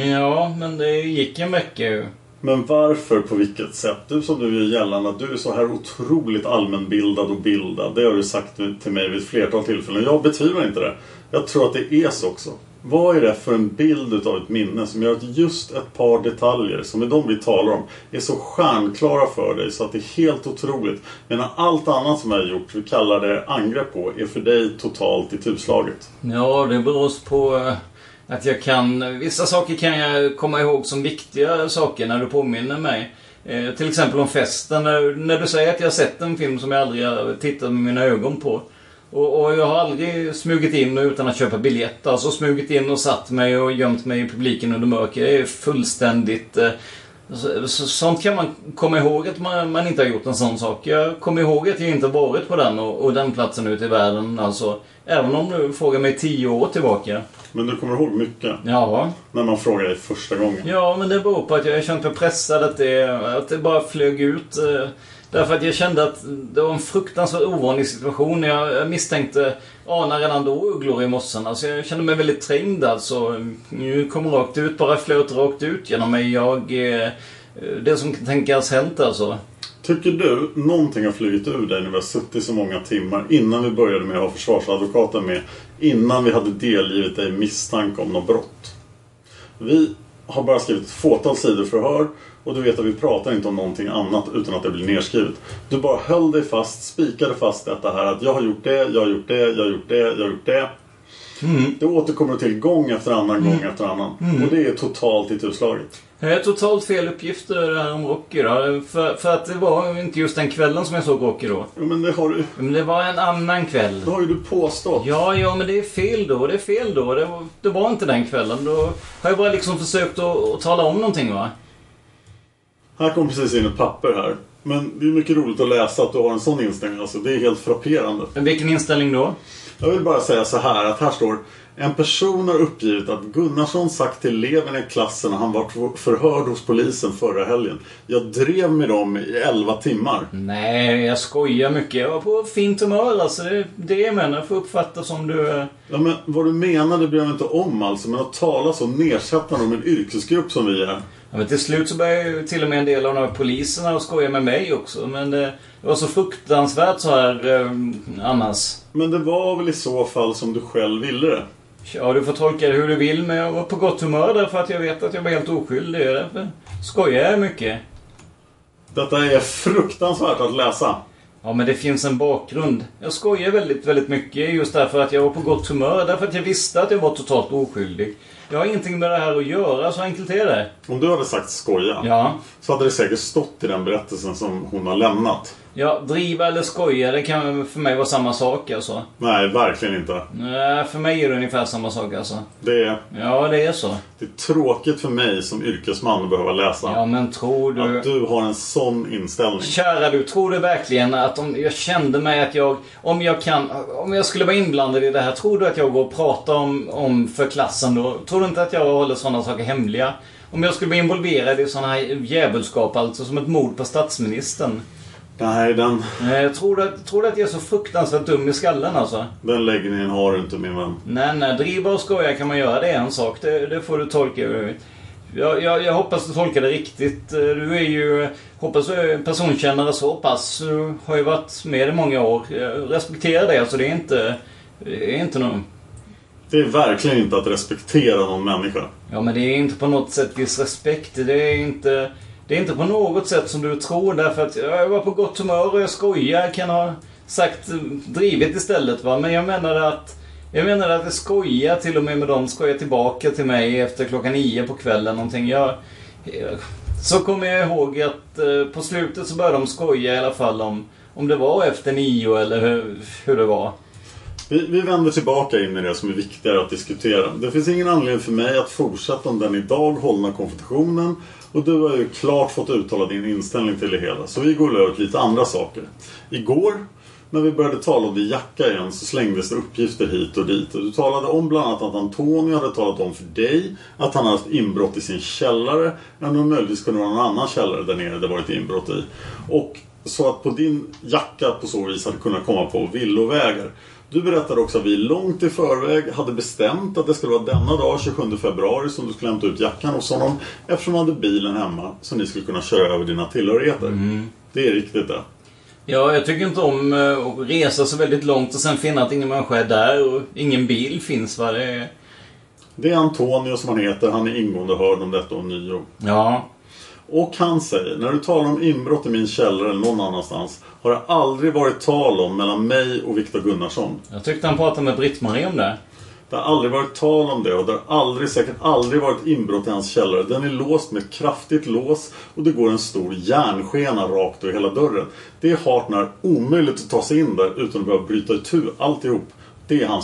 Speaker 8: Ja, men det gick en vecka ju.
Speaker 2: Men varför, på vilket sätt? Du som du gör gällande att du är så här otroligt allmänbildad och bildad. Det har du sagt till mig vid ett flertal tillfällen. Jag betvivlar inte det. Jag tror att det är så också. Vad är det för en bild utav ett minne som gör att just ett par detaljer, som är de vi talar om, är så stjärnklara för dig så att det är helt otroligt. Medan allt annat som jag har gjort, vi kallar det angrepp på, är för dig totalt i tuslaget.
Speaker 8: Ja, det beror på eh, att jag kan... Vissa saker kan jag komma ihåg som viktiga saker när du påminner mig. Eh, till exempel om festen. När, när du säger att jag har sett en film som jag aldrig har tittat med mina ögon på. Och, och jag har aldrig smugit in utan att köpa biljett. Alltså smugit in och satt mig och gömt mig i publiken under mörker. Det är fullständigt... Eh, så, så, sånt kan man komma ihåg att man, man inte har gjort en sån sak. Jag kommer ihåg att jag inte har varit på den och, och den platsen ute i världen. Alltså, även om du frågar mig tio år tillbaka.
Speaker 2: Men du kommer ihåg mycket?
Speaker 8: Ja.
Speaker 2: När man frågar dig första gången?
Speaker 8: Ja, men det beror på att jag har känt mig pressad att det, att det bara flög ut. eh, Därför att jag kände att det var en fruktansvärt ovanlig situation. Jag jag misstänkte, anar redan då ugglor i mossen. Alltså jag kände mig väldigt trängd alltså. Nu kom rakt ut, bara flöt rakt ut genom mig. Jag, eh, det som kan tänkas hänt alltså.
Speaker 2: Tycker du någonting har flugit ur dig när vi har suttit så många timmar innan vi började med att ha försvarsadvokaten med? Innan vi hade delgivit dig misstanke om något brott? Vi har bara skrivit ett fåtal sidor förhör och du vet att vi pratar inte om någonting annat utan att det blir nedskrivet. Du bara höll dig fast, spikade fast detta här att jag har gjort det, jag har gjort det, jag har gjort det, jag har gjort det. Det återkommer till gång efter annan, gång efter annan.
Speaker 8: Mm.
Speaker 2: Och det är totalt i tuslaget.
Speaker 8: Jag har totalt fel uppgifter här om Rocky då. För, för att det var ju inte just den kvällen som jag såg Rocky då.
Speaker 2: Jo men det har du
Speaker 8: Men det var en annan kväll. Det
Speaker 2: har ju du påstått.
Speaker 8: Ja, ja men det är fel då. Det är fel då. Det var, det var inte den kvällen. Då har jag bara liksom försökt att, att tala om någonting va.
Speaker 2: Här kom precis in ett papper här. Men det är mycket roligt att läsa att du har en sån inställning. Alltså, det är helt frapperande.
Speaker 8: Vilken inställning då?
Speaker 2: Jag vill bara säga så här att här står En person har uppgivit att Gunnarsson sagt till eleverna i klassen när han var förhörd hos polisen förra helgen. Jag drev med dem i 11 timmar.
Speaker 8: Nej, jag skojar mycket. Jag var på fint humör alltså. Det, det jag menar. Får uppfatta som du... eh,
Speaker 2: Ja, men vad du menar det bryr jag mig inte om alltså. Men att tala så nedsättande om en yrkesgrupp som vi är.
Speaker 8: Ja, men till slut så började ju till och med en del av de här poliserna att skoja med mig också. Men eh, det var så fruktansvärt så här eh, annars.
Speaker 2: Men det var väl i så fall som du själv ville det?
Speaker 8: Ja, du får tolka det hur du vill, men jag var på gott humör därför att jag vet att jag var helt oskyldig. Det är Därför skojar jag mycket.
Speaker 2: Detta är fruktansvärt att läsa.
Speaker 8: Ja, men det finns en bakgrund. Jag skojar väldigt, väldigt mycket just därför att jag var på gott humör. Därför att jag visste att jag var totalt oskyldig. Jag har ingenting med det här att göra, så enkelt är det.
Speaker 2: Om du hade sagt skoja.
Speaker 8: Ja.
Speaker 2: Så hade det säkert stått i den berättelsen som hon har lämnat.
Speaker 8: Ja, driva eller skoja, det kan för mig vara samma sak alltså.
Speaker 2: Nej, verkligen inte.
Speaker 8: Nej, för mig är det ungefär samma sak alltså.
Speaker 2: Det är...
Speaker 8: Ja, det är så.
Speaker 2: Det är tråkigt för mig som yrkesman att behöva läsa.
Speaker 8: Ja, men tror du...
Speaker 2: Att du har en sån inställning.
Speaker 8: Kära du, tror du verkligen att om jag kände mig att jag, om jag kan, om jag skulle vara inblandad i det här, tror du att jag går och pratar om, om för klassen då? Tror du inte att jag håller sådana saker hemliga? Om jag skulle bli involverad i sådana här djävulskap, alltså som ett mord på statsministern.
Speaker 2: Nej, den,
Speaker 8: Eh, tror, du, att- tror du att jag är så fruktansvärt dum i skallen alltså?
Speaker 2: den läggningen har du inte min vän.
Speaker 8: Nej, nej, eh, driva och skoja kan man göra, det är en sak. Det, det får du tolka. Jag, jag, jag hoppas du tolkar det riktigt. Eh, Du är ju, eh, hoppas du är personkännare så pass. Du har ju varit med i många år. Jag respekterar det, alltså det är inte, det är inte någon...
Speaker 2: Det är verkligen inte att respektera någon människa.
Speaker 8: Ja, men det är inte på något sätt disrespekt. Det är inte, det är inte på något sätt som du tror därför att jag var på gott humör och jag skojar. Jag kan ha sagt eh, drivet istället va. Men jag menar att jag menar att jag skojar till och med med dem. Skojar tillbaka till mig efter klockan nio på kvällen någonting. Jag, jag, så kommer jag ihåg att eh, på slutet så började de skoja i alla fall om, om det var efter nio eller hur, hur det var.
Speaker 2: Vi, vi vänder tillbaka in i det som är viktigare att diskutera. Det finns ingen anledning för mig att fortsätta om den idag hållna konfrontationen och du har ju klart fått uttala din inställning till det hela. Så vi går över till lite andra saker. Igår när vi började tala om din jacka igen så slängdes det uppgifter hit och dit. Och Du talade om bland annat att Antonio hade talat om för dig att han hade haft inbrott i sin källare. Eller om möjligtvis kunde vara någon annan källare där nere det varit inbrott i. Och så att på din jacka på så vis hade kunnat komma på villovägar. Du berättade också att vi långt i förväg hade bestämt att det skulle vara denna dag, 27 februari, som du skulle hämta ut jackan hos honom. Eftersom han hade bilen hemma så ni skulle kunna köra över dina tillhörigheter. Det är riktigt det.
Speaker 8: Ja, jag tycker inte om eh, att resa så väldigt långt och sen finna att ingen människa är där och ingen bil finns. Va? Det är...
Speaker 2: Det är Antonio som han heter. Han är ingående hörd om detta och nio.
Speaker 8: Ja.
Speaker 2: Och han säger, när du talar om inbrott i min källare eller någon annanstans har det aldrig varit tal om mellan mig och Viktor Gunnarsson.
Speaker 8: Jag tyckte han pratade med Britt-Marie om det.
Speaker 2: Det har aldrig varit tal om det och det har aldrig, säkert aldrig varit inbrott i hans källare. Den är låst med ett kraftigt lås och det går en stor järnskena rakt över hela dörren. Det är hart när omöjligt att ta sig in där utan att behöva bryta itu alltihop. Det är hans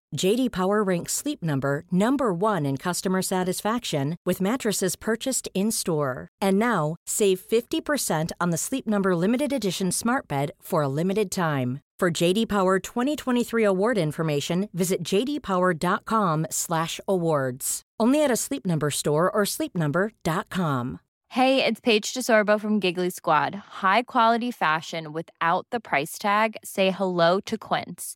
Speaker 1: JD Power ranks Sleep Number number 1 in customer satisfaction with mattresses purchased in-store. And now, save 50% on the Sleep Number limited edition Smart Bed for a limited time. For JD Power 2023 award information, visit jdpower.com/awards. Only at a Sleep Number store or sleepnumber.com.
Speaker 4: Hey, it's Paige DeSorbo from Giggly Squad. High quality fashion without the price tag. Say hello to Quince.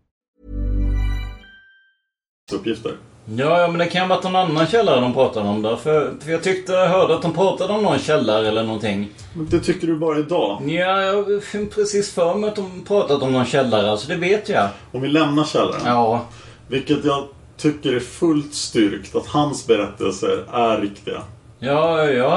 Speaker 2: uppgifter.
Speaker 8: Ja, ja, men det kan vara att någon annan källare de pratade om där. För, för jag tyckte jag hörde att de pratade om någon källare eller någonting.
Speaker 2: Men det tycker du bara idag?
Speaker 8: Ja, jag har precis för mig att de pratat om någon källare, så det vet jag.
Speaker 2: Om vi lämnar källaren.
Speaker 8: Ja.
Speaker 2: Vilket jag tycker är fullt styrkt att hans berättelser är riktiga.
Speaker 8: Ja, jag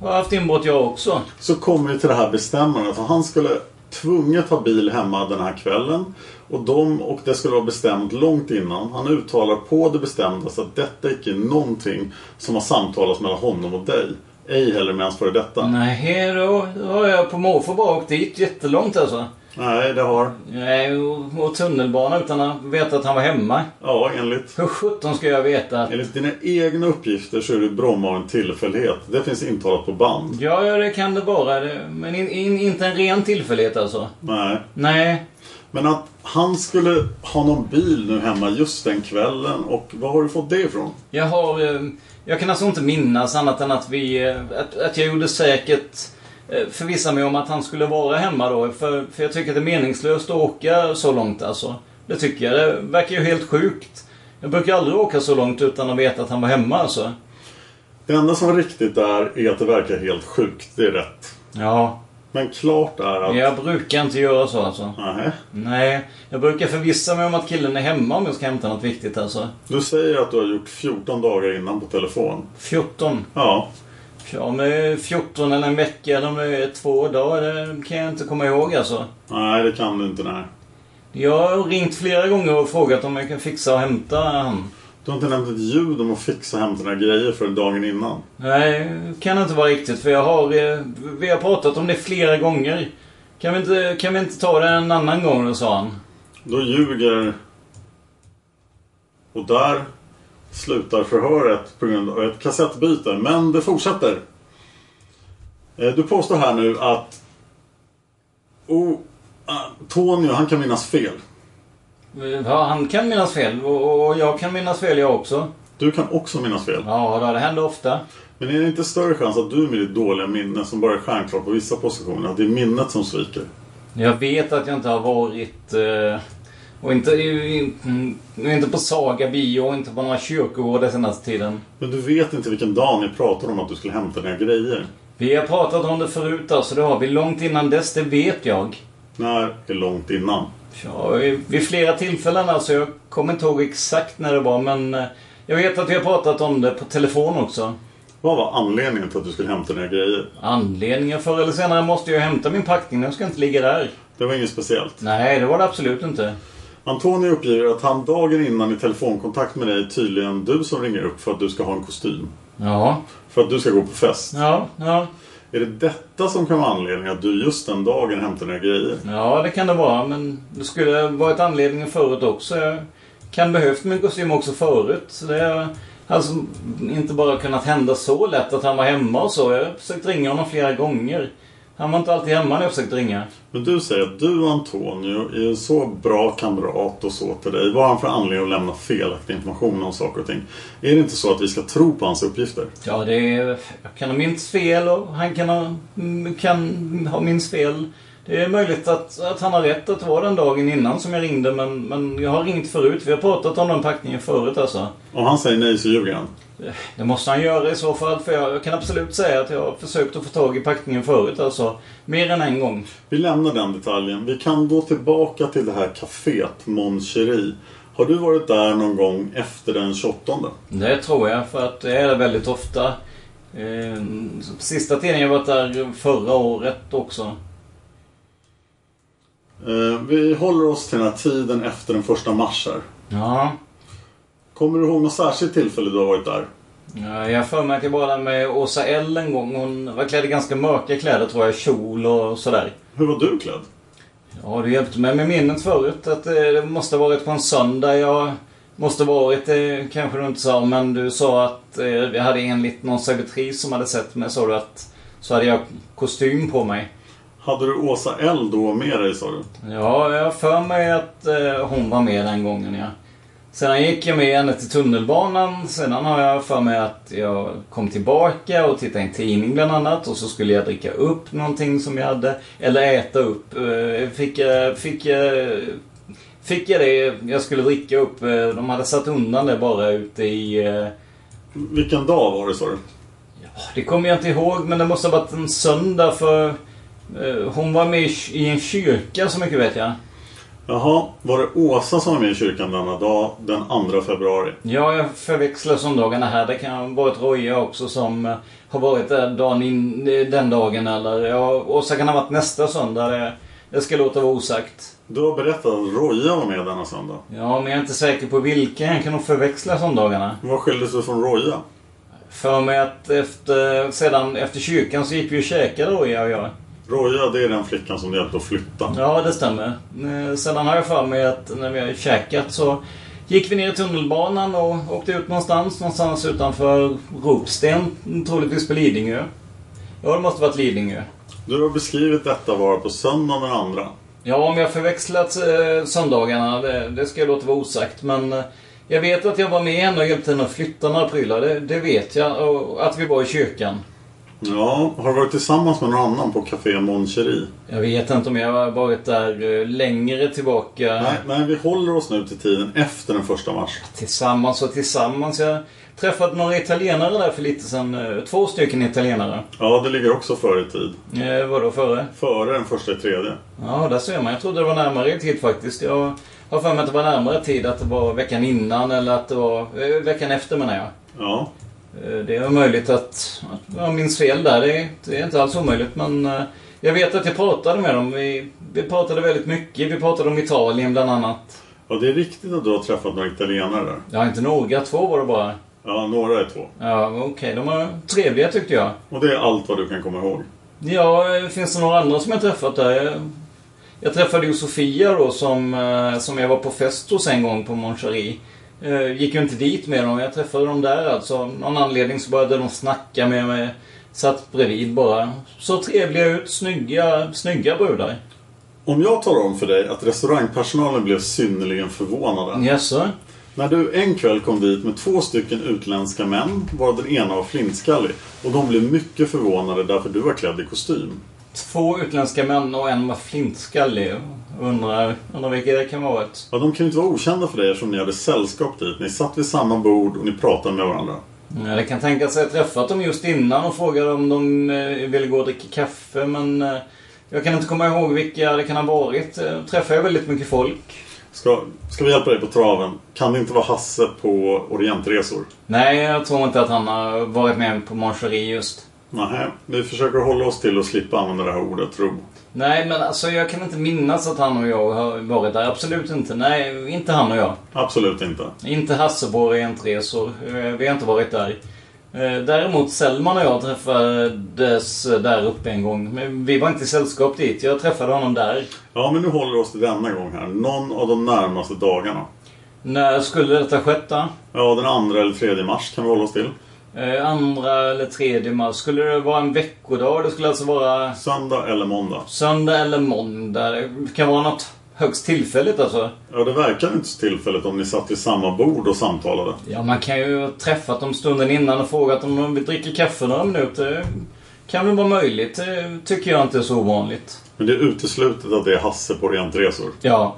Speaker 8: har haft inbrott jag också.
Speaker 2: Så kommer vi till det här bestämmandet. Och Han skulle tvunget ha bil hemma den här kvällen. Och, de, och det skulle vara bestämt långt innan. Han uttalar på det bestämdaste att detta icke är någonting som har samtalats mellan honom och dig. Ej heller med hans före detta.
Speaker 8: Nej, då, då har jag på måfå bara åkt dit jättelångt alltså.
Speaker 2: Nej, det har.
Speaker 8: Nej, och, och tunnelbana utan att veta att han var hemma.
Speaker 2: Ja, enligt...
Speaker 8: Hur sjutton ska jag veta?
Speaker 2: Enligt dina egna uppgifter så är du Bromma av en tillfällighet. Det finns intalat på band.
Speaker 8: Ja, ja, det kan det vara. Det- Men in, in, inte en ren tillfällighet alltså.
Speaker 2: Nej.
Speaker 8: Nej.
Speaker 2: Men att han skulle ha någon bil nu hemma just den kvällen och var har du fått det ifrån?
Speaker 8: Jag har... eh, Jag kan alltså inte minnas annat än att vi... eh, Att, att jag gjorde säkert... eh, Förvissa mig om att han skulle vara hemma då. För, för jag tycker att det är meningslöst att åka så långt alltså. Det tycker jag. Det verkar ju helt sjukt. Jag brukar aldrig åka så långt utan att veta att han var hemma alltså.
Speaker 2: Det enda som är riktigt där är att det verkar helt sjukt. Det är rätt.
Speaker 8: Ja.
Speaker 2: Men klart är att...
Speaker 8: Jag brukar inte göra så alltså.
Speaker 2: Nej.
Speaker 8: Nej. Jag brukar förvissa mig om att killen är hemma om jag ska hämta något viktigt alltså.
Speaker 2: Du säger att du har gjort 14 dagar innan på telefon.
Speaker 8: 14.
Speaker 2: Ja.
Speaker 8: Ja, men 14 eller en vecka eller om det är två dagar, det kan jag inte komma ihåg alltså.
Speaker 2: Nej, det kan du inte. Nej.
Speaker 8: Jag har ringt flera gånger och frågat om jag kan fixa och hämta han.
Speaker 2: Du har inte nämnt ett ljud om att fixa och hämta dina grejer för dagen innan.
Speaker 8: Nej, kan inte vara riktigt för jag har... eh, Vi har pratat om det flera gånger. Kan vi inte, kan vi inte ta det en annan gång då, sa han.
Speaker 2: Då ljuger... Och där slutar förhöret på grund av ett kassettbyte. Men det fortsätter. Eh, Du påstår här nu att oh, Antonio, han kan minnas fel.
Speaker 8: Eh, Ja, han kan minnas fel och och jag kan minnas fel jag också.
Speaker 2: Du kan också minnas fel.
Speaker 8: Ja, då, det händer ofta.
Speaker 2: Men är det inte större chans att du med ditt dåliga minne som bara är stjärnklart på vissa positioner, att det är minnet som sviker?
Speaker 8: Jag vet att jag inte har varit... eh, Och inte, mm, inte på Saga bio och inte på några kyrkogårdar senaste tiden.
Speaker 2: Men du vet inte vilken dag ni pratade om att du skulle hämta dina grejer.
Speaker 8: Vi har pratat om det förut alltså, det har vi. Långt innan dess, det vet jag.
Speaker 2: När är långt innan?
Speaker 8: Ja, vid- vid flera tillfällen alltså. Jag kommer inte ihåg exakt när det var men eh, jag vet att vi har pratat om det på telefon också.
Speaker 2: Vad var anledningen till att du skulle hämta dina grejer?
Speaker 8: Anledningen förr eller senare måste jag hämta min packning. Den ska inte ligga där.
Speaker 2: Det var inget speciellt.
Speaker 8: Nej, det var det absolut inte.
Speaker 2: Antonio uppger att han dagen innan i telefonkontakt med dig tydligen du som ringer upp för att du ska ha en kostym.
Speaker 8: Ja.
Speaker 2: För att du ska gå på fest.
Speaker 8: Ja, ja.
Speaker 2: Är det detta som kan vara anledningen att du just den dagen hämtar dina grejer?
Speaker 8: Ja, det kan det vara. Men det skulle ha varit anledningen förut också. Jag kan behövt min kostym också förut. Så det har alltså inte bara kunnat hända så lätt att han var hemma och så. Jag har försökt ringa honom flera gånger. Han var inte alltid hemma när jag försökte ringa.
Speaker 2: Men du säger att du och Antonio är en så bra kamrat och så till dig. Vad har han för anledning att lämna felaktig information om saker och ting? Är det inte så att vi ska tro på hans uppgifter?
Speaker 8: Ja, det är, jag kan ha minst fel och han kan ha, mm, kan ha minst fel. Det är möjligt att, att han har rätt att det var den dagen innan som jag ringde men, men jag har ringt förut. Vi har pratat om den packningen förut alltså.
Speaker 2: Om han säger nej så ljuger han.
Speaker 8: Eh, Det måste han göra i så fall för jag kan absolut säga att jag har försökt att få tag i packningen förut alltså. Mer än en gång.
Speaker 2: Vi lämnar den detaljen. Vi kan gå tillbaka till det här kaféet, Mon Cherie. Har du varit där någon gång efter den 28?
Speaker 8: Det tror jag för att det är det väldigt ofta. Eh, sista tiden jag varit där förra året också.
Speaker 2: Eh, vi håller oss till den här tiden efter den första mars här.
Speaker 8: Ja.
Speaker 2: Kommer du ihåg något särskilt tillfälle du har varit där?
Speaker 8: Ja, Jag har för mig att jag var där med Åsa L en gång. Hon var klädd i ganska mörka kläder tror jag. Kjol och sådär.
Speaker 2: Hur var du klädd?
Speaker 8: Ja, du hjälpte mig med minnet förut. Att eh, det måste ha varit på en söndag. Jag måste ha varit, eh, kanske du inte sa, men du sa att eh, vi hade enligt någon servitris som hade sett mig, sa du att så hade jag kostym på mig.
Speaker 2: Hade du Åsa L då med dig sa du?
Speaker 8: Ja, jag har för mig att eh, hon var med den gången, ja. Sedan gick jag med henne till tunnelbanan. Sedan har jag för mig att jag kom tillbaka och tittade i en tidning bland annat. Och så skulle jag dricka upp någonting som jag hade. Eller äta upp. Eh, Fick jag, fick jag, fick jag det jag skulle dricka upp. Eh, De hade satt undan det bara ute i... eh,
Speaker 2: Vilken dag var det sa du?
Speaker 8: det kommer jag inte ihåg, men det måste ha varit en söndag för... eh, Hon var med i k- i en kyrka, så mycket vet jag.
Speaker 2: Jaha, var det Åsa som var med i kyrkan denna dag den 2 februari?
Speaker 8: Ja, jag förväxlar söndagarna här. Det kan vara ett Roja också som eh, har varit där dagen in, eh, den dagen. Eller ja, Åsa kan ha varit nästa söndag. Det, det ska låta vara osagt.
Speaker 2: Du har berättat att Roja var med denna söndag.
Speaker 8: Ja, men jag är inte säker på vilken. Jag kan nog förväxla söndagarna.
Speaker 2: Vad skildes du från Roja?
Speaker 8: För mig att efter, sedan, efter kyrkan så gick vi och käkade Roja och jag.
Speaker 2: Roja, det är den flickan som du hjälpte att flytta.
Speaker 8: Ja, det stämmer. Eh, Sedan har jag för mig att när vi har käkat så gick vi ner i tunnelbanan och åkte ut någonstans. Någonstans utanför Ropsten, troligtvis på Lidingö. Ja, det måste varit Lidingö.
Speaker 2: Du har beskrivit detta vara på söndagen den andra.
Speaker 8: Ja, om jag förväxlat eh, söndagarna, det, det ska jag låta vara osagt. Men eh, jag vet att jag var med henne och hjälpte henne att flytta några prylar. Det, det vet jag. Och att vi var i kyrkan.
Speaker 2: Ja, har du varit tillsammans med någon annan på Café Mon Cherie?
Speaker 8: Jag vet inte om jag har varit där eh, längre tillbaka.
Speaker 2: Nej, nej, vi håller oss nu till tiden efter den första mars.
Speaker 8: Tillsammans och tillsammans. Jag träffade några italienare där för lite sedan. eh, Två stycken italienare.
Speaker 2: Ja, det ligger också före i tid.
Speaker 8: Eh, vadå före?
Speaker 2: Före den första i tredje.
Speaker 8: Ja, där ser man. Jag trodde det var närmare i tid faktiskt. Jag har för mig att det var närmare tid. Att det var veckan innan eller att det var eh, veckan efter menar jag.
Speaker 2: Ja.
Speaker 8: Eh, Det är möjligt att, att jag minns fel där. Det är, det är inte alls omöjligt men eh, jag vet att jag pratade med dem. Vi, vi pratade väldigt mycket. Vi pratade om Italien bland annat.
Speaker 2: Ja, det är riktigt att du har träffat några italienare där.
Speaker 8: Ja, inte några. Två var det bara.
Speaker 2: Ja, några är två.
Speaker 8: Ja, okej. De var trevliga tyckte jag.
Speaker 2: Och det är allt vad du kan komma ihåg.
Speaker 8: Ja, eh, finns det några andra som jag träffat där? Jag, jag träffade ju Sofia då som, eh, som jag var på fest hos en gång på Eh, Moncherie. Gick ju inte dit med dem. Jag träffade dem där alltså. Av någon anledning så började de snacka med mig. satt bredvid bara. Så trevliga ut, snygga, snygga brudar.
Speaker 2: Om jag talar om för dig att restaurangpersonalen blev synnerligen förvånade.
Speaker 8: Jaså?
Speaker 2: När du en kväll kom dit med två stycken utländska män, varav den ena var flintskallig. Och de blev mycket förvånade därför du var klädd i kostym.
Speaker 8: Två utländska män och en var flintskallig. Undrar, undrar vilka det kan vara.
Speaker 2: Ja, de kan ju inte vara okända för dig eftersom ni hade sällskap dit. Ni satt vid samma bord och ni pratade med varandra.
Speaker 8: Ja, det Mm. kan tänkas att jag träffat dem just innan och frågade om de eh, ville gå och dricka kaffe men eh, jag kan inte komma ihåg vilka det kan ha varit. Eh, Träffar jag väldigt mycket folk?
Speaker 2: Ska, ska vi hjälpa dig på traven? Kan det inte vara Hasse på Orientresor?
Speaker 8: Nej, jag tror inte att han har varit med på marscheri just.
Speaker 2: Nej, vi försöker hålla oss till att slippa använda det här ordet tro.
Speaker 8: Nej, men alltså jag kan inte minnas att han och jag har varit där. Absolut inte. Nej, inte han och jag.
Speaker 2: Absolut inte.
Speaker 8: Inte Hasseborg Entresor. Eh, Vi har inte varit där. Eh, Däremot Selman och jag träffades eh, där uppe en gång. Men vi var inte i sällskap dit. Jag träffade honom där.
Speaker 2: Ja, men nu håller vi oss till denna gång här. Någon av de närmaste dagarna.
Speaker 8: När skulle detta skett då?
Speaker 2: Ja, den andra eller tredje mars kan vi hålla oss till.
Speaker 8: Eh, Andra eller tredje mars? Skulle det vara en veckodag? Det skulle alltså vara
Speaker 2: Söndag eller måndag.
Speaker 8: söndag eller måndag? Det kan vara något högst tillfälligt alltså.
Speaker 2: Ja, det verkar inte så tillfälligt om ni satt vid samma bord och samtalade.
Speaker 8: Ja, man kan ju ha träffat dem stunden innan och frågat om de vill dricka kaffe några minuter. Det Kan väl vara möjligt. Det tycker jag inte är så ovanligt.
Speaker 2: Men det är uteslutet att det är Hasse på Orientresor.
Speaker 8: Ja,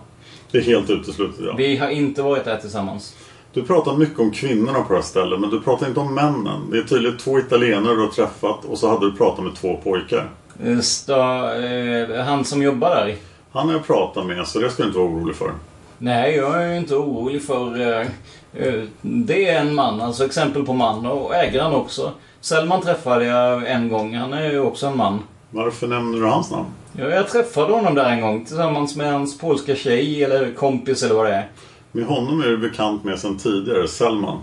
Speaker 2: Det är helt uteslutet, ja.
Speaker 8: vi har inte varit där tillsammans.
Speaker 2: Du pratar mycket om kvinnorna på det här stället, men du pratar inte om männen. Det är tydligen två italienare du har träffat och så hade du pratat med två pojkar.
Speaker 8: Eh, Sta, eh, han som jobbar där?
Speaker 2: Han har jag pratat med, så det ska du inte vara orolig för.
Speaker 8: Nej, jag är inte orolig för... eh, eh, Det är en man, alltså exempel på man och ägaren också. Selman träffade jag en gång, han är ju också en man.
Speaker 2: Varför nämner du hans namn?
Speaker 8: Ja, Jag träffade honom där en gång tillsammans med hans polska tjej eller kompis eller vad det är.
Speaker 2: Med honom är du bekant med sedan tidigare, Selman.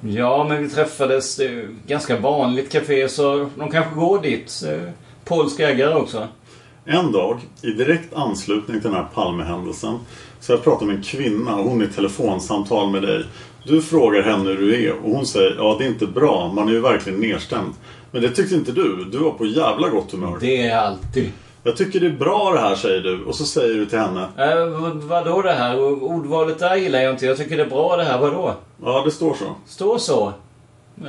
Speaker 8: Ja, men vi träffades. Det är ju ganska vanligt café, så de kanske går dit. Eh, Polsk ägare också.
Speaker 2: En dag, i direkt anslutning till den här Palmehändelsen, så jag pratar med en kvinna och hon är i telefonsamtal med dig. Du frågar henne hur du är och hon säger ja det är inte bra, man är ju verkligen nedstämd. Men det tyckte inte du, du var på jävla gott humör.
Speaker 8: Det är alltid.
Speaker 2: Jag tycker det är bra det här säger du och så säger du till henne
Speaker 8: Äh, vad- vadå det här? Ordvalet där gillar jag inte. Jag tycker det är bra det här. Vadå?
Speaker 2: ja det står så.
Speaker 8: Står så.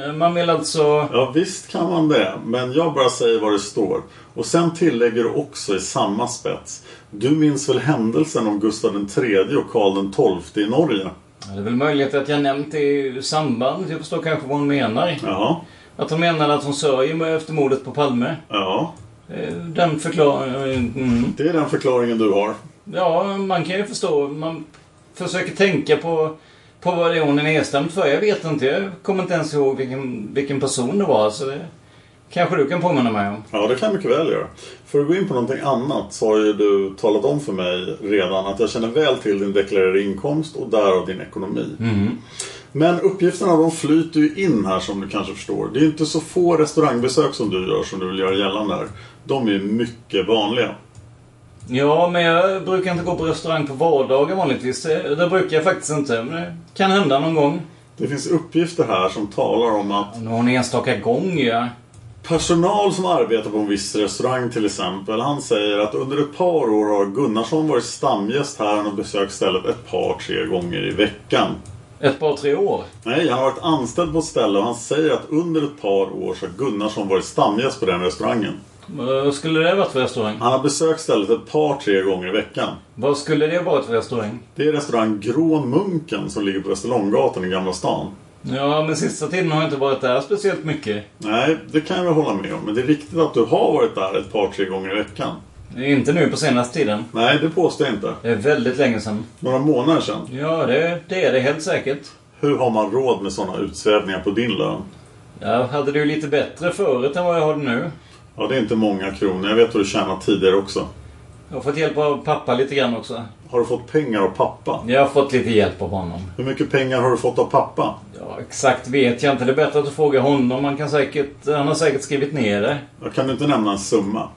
Speaker 8: Eh, Man vill alltså...
Speaker 2: Ja visst kan man det, men jag bara säger vad det står. Och sen tillägger du också i samma spets. Du minns väl händelsen om Gustav III och Karl XII i Norge?
Speaker 8: Ja, Det är väl möjligt att jag nämnt det i samband. Jag förstår kanske vad hon menar.
Speaker 2: Jaha,
Speaker 8: Att hon menar att hon sörjer mig efter mordet på Palme.
Speaker 2: ja.
Speaker 8: Eh, Den förklaringen... Mm.
Speaker 2: Det är den förklaringen du har.
Speaker 8: Ja, man kan ju förstå. Man försöker tänka på, på vad det är hon är nedstämd för. Jag vet inte. Jag kommer inte ens ihåg vilken, vilken person det var. Så det kanske du kan påminna mig om.
Speaker 2: Ja, det kan jag mycket väl göra. För att gå in på någonting annat så har ju du talat om för mig redan att jag känner väl till din deklarerade inkomst och därav din ekonomi. Men uppgifterna de flyter ju in här som du kanske förstår. Det är ju inte så få restaurangbesök som du gör som du vill göra gällande här. De är ju mycket vanliga.
Speaker 8: Ja, men jag brukar inte gå på restaurang på vardagar vanligtvis. Det, det brukar jag faktiskt inte. Men det kan hända någon gång.
Speaker 2: Det finns uppgifter här som talar om att
Speaker 8: Någon enstaka gång, ja.
Speaker 2: Personal som arbetar på en viss restaurang till exempel, han säger att under ett par år har Gunnarsson varit stamgäst här och besökt stället ett par, tre gånger i veckan.
Speaker 8: Ett par, tre år.
Speaker 2: Nej, han har varit anställd på ett ställe och han säger att under ett par år så har Gunnarsson varit stamgäst på den restaurangen.
Speaker 8: Vad skulle det varit för restaurang?
Speaker 2: Han har besökt stället ett par, tre gånger i veckan.
Speaker 8: Vad skulle det varit för restaurang?
Speaker 2: Det är restaurang Grå Munken som ligger på Västerlånggatan i Gamla stan.
Speaker 8: Ja, men sista tiden har jag inte varit där speciellt mycket.
Speaker 2: Nej, det kan jag väl hålla med om. Men det är riktigt att du har varit där ett par, tre gånger i veckan.
Speaker 8: Inte nu på senaste tiden.
Speaker 2: Nej, det påstår jag inte.
Speaker 8: Det är väldigt länge sedan.
Speaker 2: Några månader sedan.
Speaker 8: Ja, det, det är det helt säkert.
Speaker 2: Hur har man råd med sådana utsvävningar på din lön?
Speaker 8: Jag hade det ju lite bättre förut än vad jag har det nu.
Speaker 2: Ja, det är inte många kronor. Jag vet hur du tjänat tidigare också.
Speaker 8: Jag har fått hjälp av pappa lite grann också.
Speaker 2: Har du fått pengar av pappa?
Speaker 8: Jag har fått lite hjälp av honom.
Speaker 2: Hur mycket pengar har du fått av pappa?
Speaker 8: Ja, exakt vet jag inte. Det är bättre att du frågar honom. Han, kan säkert, han har säkert skrivit ner det.
Speaker 2: Jag kan inte nämna en summa.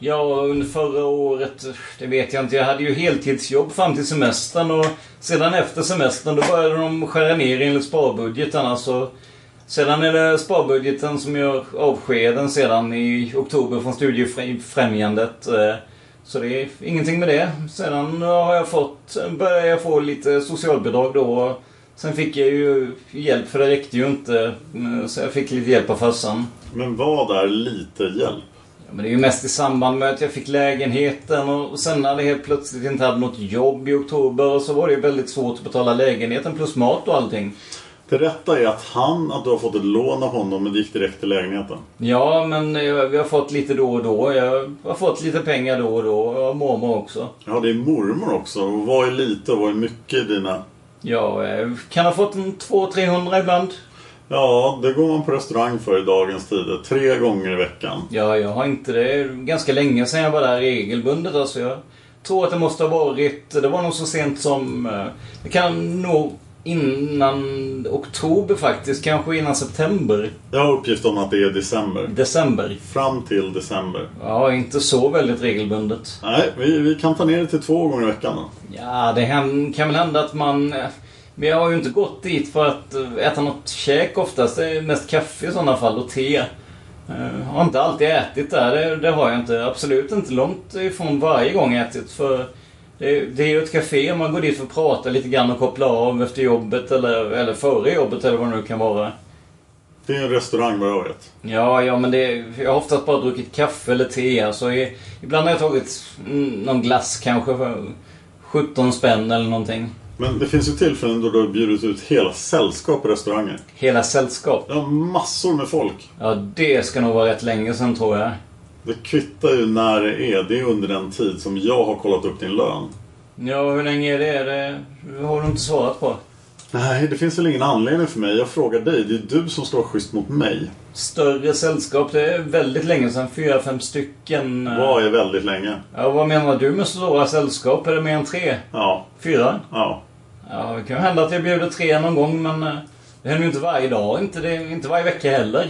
Speaker 8: Ja, under förra året, det vet jag inte. Jag hade ju heltidsjobb fram till semestern och sedan efter semestern då började de skära ner enligt sparbudgeten. Alltså, Sedan är det sparbudgeten som gör avskeden sedan i oktober från Studiefrämjandet. eh, Så det är ingenting med det. Sedan har jag fått, började jag få lite socialbidrag då. Sen fick jag ju hjälp för det räckte ju inte. eh, Så jag fick lite hjälp av farsan.
Speaker 2: Men vad är lite hjälp?
Speaker 8: Ja, men det är ju mest i samband med att jag fick lägenheten och sen hade jag helt plötsligt inte hade något jobb i oktober och så var det ju väldigt svårt att betala lägenheten plus mat och allting.
Speaker 2: Det rätta är att han, att du har fått ett lån av honom men det gick direkt till lägenheten.
Speaker 8: Ja, men jag, vi har fått lite då och då. Jag har fått lite pengar då och då. Och mormor också.
Speaker 2: Ja, det är mormor också. Och vad är lite och vad är mycket i dina...
Speaker 8: Ja, kan ha fått en 200-300 ibland.
Speaker 2: Ja, det går man på restaurang för i dagens tider. Tre gånger i veckan.
Speaker 8: Ja, jag har inte det. är ganska länge sedan jag var där regelbundet. Alltså, jag tror att det måste ha varit... Det var nog så sent som... eh, Det kan nog innan oktober faktiskt. Kanske innan september.
Speaker 2: Jag har uppgift om att det är december.
Speaker 8: December.
Speaker 2: Fram till december.
Speaker 8: Ja, inte så väldigt regelbundet.
Speaker 2: Nej, vi, vi kan ta ner det till två gånger i veckan då.
Speaker 8: Ja, det hän- kan väl hända att man... eh, Men jag har ju inte gått dit för att eh, äta något käk oftast. Det är mest kaffe i sådana fall och te. Eh, har inte alltid ätit där. Det, det har jag inte. Absolut inte långt ifrån varje gång jag ätit. För det, det är ju ett café. Man går dit för att prata lite grann och koppla av efter jobbet eller, eller före jobbet eller vad det nu kan vara.
Speaker 2: Det är en restaurang vad jag vet.
Speaker 8: Ja, ja men det, jag har oftast bara druckit kaffe eller te. Alltså, i, ibland har jag tagit mm, någon glass kanske för 17 spänn eller någonting.
Speaker 2: Men det finns ju tillfällen då du har bjudit ut hela sällskap på restauranger.
Speaker 8: Hela sällskap?
Speaker 2: Ja, massor med folk.
Speaker 8: Ja, det ska nog vara rätt länge sedan tror jag.
Speaker 2: Det kvittar ju när det är. Det är under den tid som jag har kollat upp din lön.
Speaker 8: Ja, hur länge är det? Är det har du inte svarat på.
Speaker 2: Nej, det finns väl ingen anledning för mig. Jag frågar dig. Det är du som ska vara schysst mot mig.
Speaker 8: Större sällskap, det är väldigt länge sedan. Fyra, fem stycken. eh.
Speaker 2: Vad är väldigt länge?
Speaker 8: Ja, vad menar du med stora sällskap? Är det mer än tre?
Speaker 2: Ja.
Speaker 8: Fyra?
Speaker 2: Ja.
Speaker 8: Ja, det kan ju hända att jag bjuder tre någon gång, men eh, det händer ju inte varje dag. Inte, det, inte varje vecka heller.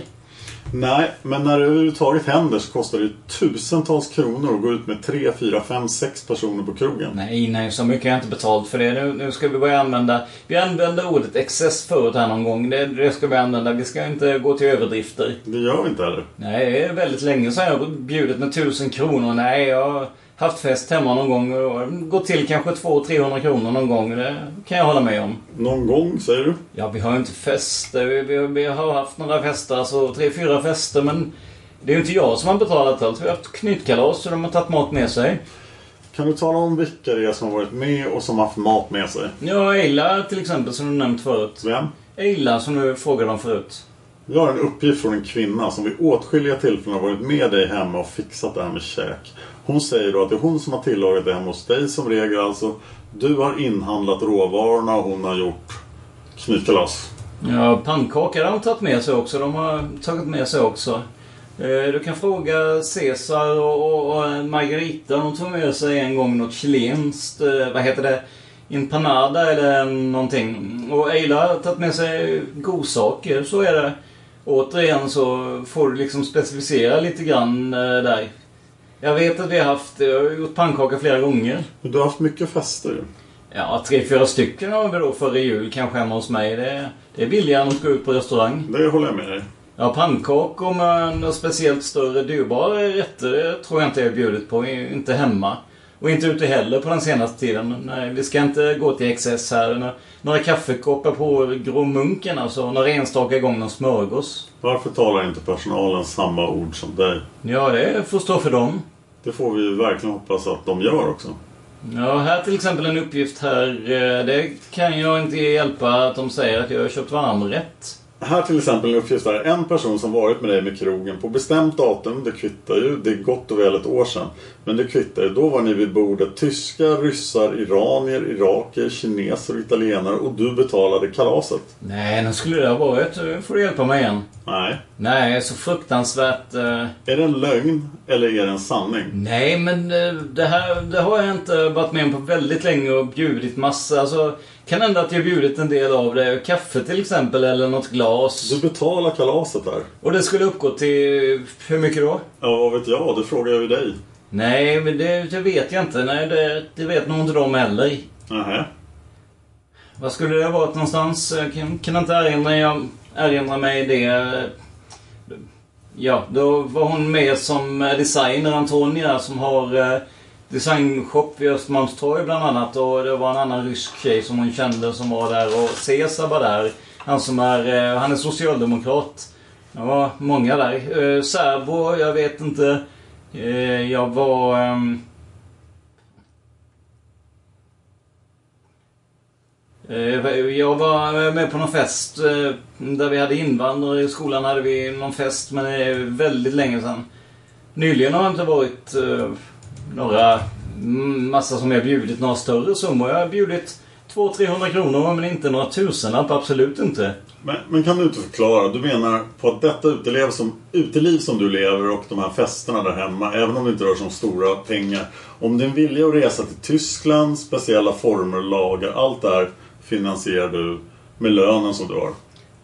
Speaker 2: Nej, men när det överhuvudtaget händer så kostar det ju tusentals kronor att gå ut med tre, fyra, fem, sex personer på krogen.
Speaker 8: Nej, nej, så mycket har jag inte betalt för det. Nu, nu ska vi börja använda... Vi använde ordet excess förut här någon gång. Det, det ska vi använda. Vi ska inte gå till överdrifter.
Speaker 2: Det gör vi inte heller.
Speaker 8: Nej, det är väldigt länge sedan jag har bjudit med tusen kronor. Nej, jag har haft fest hemma någon gång och gått till kanske 200-300 kronor någon gång. Det kan jag hålla med om.
Speaker 2: Någon gång, säger du?
Speaker 8: Ja, vi har ju inte fester. Vi, vi, vi har haft några fester, alltså tre, fyra fester, men det är ju inte jag som har betalat allt. Vi har haft knytkalas och de har tagit mat med sig.
Speaker 2: Kan du tala om vilka det är som har varit med och som har haft mat med sig?
Speaker 8: Ja, Eila till exempel som du nämnt förut.
Speaker 2: Vem?
Speaker 8: Eila som du frågade om förut.
Speaker 2: Jag har en uppgift från en kvinna som vid åtskilliga tillfällen har varit med dig hemma och fixat det här med käk. Hon säger då att det är hon som har tillagat det hemma hos dig som regel alltså. Du har inhandlat råvarorna och hon har gjort knytkalas.
Speaker 8: Ja, pannkakor har de tagit med sig också. De har tagit med sig också. Eh, Du kan fråga Cesar och, och, och Margarita. De tog med sig en gång något chilenskt. eh, Vad heter det? Empanada eller någonting. Och Eila har tagit med sig godsaker. Så är det. Återigen så får du liksom specificera lite grann eh, där. Jag vet att vi har haft, jag har gjort pannkaka flera gånger.
Speaker 2: Du har haft mycket fester ju.
Speaker 8: Ja, tre, fyra stycken har vi då före jul kanske hemma hos mig. Det, det är billigare än att gå ut på restaurang.
Speaker 2: Det håller jag med dig.
Speaker 8: Ja, pannkakor med några speciellt större dyrbara rätter det tror jag inte jag bjudit på. Inte hemma. Och inte ute heller på den senaste tiden. Nej, vi ska inte gå till excess här. Nå- Några kaffekoppar på Grå Munken alltså. Några enstaka gånger någon smörgås.
Speaker 2: Varför talar inte personalen samma ord som dig?
Speaker 8: Ja, det får stå för dem.
Speaker 2: Det får vi ju verkligen hoppas att de gör också.
Speaker 8: Ja, här till exempel en uppgift här. eh, Det kan jag inte hjälpa att de säger att jag har köpt varmrätt.
Speaker 2: Här till exempel en uppgift där en person som varit med dig med krogen på bestämt datum, det kvittar ju, det är gott och väl ett år sedan. Men det kvittar ju, då var ni vid bordet tyskar, ryssar, iranier, iraker, kineser och italienare och du betalade kalaset.
Speaker 8: Nej, nu skulle det ha varit. Nu får du hjälpa mig igen.
Speaker 2: Nej.
Speaker 8: Nej, så fruktansvärt... eh,
Speaker 2: Är det en lögn eller är det en sanning?
Speaker 8: Nej, men eh, det här det har jag inte varit med om på väldigt länge och bjudit massa. Alltså, kan hända att jag bjudit en del av det. Kaffe till exempel, eller något glas.
Speaker 2: Du betalar kalaset där.
Speaker 8: Och det skulle uppgå till... Hur mycket då?
Speaker 2: Ja, vad vet jag? Det frågar jag ju dig.
Speaker 8: Nej, men det, det vet jag inte. Nej, det, det vet nog inte de heller.
Speaker 2: Nähä.
Speaker 8: Vad skulle det ha varit någonstans? Jag kan, kan inte erinra, jag erinra mig det. Ja, då var hon med som eh, designer, Antonia, som har eh, designshop vid Östermalmstorg bland annat. Och det var en annan rysk tjej som hon kände som var där. Och Cesar var där. Han som är, eh, han är socialdemokrat. Det var många där. Eh, Serbo, jag vet inte. Eh, jag var... ehm, Eh, Jag var med på någon fest eh, där vi hade invandrare. I skolan hade vi någon fest, men det är väldigt länge sedan. Nyligen har det inte varit eh, några mm, massa som jag bjudit några större summor. Jag har bjudit 200-300 kronor, men inte några tusenlapp. Absolut inte.
Speaker 2: Men, men kan du inte förklara? Du menar på att detta uteliv som, uteliv som du lever och de här festerna där hemma, även om det inte rör sig om stora pengar. Om din vilja att resa till Tyskland, speciella former, lagar, allt det här finansierar du med lönen som du har.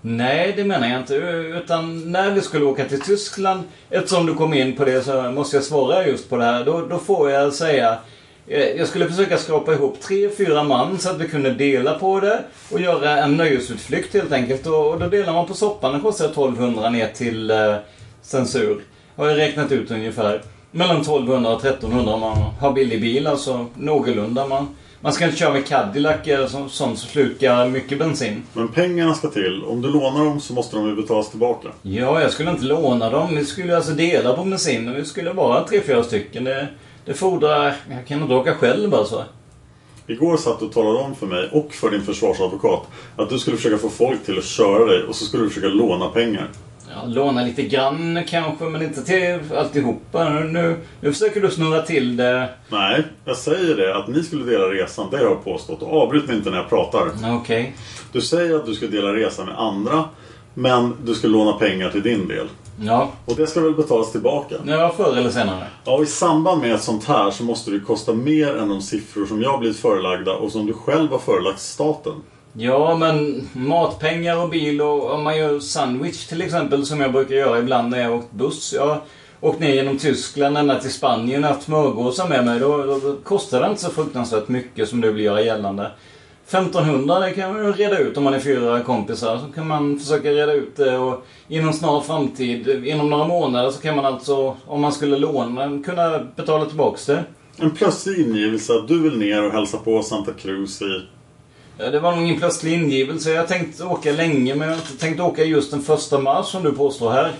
Speaker 8: Nej, det menar jag inte. Utan när vi skulle åka till Tyskland, eftersom du kom in på det så måste jag svara just på det här. Då, då får jag säga, eh, jag skulle försöka skrapa ihop tre, fyra man så att vi kunde dela på det och göra en nöjesutflykt helt enkelt. Och, och då delar man på soppan, den kostar 1200 ner till eh, censur. Har jag räknat ut ungefär. Mellan 1200 och 1300 om man har billig bil, alltså någorlunda. Man, man ska inte köra med Cadillac eller så- sånt som slukar mycket bensin.
Speaker 2: Men pengarna ska till. Om du lånar dem så måste de ju betalas tillbaka.
Speaker 8: Ja, jag skulle inte låna dem. Vi skulle alltså dela på bensinen. Vi skulle vara tre, fyra stycken. Det, det fordrar... Jag kan inte åka själv alltså.
Speaker 2: Igår satt du och talade om för mig och för din försvarsadvokat att du skulle försöka få folk till att köra dig och så skulle du försöka låna pengar.
Speaker 8: Ja, låna lite grann kanske, men inte till alltihopa. Nu- Nu, nu försöker du snurra till det.
Speaker 2: Nej, jag säger det att ni skulle dela resan, det har jag påstått. Och avbryt mig inte när jag pratar.
Speaker 8: Okej.
Speaker 2: Du säger att du ska dela resan med andra, men du ska låna pengar till din del.
Speaker 8: Ja.
Speaker 2: Och det ska väl betalas tillbaka?
Speaker 8: Ja, förr eller senare.
Speaker 2: Ja, och i samband med ett sånt här så måste det ju kosta mer än de siffror som jag blivit förelagda och som du själv har förelagt staten.
Speaker 8: Ja, men matpengar och bil och om man gör sandwich till exempel som jag brukar göra ibland när jag har åkt buss. Jag har åkt ner genom Tyskland ända till Spanien och haft smörgåsar med mig. Då, då, då kostar det inte så fruktansvärt mycket som du vill göra gällande. 1500 det kan man ju reda ut om man är fyra kompisar. Så kan man försöka reda ut det och inom snar framtid, inom några månader så kan man alltså, om man skulle låna, kunna betala tillbaks det.
Speaker 2: En plötslig ingivelse att du vill ner och hälsa på Santa Cruz i
Speaker 8: Ja, Det var nog ingen plötslig ingivelse. Jag tänkte åka länge men jag har inte tänkt åka just den första mars som du påstår här.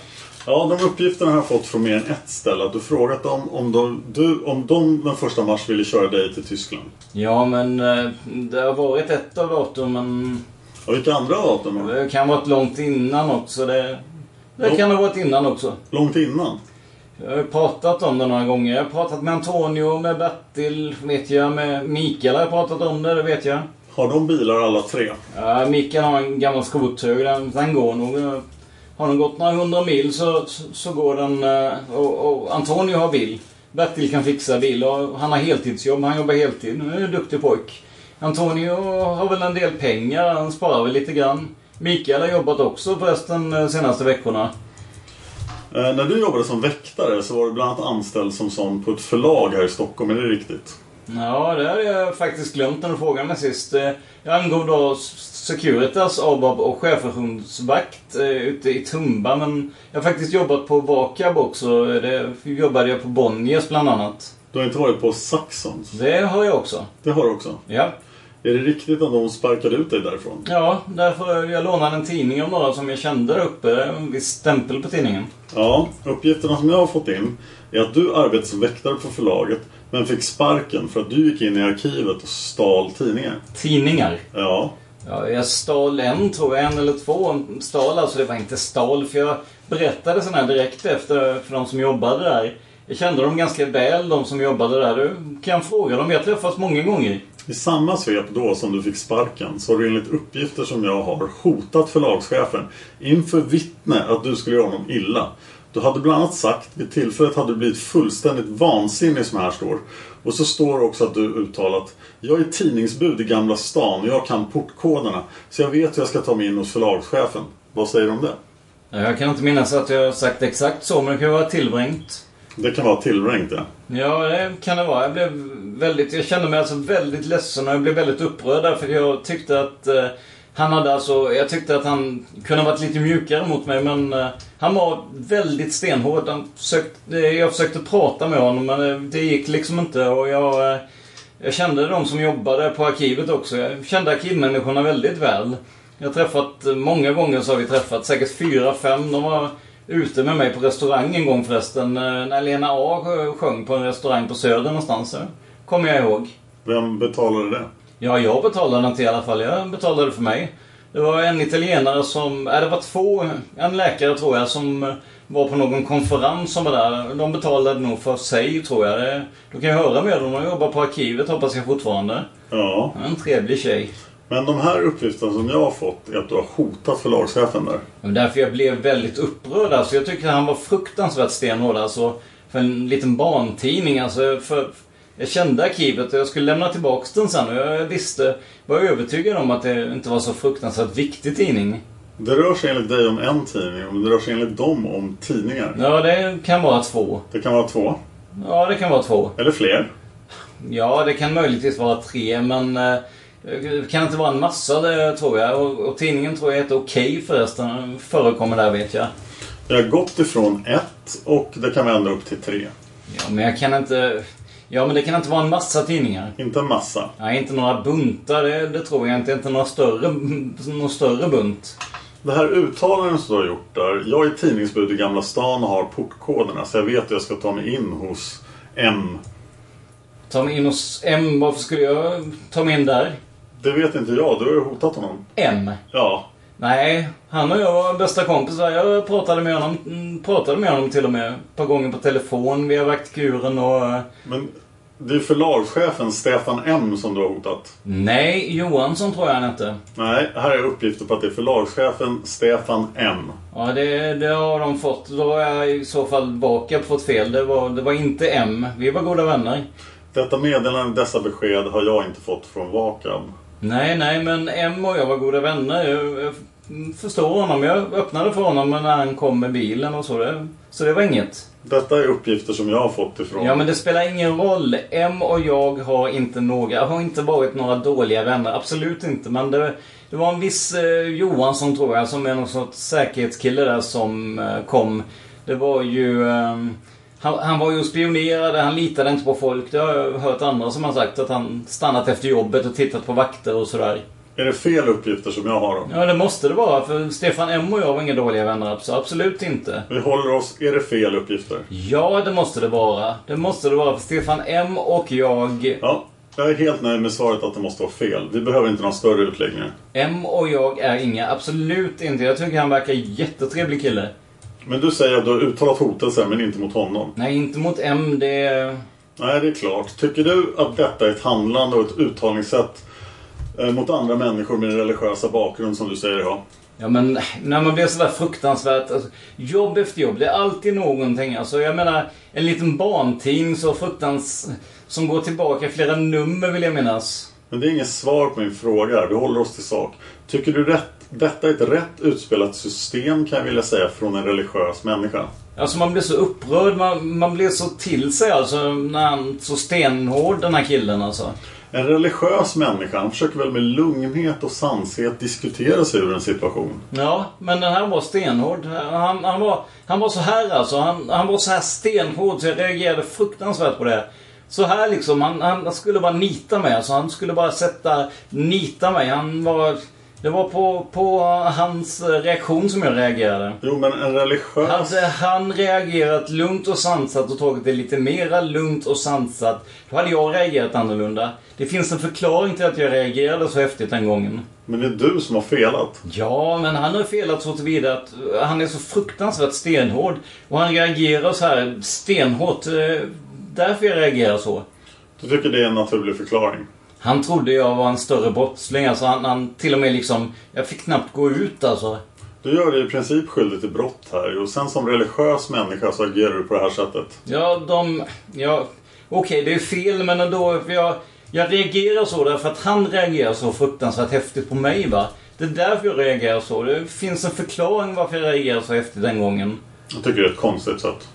Speaker 2: Ja, de uppgifterna har jag fått från mer än ett ställe. Att du frågat dem om de, du, om de den första mars ville köra dig till Tyskland.
Speaker 8: Ja, men eh, det har varit ett av datumen.
Speaker 2: Och vilka andra datum?
Speaker 8: Det kan ha varit långt innan också. Det, det
Speaker 2: Lång-
Speaker 8: kan ha varit innan också.
Speaker 2: Långt innan?
Speaker 8: Jag har ju pratat om det några gånger. Jag har pratat med Antonio, med Bertil, vet jag. Med Mikael har jag pratat om det, det vet jag.
Speaker 2: Har de bilar alla tre?
Speaker 8: Ja, Mikael har en gammal skrothög. Den, den går nog. eh, Har den gått några hundra mil så, så, så går den... eh, Och, och Antonio har bil. Bertil kan fixa bil och han har heltidsjobb. Han jobbar heltid. Han är en duktig pojk. Antonio har väl en del pengar. Han sparar väl lite grann. Mikael har jobbat också förresten de senaste veckorna.
Speaker 2: Eh, när du jobbade som väktare så var du bland annat anställd som sån på ett förlag här i Stockholm, är det riktigt?
Speaker 8: Ja, det hade jag faktiskt glömt när du frågade mig sist. Eh, Jag angav då Securitas, ABAB och sjöfunktionsvakt eh, ute i Tumba. Men jag har faktiskt jobbat på Vakab också. Det jobbade jag på Bonniers bland annat.
Speaker 2: Du har inte varit på Saxons?
Speaker 8: Det har jag också.
Speaker 2: Det har du också?
Speaker 8: Ja.
Speaker 2: Är det riktigt att de sparkade ut dig därifrån?
Speaker 8: Ja, därför jag lånade en tidning av några som jag kände där uppe. En viss stämpel på tidningen.
Speaker 2: Ja, uppgifterna som jag har fått in är att du arbetade som väktare på förlaget men fick sparken för att du gick in i arkivet och stal tidningar.
Speaker 8: Tidningar?
Speaker 2: Ja.
Speaker 8: Ja, jag stal en tror jag, en eller två stal alltså. Det var inte stal för jag berättade sådana här direkt efter för de som jobbade där. Jag kände dem ganska väl, de som jobbade där. Du kan fråga dem, vi har träffats många gånger.
Speaker 2: I samma svep då som du fick sparken så har du enligt uppgifter som jag har hotat förlagschefen inför vittne att du skulle göra honom illa. Du hade bland annat sagt vid tillfället hade du blivit fullständigt vansinnig som här står. Och så står också att du uttalat Jag är tidningsbud i Gamla stan och jag kan portkoderna så jag vet hur jag ska ta mig in hos förlagschefen. Vad säger du om det?
Speaker 8: Ja, Jag kan inte minnas att jag har sagt exakt så, men det kan ju vara tillbringt.
Speaker 2: Det kan vara tillrängt ja.
Speaker 8: Ja, det kan det vara. Jag, blev väldigt, jag kände mig alltså väldigt ledsen och jag blev väldigt upprörd därför jag tyckte att eh, han hade alltså, jag tyckte att han kunde ha varit lite mjukare mot mig men eh, han var väldigt stenhård. Han försökte, eh, jag försökte prata med honom men eh, det gick liksom inte och jag, eh, jag kände de som jobbade på arkivet också. Jag kände arkivmänniskorna väldigt väl. Jag har träffat, många gånger så har vi träffat, säkert fyra, fem. De var ute med mig på restaurang en gång förresten. eh, När Lena A sjöng på en restaurang på Söder någonstans. eh, Kommer jag ihåg.
Speaker 2: Vem betalade det?
Speaker 8: Ja, jag betalade inte i alla fall. Jag betalade för mig. Det var en italienare som... Äh, det var två... En läkare tror jag som eh, var på någon konferens som var där. De betalade nog för sig tror jag. Det- Du kan ju höra med dem. De jobbar på arkivet hoppas jag fortfarande.
Speaker 2: Ja.
Speaker 8: En trevlig tjej.
Speaker 2: Men de här uppgifterna som jag har fått är att du har hotat förlagschefen där.
Speaker 8: Men Därför jag blev väldigt upprörd. Alltså, jag tycker han var fruktansvärt stenhård. Alltså, för en liten barntidning. Alltså, för, jag kände arkivet och jag skulle lämna tillbaka den sen. Och jag visste, var övertygad om att det inte var så fruktansvärt viktig tidning.
Speaker 2: Det rör sig enligt dig om en tidning, men det rör sig enligt dem om tidningar.
Speaker 8: Ja, det kan vara två.
Speaker 2: Det kan vara två.
Speaker 8: Ja, det kan vara två.
Speaker 2: Eller fler.
Speaker 8: Ja, det kan möjligtvis vara tre, men eh, det kan inte vara en massa det tror jag. Och, och tidningen tror jag heter Okej förresten. Den Förekommer där vet jag.
Speaker 2: Jag har gått ifrån ett och det kan vända upp till tre.
Speaker 8: Ja, men jag kan inte... Ja, men det kan inte vara en massa tidningar.
Speaker 2: Inte en massa.
Speaker 8: Nej, inte några buntar. Det, det tror jag inte. Inte några större, någon större bunt.
Speaker 2: Det här uttalandet som du har gjort där. Jag är tidningsbud i Gamla stan och har portkoderna så jag vet att jag ska ta mig in hos M.
Speaker 8: Ta mig in hos M. Varför skulle jag ta mig in där?
Speaker 2: Det vet inte jag. Du har ju hotat honom.
Speaker 8: M.
Speaker 2: Ja.
Speaker 8: Nej, han och jag var bästa kompisar. Jag pratade med honom, mm, pratade med honom till och med. Ett par gånger på telefon via vaktkuren och... eh,
Speaker 2: Men det är förlagschefen Stefan M som du har hotat.
Speaker 8: Nej, Johansson tror jag han hette.
Speaker 2: Nej, här är uppgifter på att det är förlagschefen Stefan M.
Speaker 8: Ja, det, det har de fått. Då har jag i så fall bakar fått fel. Det var, det var inte M. Vi var goda vänner.
Speaker 2: Detta meddelande, dessa besked har jag inte fått från Vakab.
Speaker 8: Nej, nej, men M och jag var goda vänner. Jag, jag f- förstår honom. Jag öppnade för honom när han kom med bilen och så. Det, så det var inget.
Speaker 2: Detta är uppgifter som jag har fått ifrån.
Speaker 8: Ja, men det spelar ingen roll. M och jag har inte några, har inte varit några dåliga vänner. Absolut inte. Men det, det var en viss eh, Johansson, tror jag, som är någon sorts säkerhetskille där som eh, kom. Det var ju... Eh, han, han var ju och spionerade, han litade inte på folk. Det har jag hört andra som har sagt. Att han stannat efter jobbet och tittat på vakter och sådär.
Speaker 2: Är det fel uppgifter som jag har då?
Speaker 8: Ja, det måste det vara. För Stefan M och jag var inga dåliga vänner. abs- Absolut inte.
Speaker 2: Vi håller oss... Är det fel uppgifter?
Speaker 8: Ja, det måste det vara. Det måste det vara. För Stefan M och jag...
Speaker 2: Ja, jag är helt nöjd med svaret att det måste vara fel. Vi behöver inte några större utläggningar.
Speaker 8: M och jag är inga. Absolut inte. Jag tycker han verkar jättetrevlig kille.
Speaker 2: Men du säger att du har uttalat hotelser men inte mot honom.
Speaker 8: Nej, inte mot M. Det...
Speaker 2: Nej, det är klart. Tycker du att detta är ett handlande och ett uttalningssätt eh, mot andra människor med religiösa bakgrund som du säger ha?
Speaker 8: Ja, men när man blir sådär fruktansvärt... Alltså, jobb efter jobb, det är alltid någonting. Alltså, jag menar, en liten barntidning så fruktans... Som går tillbaka flera nummer, vill jag minnas.
Speaker 2: Men det är inget svar på min fråga här. Vi håller oss till sak. Tycker du rätt, detta är ett rätt utspelat system kan jag vilja säga från en religiös människa?
Speaker 8: Alltså man blir så upprörd, man, man blir så till sig alltså när han så stenhård den här killen alltså.
Speaker 2: En religiös människa han försöker väl med lugnhet och sanshet diskutera sig ur en situation.
Speaker 8: Ja, men den här var stenhård. Han, han, var, han var så här alltså. Han, han var så här stenhård så jag reagerade fruktansvärt på det. Så här liksom. Han, han skulle bara nita mig. Alltså, han skulle bara sätta... Nita mig. Han var... Det var på, på hans reaktion som jag reagerade.
Speaker 2: Jo, men en religiös...
Speaker 8: Hade Alltså, han reagerat lugnt och sansat och tagit det lite mera lugnt och sansat, då hade jag reagerat annorlunda. Det finns en förklaring till att jag reagerade så häftigt den gången.
Speaker 2: Men det är du som har felat.
Speaker 8: Ja, men han har felat så tillvida att eh, han är så fruktansvärt stenhård. Och han reagerar så här stenhårt. eh, Därför jag reagerar så.
Speaker 2: Du tycker det är en naturlig förklaring?
Speaker 8: Han trodde jag var en större brottsling. Alltså han, han till och med liksom... Jag fick knappt gå ut alltså.
Speaker 2: Du gör dig i princip skyldig till brott här och sen som religiös människa så agerar du på det här sättet.
Speaker 8: Ja, de... Ja, Okej, det är fel men ändå. För jag, jag reagerar så därför att han reagerar så fruktansvärt häftigt på mig va. Det är därför jag reagerar så. Det finns en förklaring varför jag reagerar så häftigt den gången.
Speaker 2: Jag tycker det är ett konstigt sätt.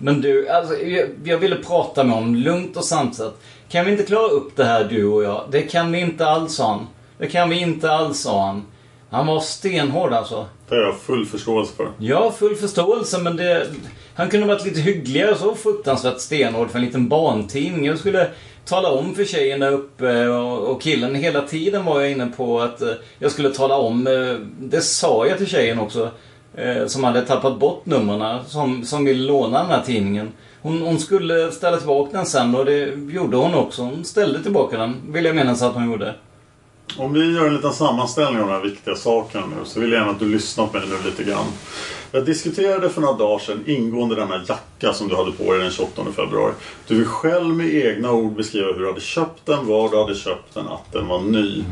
Speaker 8: Men du, alltså, jag, jag ville prata med honom lugnt och sansat. Kan vi inte klara upp det här du och jag? Det kan vi inte alls, sa han. Det kan vi inte alls, sa han. Han var stenhård alltså.
Speaker 2: Det har jag full förståelse för.
Speaker 8: Jag har full förståelse men det... Han kunde varit lite hyggligare så fruktansvärt stenhård för en liten barntidning. Jag skulle tala om för tjejen där uppe och och killen hela tiden var jag inne på att eh, jag skulle tala om. eh, Det sa jag till tjejen också. eh, Som hade tappat bort numren som, som ville låna den här tidningen. Hon, hon skulle ställa tillbaka den sen och det gjorde hon också. Hon ställde tillbaka den, vill jag minnas att hon gjorde.
Speaker 2: Om vi gör en liten sammanställning av de här viktiga sakerna nu så vill jag gärna att du lyssnar på mig nu lite grann. Jag diskuterade för några dagar sedan ingående den här jacka som du hade på dig den 28 februari. Du vill själv med egna ord beskriva hur du hade köpt den, var du hade köpt den, att den var ny.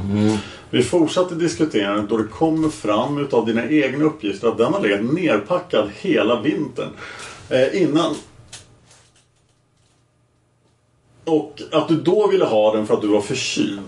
Speaker 2: Vi fortsatte diskutera då det kommer fram utav dina egna uppgifter att den har legat nerpackad hela vintern. Eh, innan och att du då ville ha den för att du var förkyld.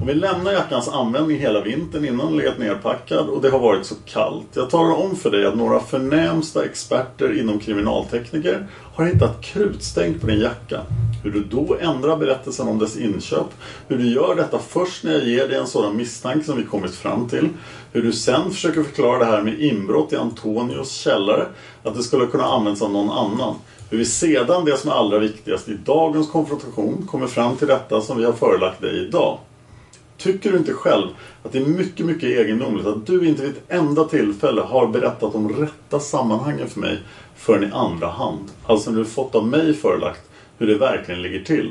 Speaker 2: Om vi lämnar jackans användning hela vintern innan den legat nerpackad och det har varit så kallt. Jag talar om för dig att några förnämsta experter inom kriminaltekniker har hittat krutstänk på din jacka. Hur du då ändrar berättelsen om dess inköp, hur du gör detta först när jag ger dig en sådan misstanke som vi kommit fram till, hur du sen försöker förklara det här med inbrott i Antonios källare, att det skulle kunna använts av någon annan. Hur vi sedan, det som är allra viktigast i dagens konfrontation, kommer fram till detta som vi har förelagt dig idag. Tycker du inte själv att det är mycket, mycket egendomligt att du inte vid ett enda tillfälle har berättat de rätta sammanhangen för mig förrän i andra hand? Alltså när du fått av mig förelagt hur det verkligen ligger till.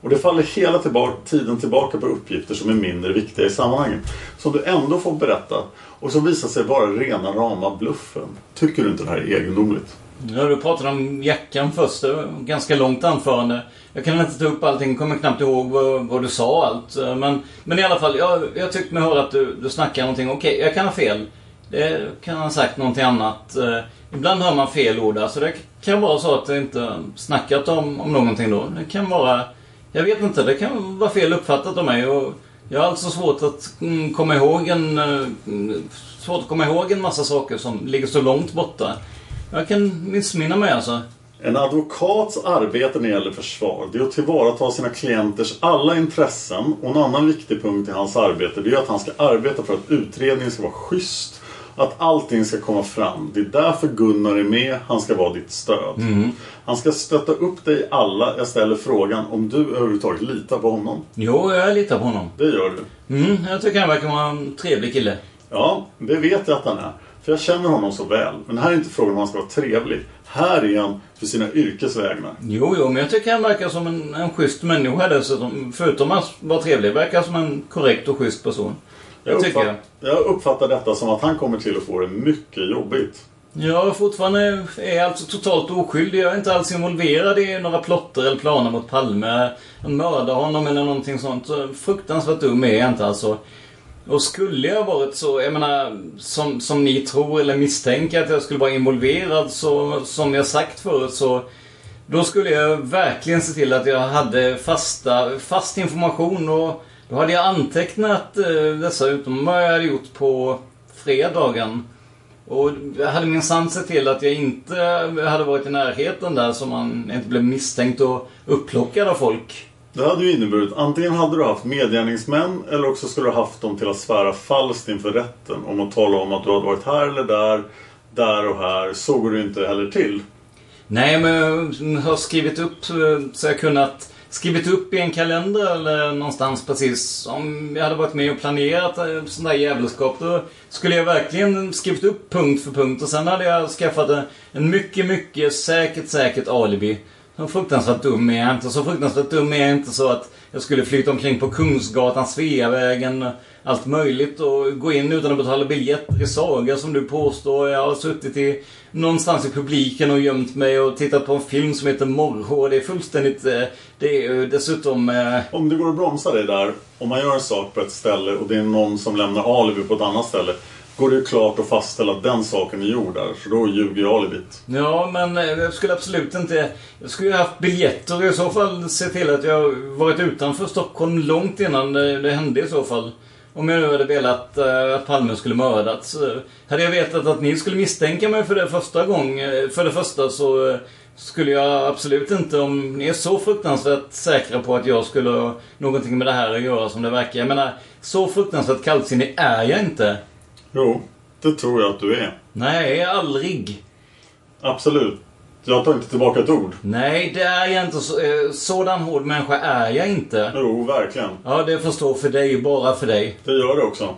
Speaker 2: Och det faller hela tillba- tiden tillbaka på uppgifter som är mindre viktiga i sammanhanget. Som du ändå får berätta och som visar sig vara rena rama bluffen. Tycker du inte det här är egendomligt?
Speaker 8: Ja, du pratade om jackan först. Det var ett ganska långt anförande. Jag kan inte ta upp allting, kommer knappt ihåg vad, vad du sa allt. Men, men i alla fall, jag, jag tyckte mig höra att du, du snackade någonting. Okej, jag kan ha fel. Det kan ha sagt någonting annat. Eh, Ibland hör man fel ord där, så det kan vara så att jag inte snackat om, om någonting då. Det kan vara... Jag vet inte, det kan vara fel uppfattat av mig. Och jag har alltså svårt att mm, komma ihåg en... eh, mm, Svårt att komma ihåg en massa saker som ligger så långt borta. Jag kan missminna mig alltså.
Speaker 2: En advokats arbete när det gäller försvar det är att tillvarata sina klienters alla intressen och en annan viktig punkt i hans arbete det är att han ska arbeta för att utredningen ska vara schysst. Att allting ska komma fram. Det är därför Gunnar är med, han ska vara ditt stöd.
Speaker 8: Mm.
Speaker 2: Han ska stötta upp dig i alla. Jag ställer frågan om du överhuvudtaget litar på honom.
Speaker 8: Jo, jag litar på honom.
Speaker 2: Det gör du.
Speaker 8: Mm, jag tycker han verkar vara en trevlig kille.
Speaker 2: Ja, det vet jag att han är. För jag känner honom så väl. Men här är inte frågan om han ska vara trevlig. Här är han för sina yrkesvägnar.
Speaker 8: Jo, jo, men jag tycker han verkar som en, en schysst människa dessutom. Förutom att vara trevlig, verkar som en korrekt och schysst person. Det
Speaker 2: Jag,
Speaker 8: tycker
Speaker 2: uppfatt, jag uppfattar detta som att han kommer till att få det mycket jobbigt.
Speaker 8: Jag fortfarande är alltså totalt oskyldig. Jag är inte alls involverad i några plotter eller planer mot Palme. Att mörda honom eller någonting sånt. Så Fruktansvärt dum är jag inte alltså. Och skulle jag varit så, jag menar, som, som ni tror eller misstänker att jag skulle vara involverad så, som jag sagt förut så då skulle jag verkligen se till att jag hade fasta, fast information och då hade jag antecknat eh, dessa utom vad jag hade gjort på fredagen. Och jag hade minsann sett till att jag inte hade varit i närheten där så man inte blev misstänkt och upplockad av folk.
Speaker 2: Det hade ju inneburit antingen hade du haft medgärningsmän eller också skulle du haft dem till att svära falskt inför rätten om att tala om att du hade varit här eller där, där och här. Såg du inte heller till.
Speaker 8: Nej, men jag har skrivit upp eh, så jag kunnat skrivit upp i en kalender eller någonstans precis. Om jag hade varit med och planerat eh, sån där jävelskap då skulle jag verkligen skrivit upp punkt för punkt och sen hade jag skaffat en, en mycket, mycket säkert, säkert alibi. Så fruktansvärt dum är jag inte. Så fruktansvärt dum är jag inte så att jag skulle flytta omkring på Kungsgatan, Sveavägen, allt möjligt och gå in utan att betala biljetter i Saga som du påstår. Jag har suttit i, någonstans i publiken och gömt mig och tittat på en film som heter Morrhår. Det är fullständigt... eh, Det är ju dessutom... eh,
Speaker 2: Om det går att bromsa dig där, om man gör en sak på ett ställe och det är någon som lämnar alibi på ett annat ställe. Går det ju klart att fastställa att den saken är gjord där, för då ljuger ju alibit.
Speaker 8: Ja, men eh, jag skulle absolut inte... Jag skulle ju haft biljetter och i så fall se till att jag varit utanför Stockholm långt innan det, det hände i så fall. Om jag nu hade velat eh, att Palme skulle mördats. eh, Hade jag vetat att ni skulle misstänka mig för det första gång, eh, för det första så eh, skulle jag absolut inte, om ni är så fruktansvärt säkra på att jag skulle ha någonting med det här att göra som det verkar. Jag menar, så fruktansvärt kallsinnig är jag inte.
Speaker 2: Jo, det tror jag att du är.
Speaker 8: Nej, aldrig.
Speaker 2: Absolut. Jag tar inte tillbaka ett ord.
Speaker 8: Nej, det är jag inte. Så, eh, sådan hård människa är jag inte.
Speaker 2: Jo, verkligen.
Speaker 8: Ja, det får stå för dig, bara för dig.
Speaker 2: Det gör det också.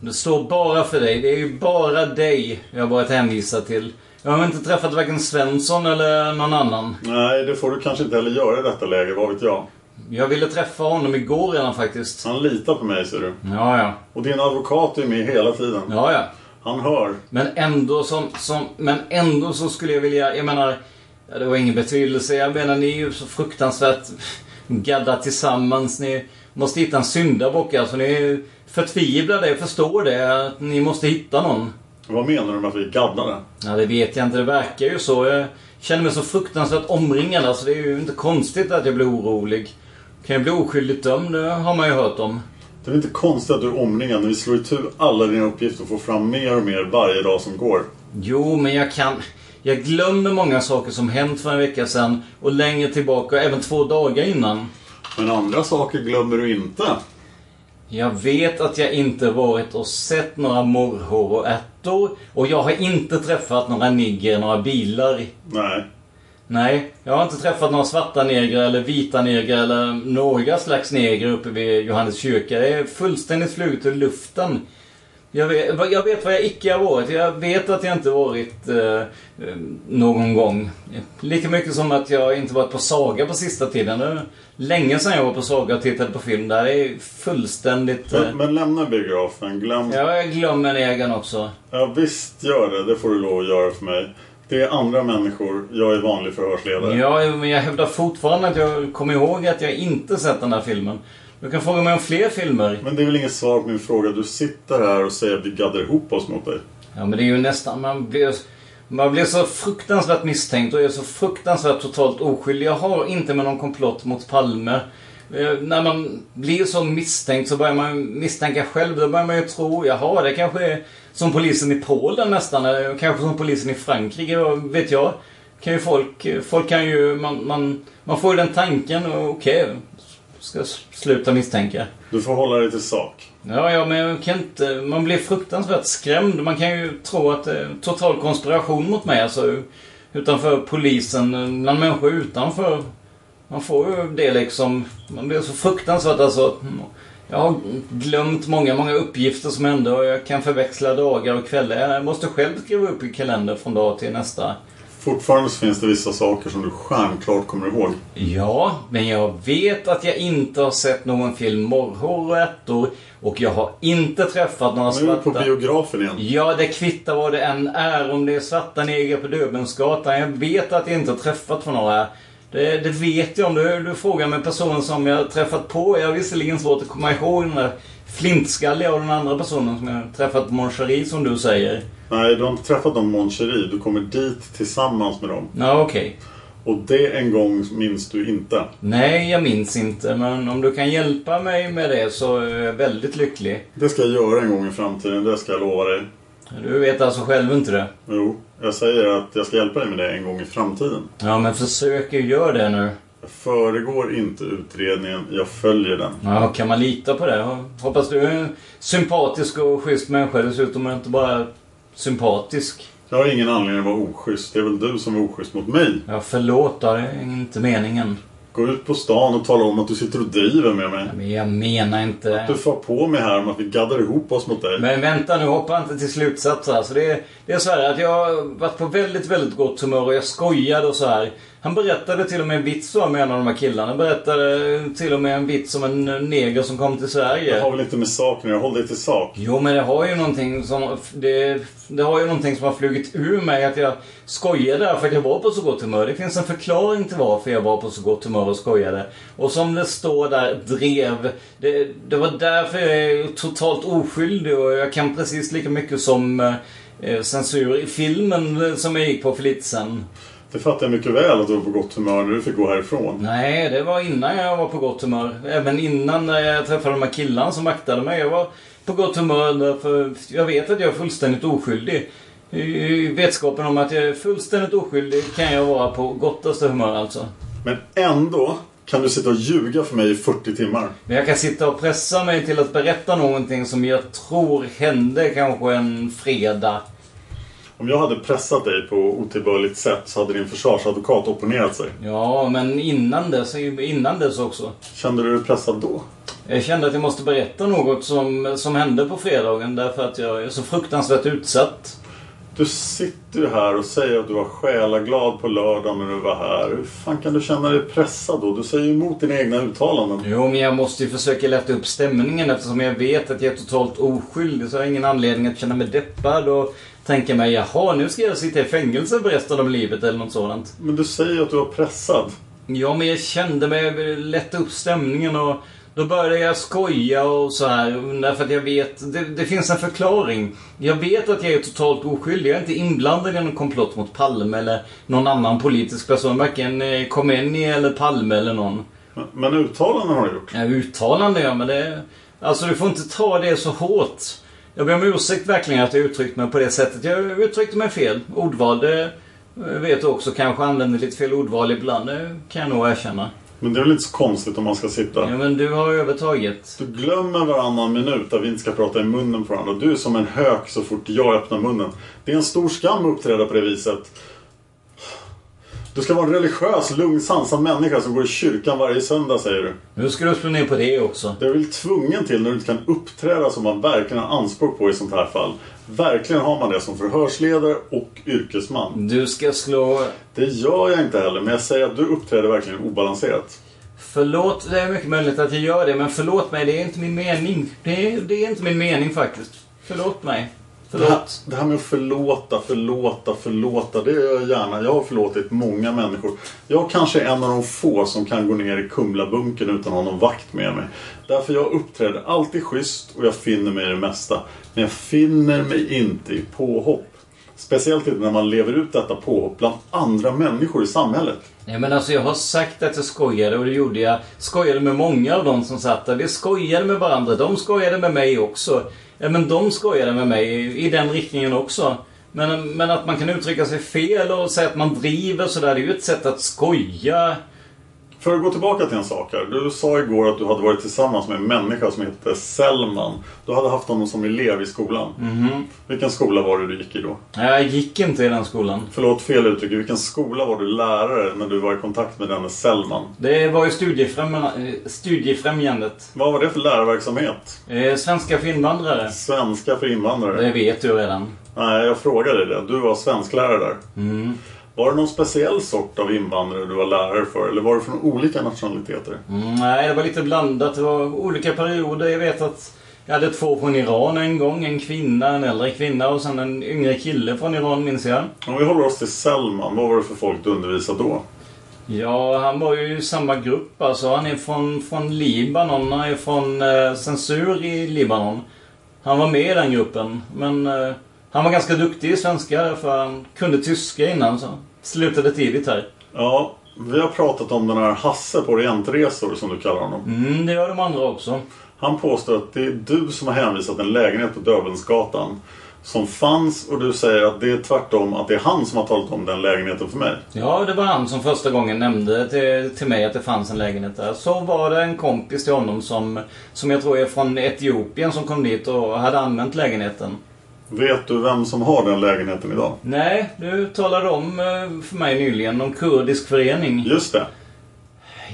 Speaker 8: Det står bara för dig. Det är ju bara dig jag har varit hänvisad till. Jag har inte träffat varken Svensson eller någon annan.
Speaker 2: Nej, det får du kanske inte heller göra i detta läge, vad vet jag.
Speaker 8: Jag ville träffa honom igår redan faktiskt.
Speaker 2: Han litar på mig, ser du.
Speaker 8: Ja, ja.
Speaker 2: Och din advokat är med hela tiden.
Speaker 8: Ja, ja.
Speaker 2: Han hör.
Speaker 8: Men ändå som, som, men ändå så skulle jag vilja, jag menar, ja, det har ingen betydelse. Jag menar, ni är ju så fruktansvärt gadda tillsammans. Ni måste hitta en syndabock alltså. Ni är förtvivlade, jag förstår det. Att ni måste hitta någon.
Speaker 2: Vad menar du med att vi är gaddade?
Speaker 8: Ja, det vet jag inte. Det verkar ju så. Jag känner mig så fruktansvärt omringad. Alltså, det är ju inte konstigt att jag blir orolig. Kan jag bli oskyldigt dömd? Det har man ju hört om.
Speaker 2: Det är inte konstigt att du är omringad när vi slår itu alla dina uppgifter och får fram mer och mer varje dag som går.
Speaker 8: Jo, men jag kan... Jag glömmer många saker som hänt för en vecka sedan och längre tillbaka, och även två dagar innan.
Speaker 2: Men andra saker glömmer du inte.
Speaker 8: Jag vet att jag inte varit och sett några morrhår och ärtor och jag har inte träffat några nigger, några bilar.
Speaker 2: Nej.
Speaker 8: Nej, jag har inte träffat några svarta negrer eller vita negrer eller några slags negrer uppe vid Johannes kyrka. Det är fullständigt fluget ur luften. Jag vet, jag vet vad jag icke har varit. Jag vet att jag inte varit eh, eh, någon gång. Lika mycket som att jag inte varit på Saga på sista tiden. Det är länge sedan jag var på Saga och tittade på film. Där är fullständigt... Eh,
Speaker 2: Men, men lämna biografen. Glöm...
Speaker 8: ja, jag glömmer negern också.
Speaker 2: Ja, visst gör det. Det får du lov att göra för mig. Det är andra människor. Jag är vanlig förhörsledare.
Speaker 8: Ja, men jag hävdar fortfarande att jag kommer ihåg att jag inte sett den här filmen. Du kan fråga mig om fler filmer.
Speaker 2: Men det är väl inget svar på min fråga. Du sitter här och säger att vi gaddar ihop oss mot dig.
Speaker 8: Ja, men det är ju nästan... Man blir, man blir så fruktansvärt misstänkt och är så fruktansvärt totalt oskyldig. Jag har inte med någon komplott mot Palme. Eh, När man blir så misstänkt så börjar man ju misstänka själv. Då börjar man ju tro, jaha, det kanske är som polisen i Polen nästan. Eller kanske som polisen i Frankrike, vad vet jag. Kan ju folk, folk kan ju, man, man, man får ju den tanken och okej, ska jag s- sluta misstänka.
Speaker 2: Du får hålla dig till sak.
Speaker 8: Ja, ja, men jag kan inte... Man blir fruktansvärt skrämd. Man kan ju tro att det är total konspiration mot mig, alltså. Utanför polisen, bland människor utanför. Man får ju det liksom. Man blir så fruktansvärt alltså. Jag har glömt många, många uppgifter som hände och jag kan förväxla dagar och kvällar. Jag måste själv skriva upp i kalender från dag till nästa.
Speaker 2: Fortfarande så finns det vissa saker som du stjärnklart kommer ihåg.
Speaker 8: Ja, men jag vet att jag inte har sett någon film Morrhår och ärtor och jag har inte träffat några
Speaker 2: Nu är vi på
Speaker 8: svarta...
Speaker 2: biografen igen.
Speaker 8: Ja, det kvittar vad det än är. Om det är svarta negrer på Döbelnsgatan. Jag vet att jag inte har träffat på några. Det, det vet jag om du, du frågar mig personen som jag har träffat på. Jag har visserligen svårt att komma ihåg den där flintskalliga och den andra personen som jag har träffat på Moncherie som du säger.
Speaker 2: Nej, du har inte träffat dem i Mon Cherie. Du kommer dit tillsammans med dem.
Speaker 8: Ja, okej.
Speaker 2: Och det en gång minns du inte.
Speaker 8: Nej, jag minns inte. Men om du kan hjälpa mig med det så är jag väldigt lycklig.
Speaker 2: Det ska jag göra en gång i framtiden, det ska jag lova dig.
Speaker 8: Du vet alltså själv inte det?
Speaker 2: Jo, jag säger att jag ska hjälpa dig med det en gång i framtiden.
Speaker 8: Ja, men försök ju göra det nu.
Speaker 2: Jag föregår inte utredningen, jag följer den.
Speaker 8: Ja, kan man lita på det? Hoppas du är en sympatisk och schysst människa dessutom och inte bara sympatisk.
Speaker 2: Jag har ingen anledning att vara oschysst. Det är väl du som är oschysst mot mig.
Speaker 8: Ja, förlåt då, det är inte meningen.
Speaker 2: Gå ut på stan och tala om att du sitter och driver med mig.
Speaker 8: Men jag menar inte...
Speaker 2: Du får på mig här om att vi gaddar ihop oss mot dig.
Speaker 8: Men vänta nu, hoppa inte till slutsatser. Alltså det, är- det är så här att jag har varit på väldigt, väldigt gott humör och jag skojade och så här. Han berättade till och med en vits om en av de här killarna. Han berättade till och med en vits om en neger som kom till Sverige.
Speaker 2: Det har väl inte med saken jag håller dig till sak.
Speaker 8: Jo, men det har ju någonting som... Det, det har ju någonting som har flugit ur mig att jag skojade där för att jag var på så gott humör. Det finns en förklaring till varför jag var på så gott humör och skojade. Och som det står där, drev. Det, det var därför jag är totalt oskyldig och jag kan precis lika mycket som eh, censur i filmen eh, som jag gick på för lite sen.
Speaker 2: Det fattar jag mycket väl att du var på gott humör när du fick gå härifrån.
Speaker 8: Nej, det var innan jag var på gott humör. Även innan när jag träffade de här killarna som vaktade mig. Jag var på gott humör därför jag vet att jag är fullständigt oskyldig. I- I vetskapen om att jag är fullständigt oskyldig kan jag vara på gottaste humör alltså.
Speaker 2: Men ändå kan du sitta och ljuga för mig i 40 timmar.
Speaker 8: Men jag kan sitta och pressa mig till att berätta någonting som jag tror hände kanske en fredag.
Speaker 2: Om jag hade pressat dig på otillbörligt sätt så hade din försvarsadvokat opponerat sig.
Speaker 8: Ja, men innan dess, innan dess också.
Speaker 2: Kände du dig pressad då?
Speaker 8: Jag kände att jag måste berätta något som, som hände på fredagen därför att jag är så fruktansvärt utsatt.
Speaker 2: Du sitter ju här och säger att du var själaglad på lördag när du var här. Hur fan kan du känna dig pressad då? Du säger ju emot dina egna uttalanden.
Speaker 8: Jo, men jag måste ju försöka lätta upp stämningen eftersom jag vet att jag är totalt oskyldig så jag har ingen anledning att känna mig deppad och tänka mig jaha, nu ska jag sitta i fängelse för resten av livet eller något sådant.
Speaker 2: Men du säger ju att du var pressad.
Speaker 8: Ja, men jag kände mig jag ville lätta upp stämningen och då började jag skoja och så här. Därför att jag vet, det, det finns en förklaring. Jag vet att jag är totalt oskyldig. Jag är inte inblandad i någon komplott mot Palme eller någon annan politisk person. Varken eh, Khomeini eller Palme eller någon.
Speaker 2: Men, men uttalanden har du gjort.
Speaker 8: Ja, uttalande ja, men det... Alltså du får inte ta det så hårt. Jag ber om ursäkt verkligen att jag uttryckt mig på det sättet. Jag uttryckte mig fel. Ordval, det eh, vet du också. Kanske använder lite fel ordval ibland. Det kan jag nog erkänna.
Speaker 2: Men det är väl inte så konstigt om man ska sitta...
Speaker 8: Ja, men du har övertaget.
Speaker 2: Du glömmer varannan minut att vi inte ska prata i munnen på varandra. Du är som en hök så fort jag öppnar munnen. Det är en stor skam att uppträda på det viset. Du ska vara en religiös, lugn, sansad människa som går i kyrkan varje söndag, säger du.
Speaker 8: Nu ska du slå ner på det också.
Speaker 2: Det är väl tvungen till när du inte kan uppträda som man verkligen har anspråk på i sånt här fall. Verkligen har man det som förhörsledare och yrkesman.
Speaker 8: Du ska slå...
Speaker 2: Det gör jag inte heller, men jag säger att du uppträder verkligen obalanserat.
Speaker 8: Förlåt, det är mycket möjligt att jag gör det, men förlåt mig, det är inte min mening. Det är, det är inte min mening faktiskt. Förlåt mig.
Speaker 2: Det här,
Speaker 8: Förlåt.
Speaker 2: det här med att förlåta, förlåta, förlåta. Det gör jag gärna. Jag har förlåtit många människor. Jag kanske är en av de få som kan gå ner i Kumlabunkern utan att ha någon vakt med mig. Därför jag uppträder alltid schysst och jag finner mig i det mesta. Men jag finner mig inte i påhopp. Speciellt inte när man lever ut detta påhopp bland andra människor i samhället.
Speaker 8: Nej men alltså jag har sagt att jag skojade och det gjorde jag. Skojade med många av de som satt där. Vi skojade med varandra. De skojade med mig också. Ja, men de skojade med mig i- i den riktningen också. Men, men att man kan uttrycka sig fel och säga att man driver sådär, det är ju ett sätt att skoja.
Speaker 2: För att gå tillbaka till en sak här. Du sa igår att du hade varit tillsammans med en människa som hette Selman. Du hade haft honom som elev i skolan.
Speaker 8: Mhm.
Speaker 2: Vilken skola var det du gick i då?
Speaker 8: Jag gick inte i den skolan.
Speaker 2: Förlåt fel uttryck. I vilken skola var du lärare när du var i kontakt med denne Selman?
Speaker 8: Det var ju studiefrämjande, studiefrämjandet.
Speaker 2: Vad var det för lärarverksamhet?
Speaker 8: Eh, Svenska för invandrare.
Speaker 2: Svenska för invandrare?
Speaker 8: Det vet du redan.
Speaker 2: Nej, jag frågade det. Du var svensklärare där.
Speaker 8: Mm.
Speaker 2: Var det någon speciell sort av invandrare du var lärare för? Eller var det från olika nationaliteter?
Speaker 8: Mm, Nej, det var lite blandat. Det var olika perioder. Jag vet att jag hade två från Iran en gång. En kvinna, en äldre kvinna och sen en yngre kille från Iran minns jag.
Speaker 2: Om vi håller oss till Selman, vad var det för folk du undervisade då?
Speaker 8: Ja, han var ju i samma grupp alltså. Han är från, från Libanon. Han är från eh, censur i Libanon. Han var med i den gruppen. Men eh, han var ganska duktig i svenska för han kunde tyska innan så. Slutade tidigt här.
Speaker 2: Ja, vi har pratat om den här Hasse på Orientresor som du kallar honom.
Speaker 8: Mm, det gör de andra också.
Speaker 2: Han påstår att det är du som har hänvisat en lägenhet på Döbelnsgatan som fanns och du säger att det är tvärtom, att det är han som har talat om den lägenheten för mig.
Speaker 8: Ja, det var han som första gången nämnde till, till mig att det fanns en lägenhet där. Så var det en kompis till honom som, som jag tror är från Etiopien som kom dit och hade använt lägenheten.
Speaker 2: Vet du vem som har den lägenheten idag?
Speaker 8: Nej, du talade om eh, för mig nyligen om kurdisk förening.
Speaker 2: Just det.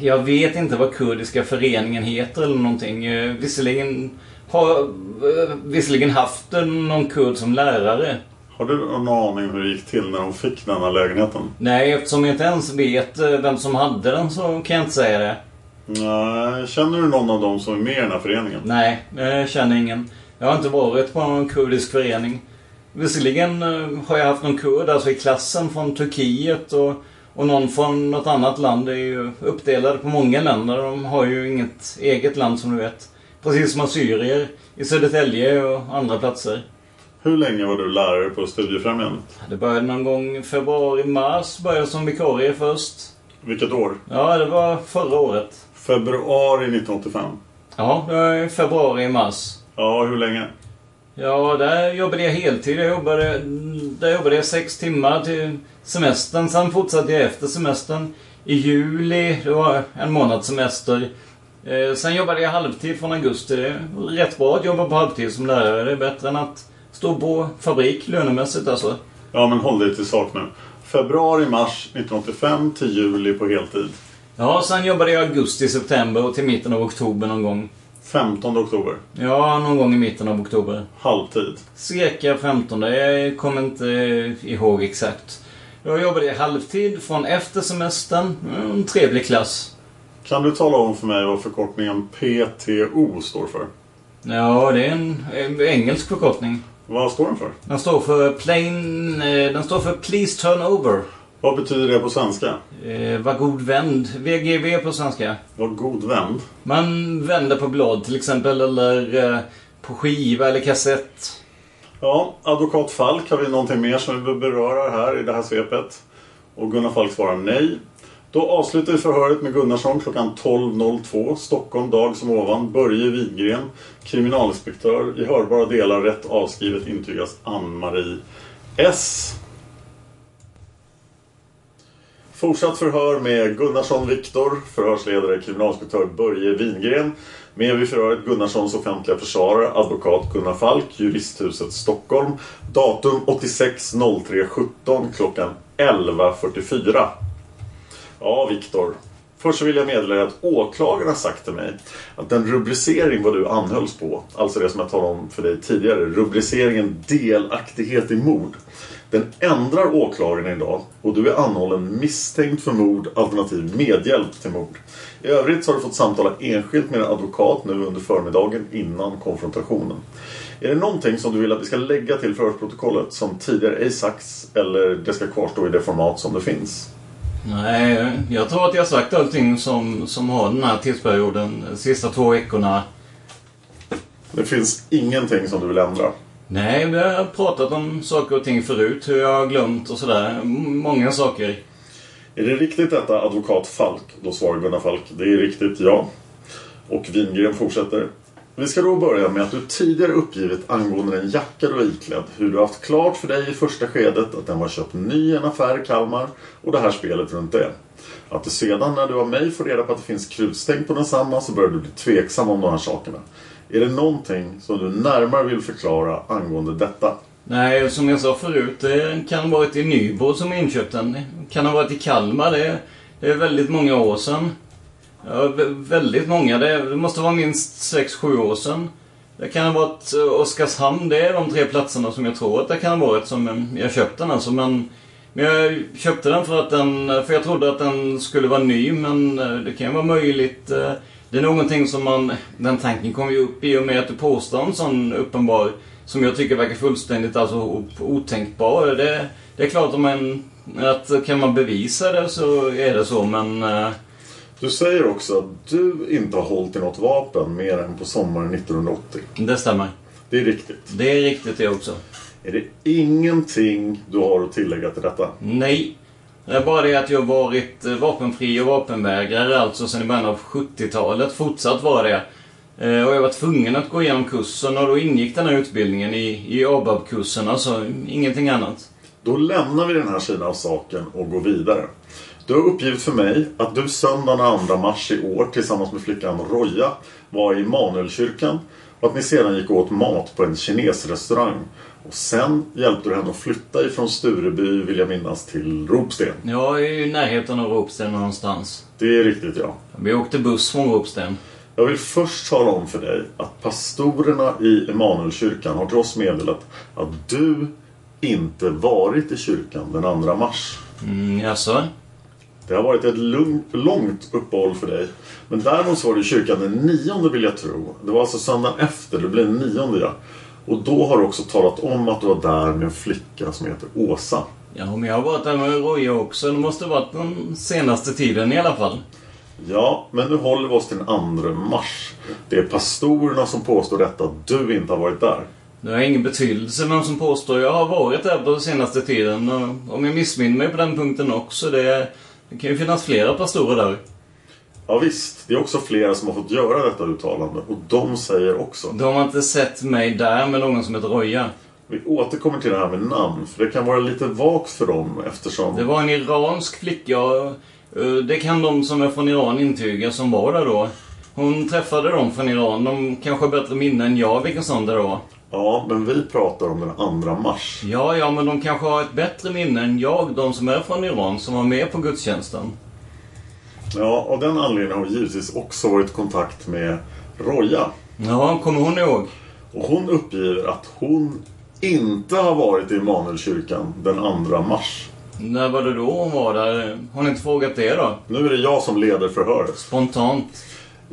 Speaker 8: Jag vet inte vad kurdiska föreningen heter eller någonting. Eh, Visserligen har eh, visserligen haft en- någon kurd som lärare.
Speaker 2: Har du någon aning hur det gick till när de fick den här lägenheten?
Speaker 8: Nej, eftersom jag inte ens vet eh, vem som hade den så kan jag inte säga det.
Speaker 2: Nej, känner du någon av dem som är med i den här föreningen?
Speaker 8: Nej, jag känner ingen. Jag har inte varit på någon kurdisk förening. Visserligen eh, har jag haft någon kurd alltså i klassen från Turkiet och, och någon från något annat land. Det är ju uppdelade på många länder. De har ju inget eget land som du vet. Precis som assyrier i Södertälje och andra platser.
Speaker 2: Hur länge var du lärare på Studiefrämjandet?
Speaker 8: Det började någon gång februari-mars. Började som vikarie först.
Speaker 2: Vilket år?
Speaker 8: Ja, det var förra året.
Speaker 2: Februari 1985?
Speaker 8: Ja, det var februari-mars.
Speaker 2: Ja, hur länge?
Speaker 8: Ja, där jobbade jag heltid. Jag jobbade, där jobbade jag sex timmar till semestern. Sen fortsatte jag efter semestern. I juli, det var en månads semester. Eh, sen jobbade jag halvtid från augusti. Det är rätt bra att jobba på halvtid som lärare. Det är bättre än att stå på fabrik lönemässigt alltså.
Speaker 2: Ja, men håll dig till sak nu. Februari-mars 1985 till juli på heltid.
Speaker 8: Ja, sen jobbade jag augusti, september och till mitten av oktober någon gång.
Speaker 2: 15 oktober?
Speaker 8: Ja, någon gång i mitten av oktober.
Speaker 2: Halvtid?
Speaker 8: Cirka 15. Jag kommer inte ihåg exakt. Jag jobbade i halvtid från efter semestern. En trevlig klass.
Speaker 2: Kan du tala om för mig vad förkortningen PTO står för?
Speaker 8: Ja, det är en en engelsk förkortning.
Speaker 2: Vad står den för?
Speaker 8: Den står för plain... eh, Den står för Please Turn Over.
Speaker 2: Vad betyder det på svenska?
Speaker 8: Eh, var god vänd. VGV på svenska.
Speaker 2: Var god vänd?
Speaker 8: Man vänder på blad till exempel, eller eh, på skiva eller kassett.
Speaker 2: Ja, advokat Falk, har vi någonting mer som vi vill beröra här i det här svepet? Och Gunnar Falk svarar nej. Då avslutar vi förhöret med Gunnarsson klockan 12.02, Stockholm, dag som ovan, Börje Widgren, kriminalinspektör, i hörbara delar rätt avskrivet intygas Ann-Marie S. Fortsatt förhör med Gunnarsson Viktor, förhörsledare kriminalinspektör Börje Wingren. Med vid förhöret Gunnarssons offentliga försvarare, advokat Gunnar Falk, juristhuset Stockholm. Datum 86.03.17 klockan 11.44. Ja, Viktor. Först så vill jag meddela dig att åklagaren har sagt till mig att den rubricering vad du anhölls på, alltså det som jag talade om för dig tidigare, rubriceringen delaktighet i mord, den ändrar åklagaren idag och du är anhållen misstänkt för mord alternativ medhjälp till mord. I övrigt så har du fått samtala enskilt med en advokat nu under förmiddagen innan konfrontationen. Är det någonting som du vill att vi ska lägga till förhörsprotokollet som tidigare ej sagts eller det ska kvarstå i det format som det finns?
Speaker 8: Nej, jag tror att jag har sagt allting som, som har den här tidsperioden, de sista två veckorna.
Speaker 2: Det finns ingenting som du vill ändra?
Speaker 8: Nej, vi har pratat om saker och ting förut, hur jag har glömt och sådär. M- Många saker.
Speaker 2: Är det riktigt detta advokat Falk? Då svarar Gunnar Falk. Det är riktigt, ja. Och Wingren fortsätter. Vi ska då börja med att du tidigare uppgivit angående den jacka du var iklädd hur du haft klart för dig i första skedet att den var köpt ny i en affär i Kalmar och det här spelet runt det. Att du sedan när du av mig får reda på att det finns krutstäng på densamma så börjar du bli tveksam om de här sakerna. Är det någonting som du närmare vill förklara angående detta?
Speaker 8: Nej, som jag sa förut, det kan ha varit i Nybro som jag inköpte den. Det kan ha varit i Kalmar, det, det är väldigt många år sedan. Ja, vä- väldigt många, det, det måste vara minst 6-7 år sedan. Det kan ha varit eh, Oskarshamn, det är de tre platserna som jag tror att det kan ha varit som eh, jag köpte den alltså. Men, men jag köpte den för att den, eh, för jag trodde att den skulle vara ny, men eh, det kan ju vara möjligt. eh, Det är någonting som man, den tanken kommer ju upp i och med att du påstår en sån uppenbar, som jag tycker verkar fullständigt alltså o- otänkbar. Det, det är klart om man, att kan man bevisa det så är det så, men eh,
Speaker 2: Du säger också att du inte har hållit i något vapen mer än på sommaren 1980.
Speaker 8: det stämmer.
Speaker 2: Det är riktigt.
Speaker 8: Det är riktigt det också.
Speaker 2: Är det ingenting du har att tillägga till detta?
Speaker 8: Nej. Det är bara det att jag varit eh, vapenfri och vapenvägrare alltså sedan i början av 70-talet. Fortsatt var det. Eh, Och jag var tvungen att gå igenom kursen och då ingick den här utbildningen i, i ABAB-kursen, alltså ingenting annat.
Speaker 2: Då lämnar vi den här sidan av saken och går vidare. Du har uppgivit för mig att du söndagen den 2 mars i år tillsammans med flickan Roja var i Manuelkyrkan och att ni sedan gick och åt mat på en kinesrestaurang. Och sen hjälpte du henne att flytta ifrån Stureby, vill jag minnas, till Ropsten.
Speaker 8: Jag är ju i närheten av Ropsten någonstans.
Speaker 2: Det är riktigt, ja.
Speaker 8: Vi åkte buss från Ropsten.
Speaker 2: Jag vill först tala om för dig att pastorerna i Emanuelkyrkan har till oss meddelat att du inte varit i kyrkan den 2 mars.
Speaker 8: Mm, jaså?
Speaker 2: Det har varit ett lugnt, långt uppehåll för dig. Men däremot så var du i kyrkan den nionde vill jag tro. Det var alltså söndagen efter, det blev den nionde ja. Och då har du också talat om att du var där med en flicka som heter Åsa.
Speaker 8: Ja, men jag har varit där med Roja också. Det måste ha varit den senaste tiden i alla fall.
Speaker 2: Ja, men nu håller vi oss till den 2 mars. Det är pastorerna som påstår detta, att du inte har varit där.
Speaker 8: Det har ingen betydelse vem som påstår. Jag har varit där på senaste tiden och om jag missminner mig på den punkten också. Det, det kan ju finnas flera pastorer där.
Speaker 2: Ja, visst, det är också flera som har fått göra detta uttalande och de säger också.
Speaker 8: De har inte sett mig där med någon som heter Roja.
Speaker 2: Vi återkommer till det här med namn, för det kan vara lite vagt för dem eftersom...
Speaker 8: Det var en iransk flicka. eh, Det kan de som är från Iran intyga som var där då. Hon träffade dem från Iran. De kanske har bättre minne än jag vilken sån det var.
Speaker 2: Ja, men vi pratar om den 2 mars.
Speaker 8: Ja, ja, men de kanske har ett bättre minne än jag, de som är från Iran, som var med på gudstjänsten.
Speaker 2: Ja, av den anledningen har vi givetvis också varit i kontakt med Roja.
Speaker 8: Ja, kommer hon ihåg?
Speaker 2: Och hon uppger att hon inte har varit i Immanuelkyrkan den 2 mars.
Speaker 8: När var det då hon var där? Har ni inte frågat det då?
Speaker 2: Nu är det jag som leder förhöret.
Speaker 8: Spontant.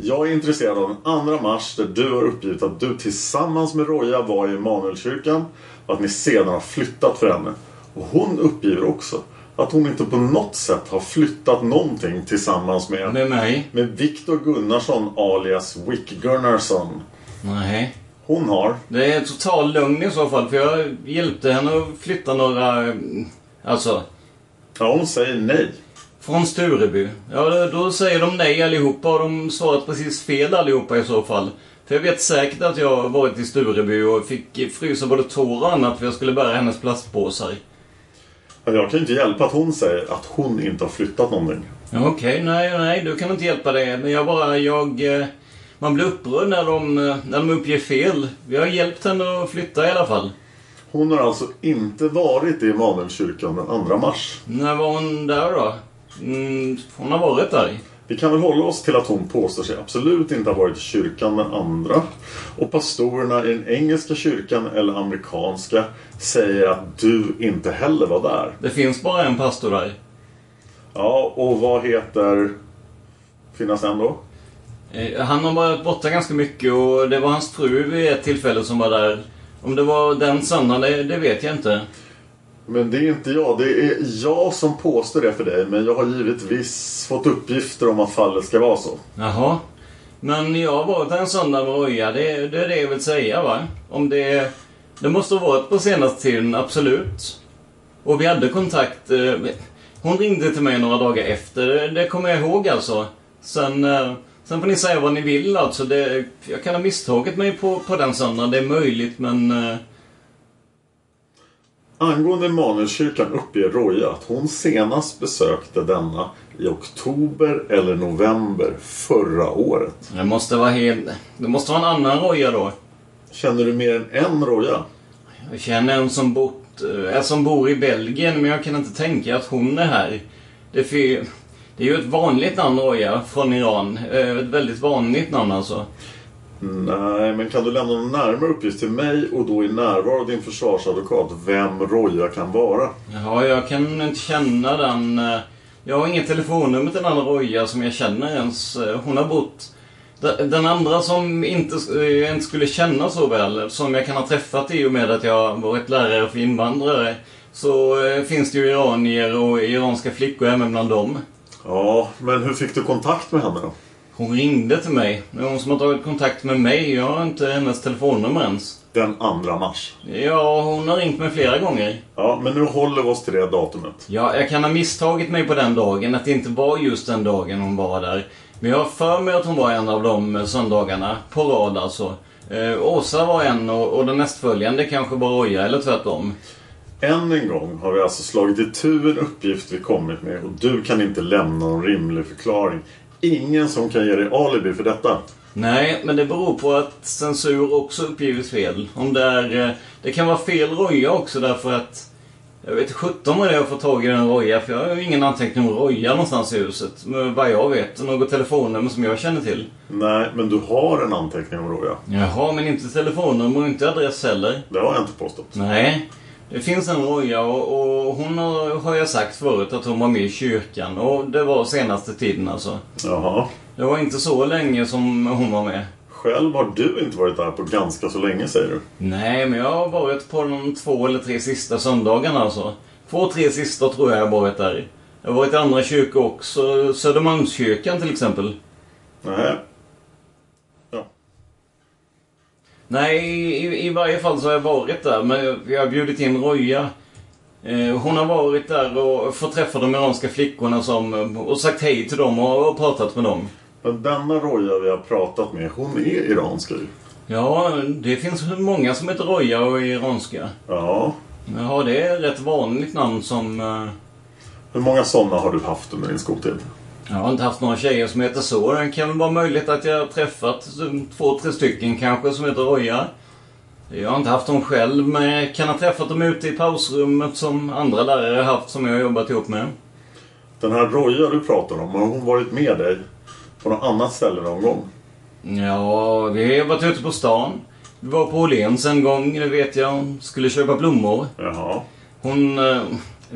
Speaker 2: Jag är intresserad av den 2 mars där du har uppgivit att du tillsammans med Roja var i Immanuelkyrkan och att ni sedan har flyttat för henne. Och hon uppger också att hon inte på något sätt har flyttat någonting tillsammans med...
Speaker 8: Med mig?
Speaker 2: Med Viktor Gunnarsson alias Wick Gunnarsson.
Speaker 8: Nej.
Speaker 2: Hon har.
Speaker 8: Det är total lugn i så fall, för jag hjälpte henne att flytta några... mm, Alltså...
Speaker 2: Ja, hon säger nej.
Speaker 8: Från Stureby. Ja, då- då säger de nej allihopa och de svarat precis fel allihopa i så fall. För jag vet säkert att jag har varit i Stureby och fick frysa både tår och annat för jag skulle bära hennes plastpåsar.
Speaker 2: Men Jag kan ju inte hjälpa att hon säger att hon inte har flyttat någonting.
Speaker 8: Ja, Okej, nej, nej, du kan inte hjälpa det. Men jag bara, jag... eh, Man blir upprörd när de, eh, när de uppger fel. Vi har hjälpt henne att flytta i alla fall.
Speaker 2: Hon har alltså inte varit i Immanuelkyrkan den 2 mars.
Speaker 8: När var hon där då? Mm, hon har varit där.
Speaker 2: Vi kan väl hålla oss till att hon påstår sig absolut inte ha varit i kyrkan den andra. Och pastorerna i den engelska kyrkan eller amerikanska säger att du inte heller var där.
Speaker 8: Det finns bara en pastor där.
Speaker 2: Ja, och vad heter... Finnas en då?
Speaker 8: Eh, Han har varit borta ganska mycket och det var hans fru vid ett tillfälle som var där. Om det var den sanna, det, det vet jag inte.
Speaker 2: Men det är inte jag. Det är jag som påstår det för dig. Men jag har givetvis fått uppgifter om att fallet ska vara så.
Speaker 8: Jaha. Men jag har varit där en söndag med Roja, det, det är det jag vill säga va? Om det... Det måste ha varit på senaste tiden, absolut. Och vi hade kontakt... Eh, hon ringde till mig några dagar efter, det, det kommer jag ihåg alltså. Sen, eh, sen får ni säga vad ni vill alltså. Det, jag kan ha misstagit mig på, på den söndagen, det är möjligt men... Eh,
Speaker 2: Angående Immanuelkyrkan uppger Roja att hon senast besökte denna i oktober eller november förra året.
Speaker 8: Det måste vara helt... Det måste vara en annan roja då.
Speaker 2: Känner du mer än en roja?
Speaker 8: Jag känner en som, bott, eh, som bor i Belgien, men jag kan inte tänka att hon är här. Det är, för, det är ju ett vanligt namn, roja, från Iran. Eh, Ett väldigt vanligt namn alltså.
Speaker 2: Nej, men kan du lämna någon närmare uppgift till mig och då i närvaro av din försvarsadvokat vem roja kan vara?
Speaker 8: Ja, jag kan inte känna den... eh, Jag har inget telefonnummer till den andra roja som jag känner ens. Eh, Hon har bott... De- Den andra som inte, s- eh, jag inte skulle känna så väl, som jag kan ha träffat i och med att jag har varit lärare för invandrare, så eh, finns det ju iranier och iranska flickor även bland dem.
Speaker 2: Ja, men hur fick du kontakt med henne då?
Speaker 8: Hon ringde till mig. Det är hon som har tagit kontakt med mig. Jag har inte hennes telefonnummer ens.
Speaker 2: Den 2 mars.
Speaker 8: Ja, hon har ringt mig flera gånger.
Speaker 2: Ja, men nu håller vi oss till det datumet.
Speaker 8: Ja, jag kan ha misstagit mig på den dagen, att det inte var just den dagen hon var där. Men jag har för mig att hon var en av de eh, söndagarna, på rad alltså. Eh, Åsa var en och, och den nästföljande kanske var Roja, eller tvärtom.
Speaker 2: Än en gång har vi alltså slagit itu en uppgift vi kommit med och du kan inte lämna någon rimlig förklaring. Ingen som kan ge dig alibi för detta.
Speaker 8: Nej, men det beror på att censur också uppgivits fel. Om det, är, eh, det kan vara fel roja också därför att... Jag vet sjutton vad det är jag får tag i den roja, för jag har ju ingen anteckning om roja någonstans i huset. Men vad jag vet, något telefonnummer som jag känner till.
Speaker 2: Nej, men du har en anteckning om Roja.
Speaker 8: Jaha, men inte telefonnummer och inte adress heller.
Speaker 2: Det har jag inte påstått.
Speaker 8: Nej. Det finns en roja och, och hon har, har jag sagt förut att hon var med i kyrkan. Och det var senaste tiden alltså.
Speaker 2: Jaha.
Speaker 8: Det var inte så länge som hon var med.
Speaker 2: Själv har du inte varit där på ganska så länge säger du.
Speaker 8: Nej, men jag har varit på de två eller tre sista söndagarna alltså. Två, tre sista tror jag jag har varit där. Jag har varit i andra kyrkor också. Södermalmskyrkan till exempel.
Speaker 2: Nej. Ja.
Speaker 8: Nej, i, i varje fall så har jag varit där. Men jag- jag har bjudit in Roja. Eh, Hon har varit där och fått träffa de iranska flickorna som, och sagt hej till dem och, och pratat med dem.
Speaker 2: Men denna Roja vi har pratat med, hon är iransk ju.
Speaker 8: Ja, det finns många som heter Roja och är iranska.
Speaker 2: Ja.
Speaker 8: Ja, det är ett rätt vanligt namn som... eh,
Speaker 2: Hur många sådana har du haft under din skoltid?
Speaker 8: Jag har inte haft några tjejer som heter så. Det kan väl vara möjligt att jag har träffat två, tre stycken kanske som heter Roja. Jag har inte haft dem själv, men jag kan ha träffat dem ute i pausrummet som andra lärare har haft som jag har jobbat ihop med.
Speaker 2: Den här Roja du pratar om, har hon varit med dig på något annat ställe någon gång?
Speaker 8: Ja, vi har varit ute på stan. Vi var på Åhléns en gång, det vet jag. Hon skulle köpa blommor.
Speaker 2: Jaha.
Speaker 8: Hon eh,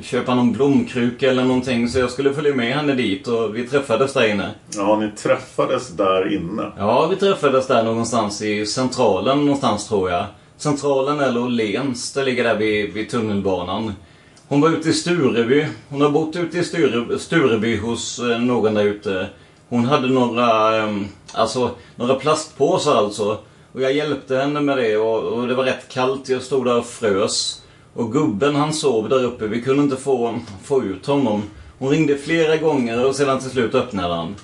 Speaker 8: köpa någon blomkruka eller någonting, så jag skulle följa med henne dit och vi träffades där inne.
Speaker 2: Ja, ni träffades där inne?
Speaker 8: Ja, vi träffades där någonstans i Centralen någonstans tror jag. Centralen eller Åhléns, det ligger där vid, vid tunnelbanan. Hon var ute i Stureby. Hon har bott ute i Sture, Stureby hos eh, någon där ute. Hon hade några, ehm, alltså, några plastpåsar alltså. Och jag hjälpte henne med det och, och det var rätt kallt. Jag stod där och frös. Och gubben han sov där uppe. Vi kunde inte få, få ut honom. Hon ringde flera gånger och sedan till slut öppnade han.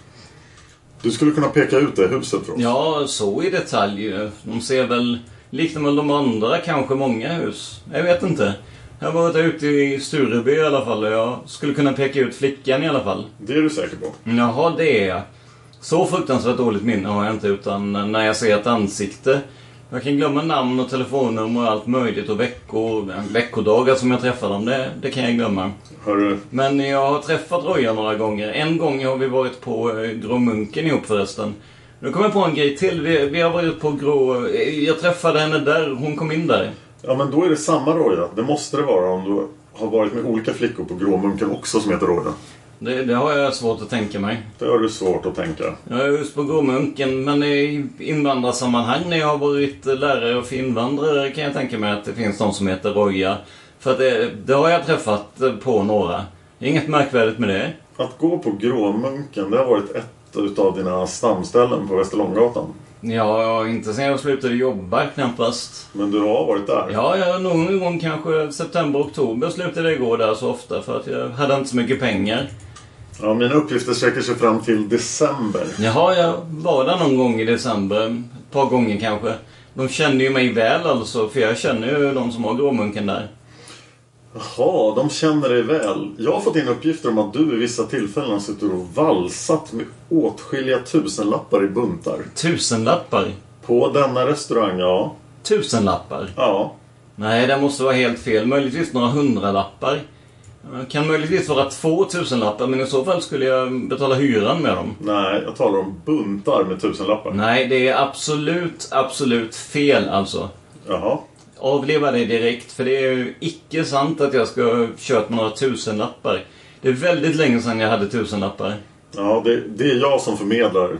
Speaker 2: Du skulle kunna peka ut det huset för oss?
Speaker 8: Ja, så i detalj. De ser väl, liknar väl de andra kanske många hus. Jag vet inte. Jag har varit ute i Stureby i alla fall och jag skulle kunna peka ut flickan i alla fall.
Speaker 2: Det är du säker på?
Speaker 8: Jaha, det är jag. Så fruktansvärt dåligt minne har jag inte utan när jag ser ett ansikte. Jag kan glömma namn och telefonnummer och allt möjligt och veckor, veckodagar som jag träffar dem. Det, det kan jag glömma.
Speaker 2: Hörru,
Speaker 8: Men jag har träffat Roja några gånger. En gång har vi varit på eh, Grå Munken ihop förresten. Nu kommer jag på en grej till. Vi, vi har varit på Grå... eh, Jag träffade henne där. Hon kom in där.
Speaker 2: ja men då är det samma Roja. Det måste det vara om du har varit med olika flickor på Gråmunken också som heter Roja.
Speaker 8: Det, det har jag svårt att tänka mig.
Speaker 2: Det har du svårt att tänka.
Speaker 8: Jag är just på Grå Munken, men i invandrarsammanhang när jag har varit eh, lärare för invandrare kan jag tänka mig att det finns någon som heter Roja. För att det, det har jag träffat eh, på några. Det är Inget märkvärdigt med det.
Speaker 2: Att gå på Gråmunken, det har varit ett utav dina stamställen på Västerlånggatan.
Speaker 8: Ja, ja, inte sen jag slutade jobba knappast.
Speaker 2: Men du har varit där?
Speaker 8: Ja, ja någon gång kanske september, oktober slutade jag gå där så ofta för att jag hade inte så mycket pengar.
Speaker 2: Ja, mina uppgifter sträcker sig fram till december.
Speaker 8: Jaha, jag var där någon gång i december. Ett par gånger kanske. De kände ju mig väl alltså, för jag känner ju de som har Gråmunken där.
Speaker 2: Jaha, de känner dig väl. Jag har fått in uppgifter om att du vid vissa tillfällen har suttit och valsat med åtskilliga tusenlappar i buntar.
Speaker 8: Tusenlappar?
Speaker 2: På denna restaurang, ja.
Speaker 8: Tusenlappar?
Speaker 2: Ja.
Speaker 8: Nej, det måste vara helt fel. Möjligtvis några hundralappar. Eh, Kan möjligtvis vara två tusenlappar, men i så fall skulle jag betala hyran med dem.
Speaker 2: Nej, jag talar om buntar med tusenlappar.
Speaker 8: Nej, det är absolut, absolut fel alltså.
Speaker 2: Jaha.
Speaker 8: Avleva det direkt, för det är ju icke sant att jag ska ha kört med några tusenlappar. Det är väldigt länge sedan jag hade tusenlappar.
Speaker 2: Ja, det, det är jag som förmedlar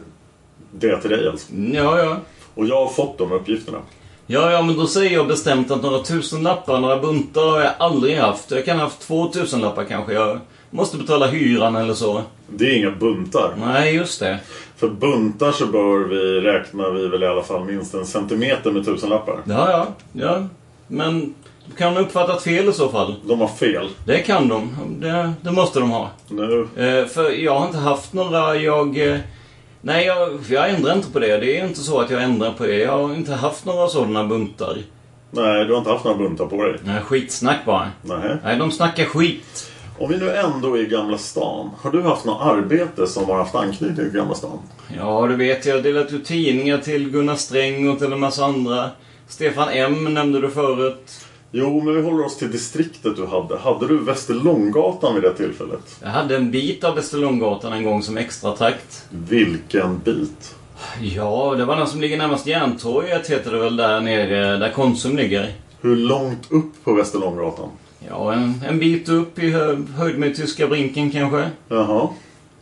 Speaker 2: det till dig alltså.
Speaker 8: Ja, ja.
Speaker 2: Och jag har fått de uppgifterna.
Speaker 8: Ja, ja, men då säger jag bestämt att några tusenlappar, några buntar har jag aldrig haft. Jag kan ha haft två tusenlappar kanske. Jag måste betala hyran eller så.
Speaker 2: Det är inga buntar.
Speaker 8: Nej, just det.
Speaker 2: För buntar så bör vi räkna vi väl i alla fall minst en centimeter med tusenlappar.
Speaker 8: Ja, ja, ja. Men kan de ha uppfattat fel i så fall?
Speaker 2: De har fel.
Speaker 8: Det kan de. Det, det måste de ha.
Speaker 2: Nu.
Speaker 8: Eh, för jag har inte haft några... Jag... Eh, nej, jag, jag ändrar inte på det. Det är inte så att jag ändrar på det. Jag har inte haft några sådana buntar.
Speaker 2: Nej, du har inte haft några buntar på dig.
Speaker 8: Nej, skitsnack bara.
Speaker 2: Nej.
Speaker 8: Nej, de snackar skit.
Speaker 2: Om vi nu ändå är i Gamla stan, har du haft något arbete som har haft anknytning till Gamla stan?
Speaker 8: Ja, du vet, jag har delat ut tidningar till Gunnar Sträng och till en massa andra. Stefan M nämnde du förut.
Speaker 2: Jo, men vi håller oss till distriktet du hade. Hade du Västerlånggatan vid det tillfället?
Speaker 8: Jag hade en bit av Västerlånggatan en gång som extra takt.
Speaker 2: Vilken bit!
Speaker 8: Ja, det var den som ligger närmast Järntorget heter det väl där nere, där Konsum ligger.
Speaker 2: Hur långt upp på Västerlånggatan?
Speaker 8: Ja, en, en bit upp i hö, höjd med Tyska Brinken kanske.
Speaker 2: Jaha.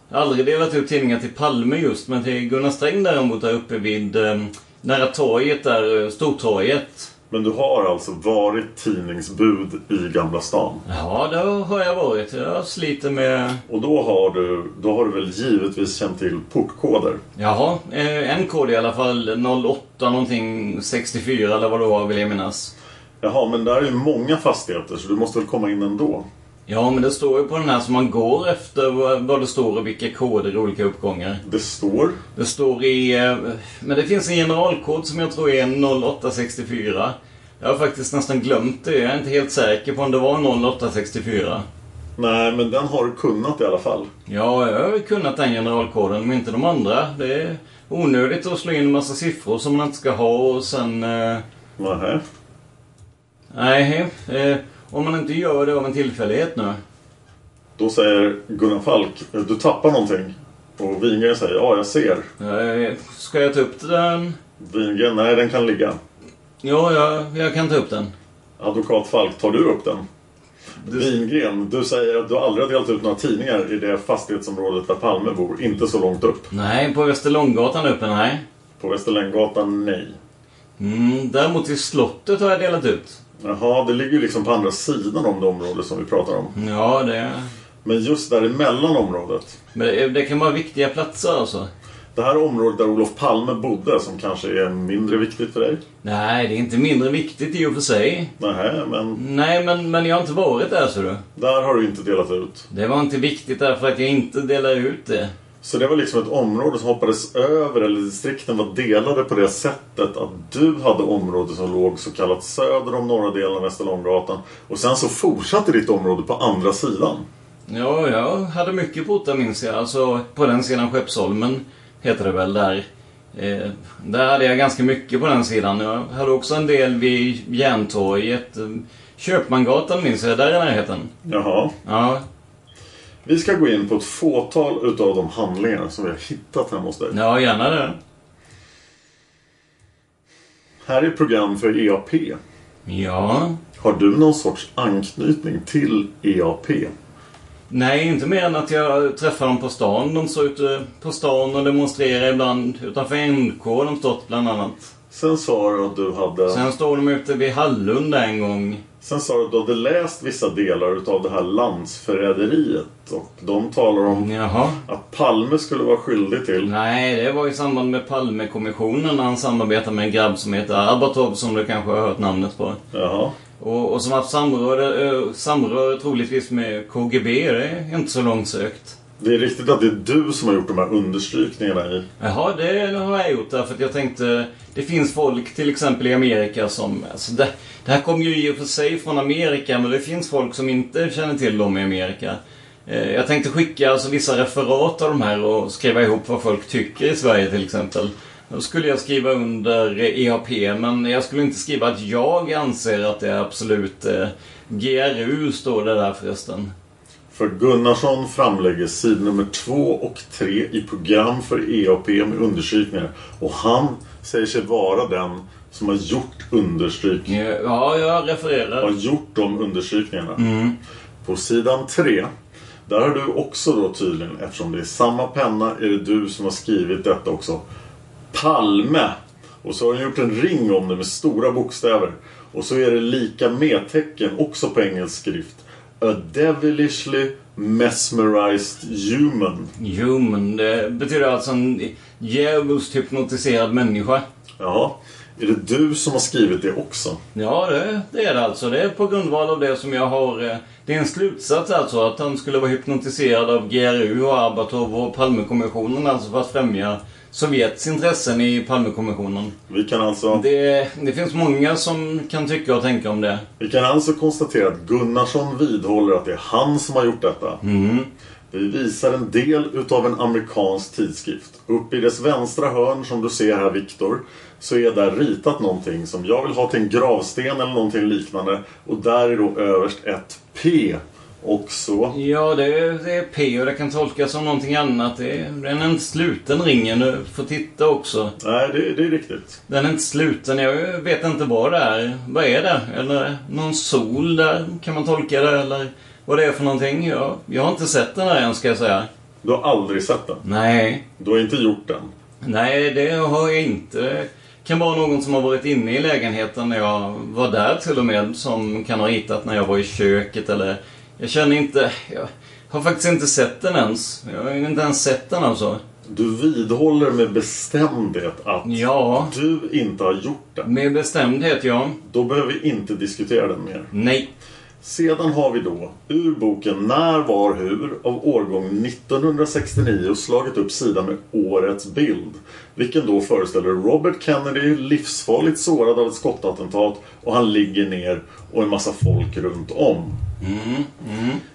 Speaker 8: Jag har aldrig delat ut tidningar till Palme just, ehm, men till Gunnar Sträng däremot där uppe vid eh, nära torget där, eh, Stortorget.
Speaker 2: Men du har alltså varit tidningsbud i Gamla stan?
Speaker 8: Ja, det har jag varit. Jag sliter med...
Speaker 2: Och då har du, då har du väl givetvis känt till portkoder?
Speaker 8: Jaha, eh, en kod i alla fall. 08 någonting 64 eller vad det var vill jag minnas.
Speaker 2: Jaha, men där är ju många fastigheter så du måste väl komma in ändå?
Speaker 8: Ja, men det står ju på den här som man går efter vad vad det står och vilka koder i olika uppgångar.
Speaker 2: Det står?
Speaker 8: Det står i... eh, Men det finns en generalkod som jag tror är 0864. Jag har faktiskt nästan glömt det. Jag är inte helt säker på om det var 0864.
Speaker 2: Nej, men den har du kunnat i alla fall.
Speaker 8: Ja, jag har ju kunnat den generalkoden, men inte de andra. Det är onödigt att slå in en massa siffror som man inte ska ha och sen... Eh...
Speaker 2: Nej.
Speaker 8: Nej, eh, om man inte gör det av en tillfällighet nu.
Speaker 2: Då säger Gunnar Falk, du tappar någonting. Och Wingren säger, ja jag ser.
Speaker 8: Eh, ska jag ta upp den?
Speaker 2: Wingren, nej den kan ligga.
Speaker 8: Ja, jag, jag kan ta upp den.
Speaker 2: Advokat Falk, tar du upp den? Mm. Wingren, du säger att du aldrig har delat ut några tidningar i det fastighetsområdet där Palme bor. Inte så långt upp.
Speaker 8: Nej, på Västerlånggatan uppe, nej.
Speaker 2: På Västerlänggatan, nej.
Speaker 8: Mm, däremot i slottet har jag delat ut.
Speaker 2: Jaha, det ligger ju liksom på andra sidan om det område som vi pratar om.
Speaker 8: Ja, det...
Speaker 2: Men just däremellan området.
Speaker 8: Men det, det kan vara viktiga platser alltså.
Speaker 2: Det här området där Olof Palme bodde som kanske är mindre viktigt för dig.
Speaker 8: Nej, det är inte mindre viktigt i och för sig.
Speaker 2: Nej, men
Speaker 8: Nej, men, men jag har inte varit där, så du.
Speaker 2: där har du inte delat ut.
Speaker 8: Det var inte viktigt därför att jag inte delar ut det.
Speaker 2: Så det var liksom ett område som hoppades över, eller distrikten var delade på det sättet att du hade område som låg så kallat söder om norra delen av Västerlånggatan. Och sen så fortsatte ditt område på andra sidan.
Speaker 8: Ja, jag hade mycket portar minns jag. Alltså, på den sidan Skeppsholmen heter det väl där. Eh, där hade jag ganska mycket på den sidan. Jag hade också en del vid Järntorget. eh, Köpmangatan minns jag, där i närheten.
Speaker 2: Jaha.
Speaker 8: Ja,
Speaker 2: Vi ska gå in på ett fåtal utav de handlingar som vi har hittat hemma hos dig.
Speaker 8: ja gärna det.
Speaker 2: Här är program för E EAP.
Speaker 8: Ja.
Speaker 2: Har du någon sorts anknytning till E EAP?
Speaker 8: Nej, inte mer än att jag träffar dem på stan. De står ute på stan och demonstrerar ibland utanför NK. har De stått bland annat.
Speaker 2: Sen sa du att du hade...
Speaker 8: Sen står de ute vid Hallunda en gång.
Speaker 2: Sen sa du att du hade läst vissa delar utav det här landsförräderiet. Och de talar om
Speaker 8: Jaha.
Speaker 2: att Palme skulle vara skyldig till...
Speaker 8: Nej, det var i samband med Palmekommissionen när han samarbetade med en grabb som heter Arbatov som du kanske har hört namnet på.
Speaker 2: Jaha.
Speaker 8: Och, och som haft samröre, eh, samröre troligtvis med KGB. Det är inte så långt sökt.
Speaker 2: Det är riktigt att det är du som har gjort de här understrykningarna i.
Speaker 8: Jaha, det har jag gjort därför att jag tänkte... Det finns folk, till exempel i Amerika, som... Alltså det, det här kommer ju i och för sig från Amerika, men det finns folk som inte känner till dem i Amerika. Eh, Jag tänkte skicka alltså vissa referat av de här och skriva ihop vad folk tycker i Sverige till exempel. Då skulle jag skriva under EAP, men jag skulle inte skriva att jag anser att det är absolut... Eh, GRU står det där förresten.
Speaker 2: För Gunnarsson framlägger sidor nummer två och tre i program för EAP med understrykningar. Och han säger sig vara den som har gjort understrykningar.
Speaker 8: Eh, Ja, jag refererar.
Speaker 2: Har gjort de understrykningarna. På sidan tre. Där har du också då tydligen, eftersom det är samma penna, är det du som har skrivit detta också. Palme! Och så har han gjort en ring om det med stora bokstäver. Och så är det lika med-tecken också på engelsk skrift. A devilishly mesmerized human.
Speaker 8: Jo, men det betyder alltså en djävulskt hypnotiserad människa.
Speaker 2: Ja, är det du som har skrivit det också?
Speaker 8: Ja, det, det är det alltså. Det är på grundval av det som jag har... eh, Det är en slutsats alltså, att han skulle vara hypnotiserad av GRU och Arbatov och Palmekommissionen alltså för att främja Sovjets intressen i Palmekommissionen.
Speaker 2: Vi kan alltså...
Speaker 8: Det, det finns många som kan tycka och tänka om det.
Speaker 2: Vi kan alltså konstatera att Gunnarsson vidhåller att det är han som har gjort detta. Vi visar en del utav en amerikansk tidskrift. Uppe i dess vänstra hörn som du ser här Viktor så är där ritat någonting som jag vill ha till en gravsten eller någonting liknande. Och där är då överst ett P. Och så...
Speaker 8: Ja, det, är- det är P och det kan tolkas som någonting annat. Det, är- den är inte sluten ringen. Du får titta också.
Speaker 2: Nej, det, det är riktigt.
Speaker 8: Den är inte sluten. Jag vet inte vad det är. Vad är det? Eller någon sol där? Kan man tolka det? Eller vad det är för någonting? Jag, jag har inte sett den här än ska jag säga.
Speaker 2: Du har aldrig sett den.
Speaker 8: Nej.
Speaker 2: Du har inte gjort den.
Speaker 8: Nej, det har jag inte. kan vara någon som har varit inne i lägenheten när jag var där till och med som kan ha hittat när jag var i köket eller... Jag känner inte... Jag har faktiskt inte sett den ens. Jag har inte ens sett den alltså.
Speaker 2: Du vidhåller med bestämdhet att du inte har gjort det.
Speaker 8: Med bestämdhet, ja.
Speaker 2: Då behöver vi inte diskutera den mer.
Speaker 8: Nej.
Speaker 2: Sedan har vi då ur boken När, var, hur av årgång 1969 slaget upp sidan med årets bild. Vilken då föreställer Robert Kennedy livsfarligt sårad av ett skottattentat och han ligger ner och en massa folk runt om.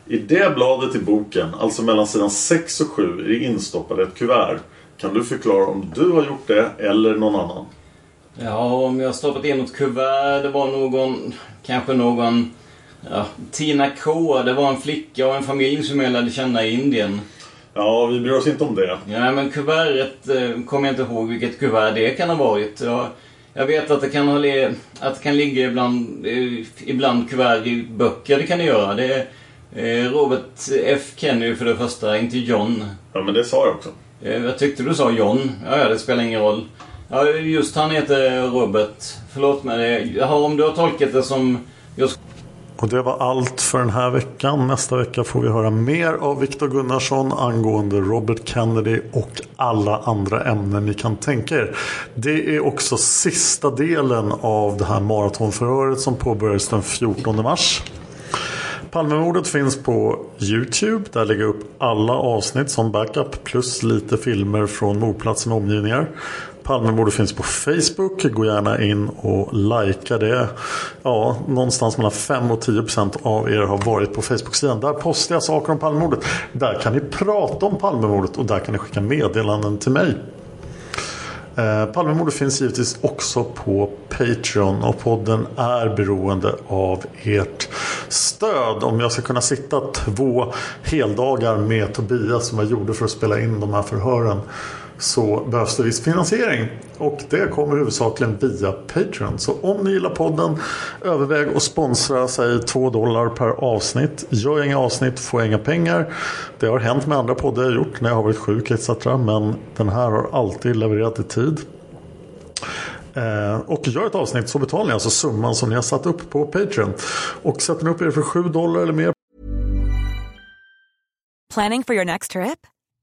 Speaker 2: I det bladet i boken, alltså mellan sidan 6 och 7, är det instoppade ett kuvert. Kan du förklara om du har gjort det eller någon annan?
Speaker 8: Ja, om jag stoppat in något kuvert, det var någon, kanske någon, ja, Tina K, det var en flicka och en familj som jag lärde känna i Indien.
Speaker 2: Ja, vi bryr oss inte om det.
Speaker 8: Nej, men kuvertet eh, kommer jag inte ihåg vilket kuvert det kan ha varit. Jag, jag vet att det kan, ha le, att det kan ligga ibland, eh, ibland kuvert i böcker, det kan det göra. Det är eh, Robert F. Kennedy för det första, inte John.
Speaker 2: Ja, men det sa jag också.
Speaker 8: Eh, Jag tyckte du sa John. Ja, ja, det spelar ingen roll. Ja, just han heter Robert. Förlåt mig. det- Ja, om du har tolkat det som... Jag sk-
Speaker 2: Och det var allt för den här veckan. Nästa vecka får vi höra mer av Viktor Gunnarsson angående Robert Kennedy och alla andra ämnen ni kan tänka er. Det är också sista delen av det här maratonförhöret som påbörjades den 14 mars. Palmemordet finns på Youtube. Där lägger jag upp alla avsnitt som backup plus lite filmer från mordplatsen och omgivningar. Palmemordet finns på Facebook. Gå gärna in och likea det. Ja, någonstans mellan 5 och 10 procent av er har varit på Facebook-sidan. Där postar jag saker om Palmemordet. Där kan ni prata om Palmemordet och där kan ni skicka meddelanden till mig. Eh, Palmemordet finns givetvis också på Patreon och podden är beroende av ert stöd. Om jag ska kunna sitta två heldagar med Tobias som jag gjorde för att spela in de här förhören så behövs det viss finansiering och det kommer huvudsakligen via Patreon. Så om ni gillar podden överväg att sponsra sig 2 dollar per avsnitt. Gör jag inga avsnitt får jag inga pengar. Det har hänt med andra poddar jag gjort när jag har varit sjuk etc. Men den här har alltid levererat i tid. Eh, Och gör ett avsnitt så betalar ni alltså summan som ni har satt upp på Patreon. Och sätter ni upp er för 7 dollar eller mer
Speaker 9: Planning for your next trip?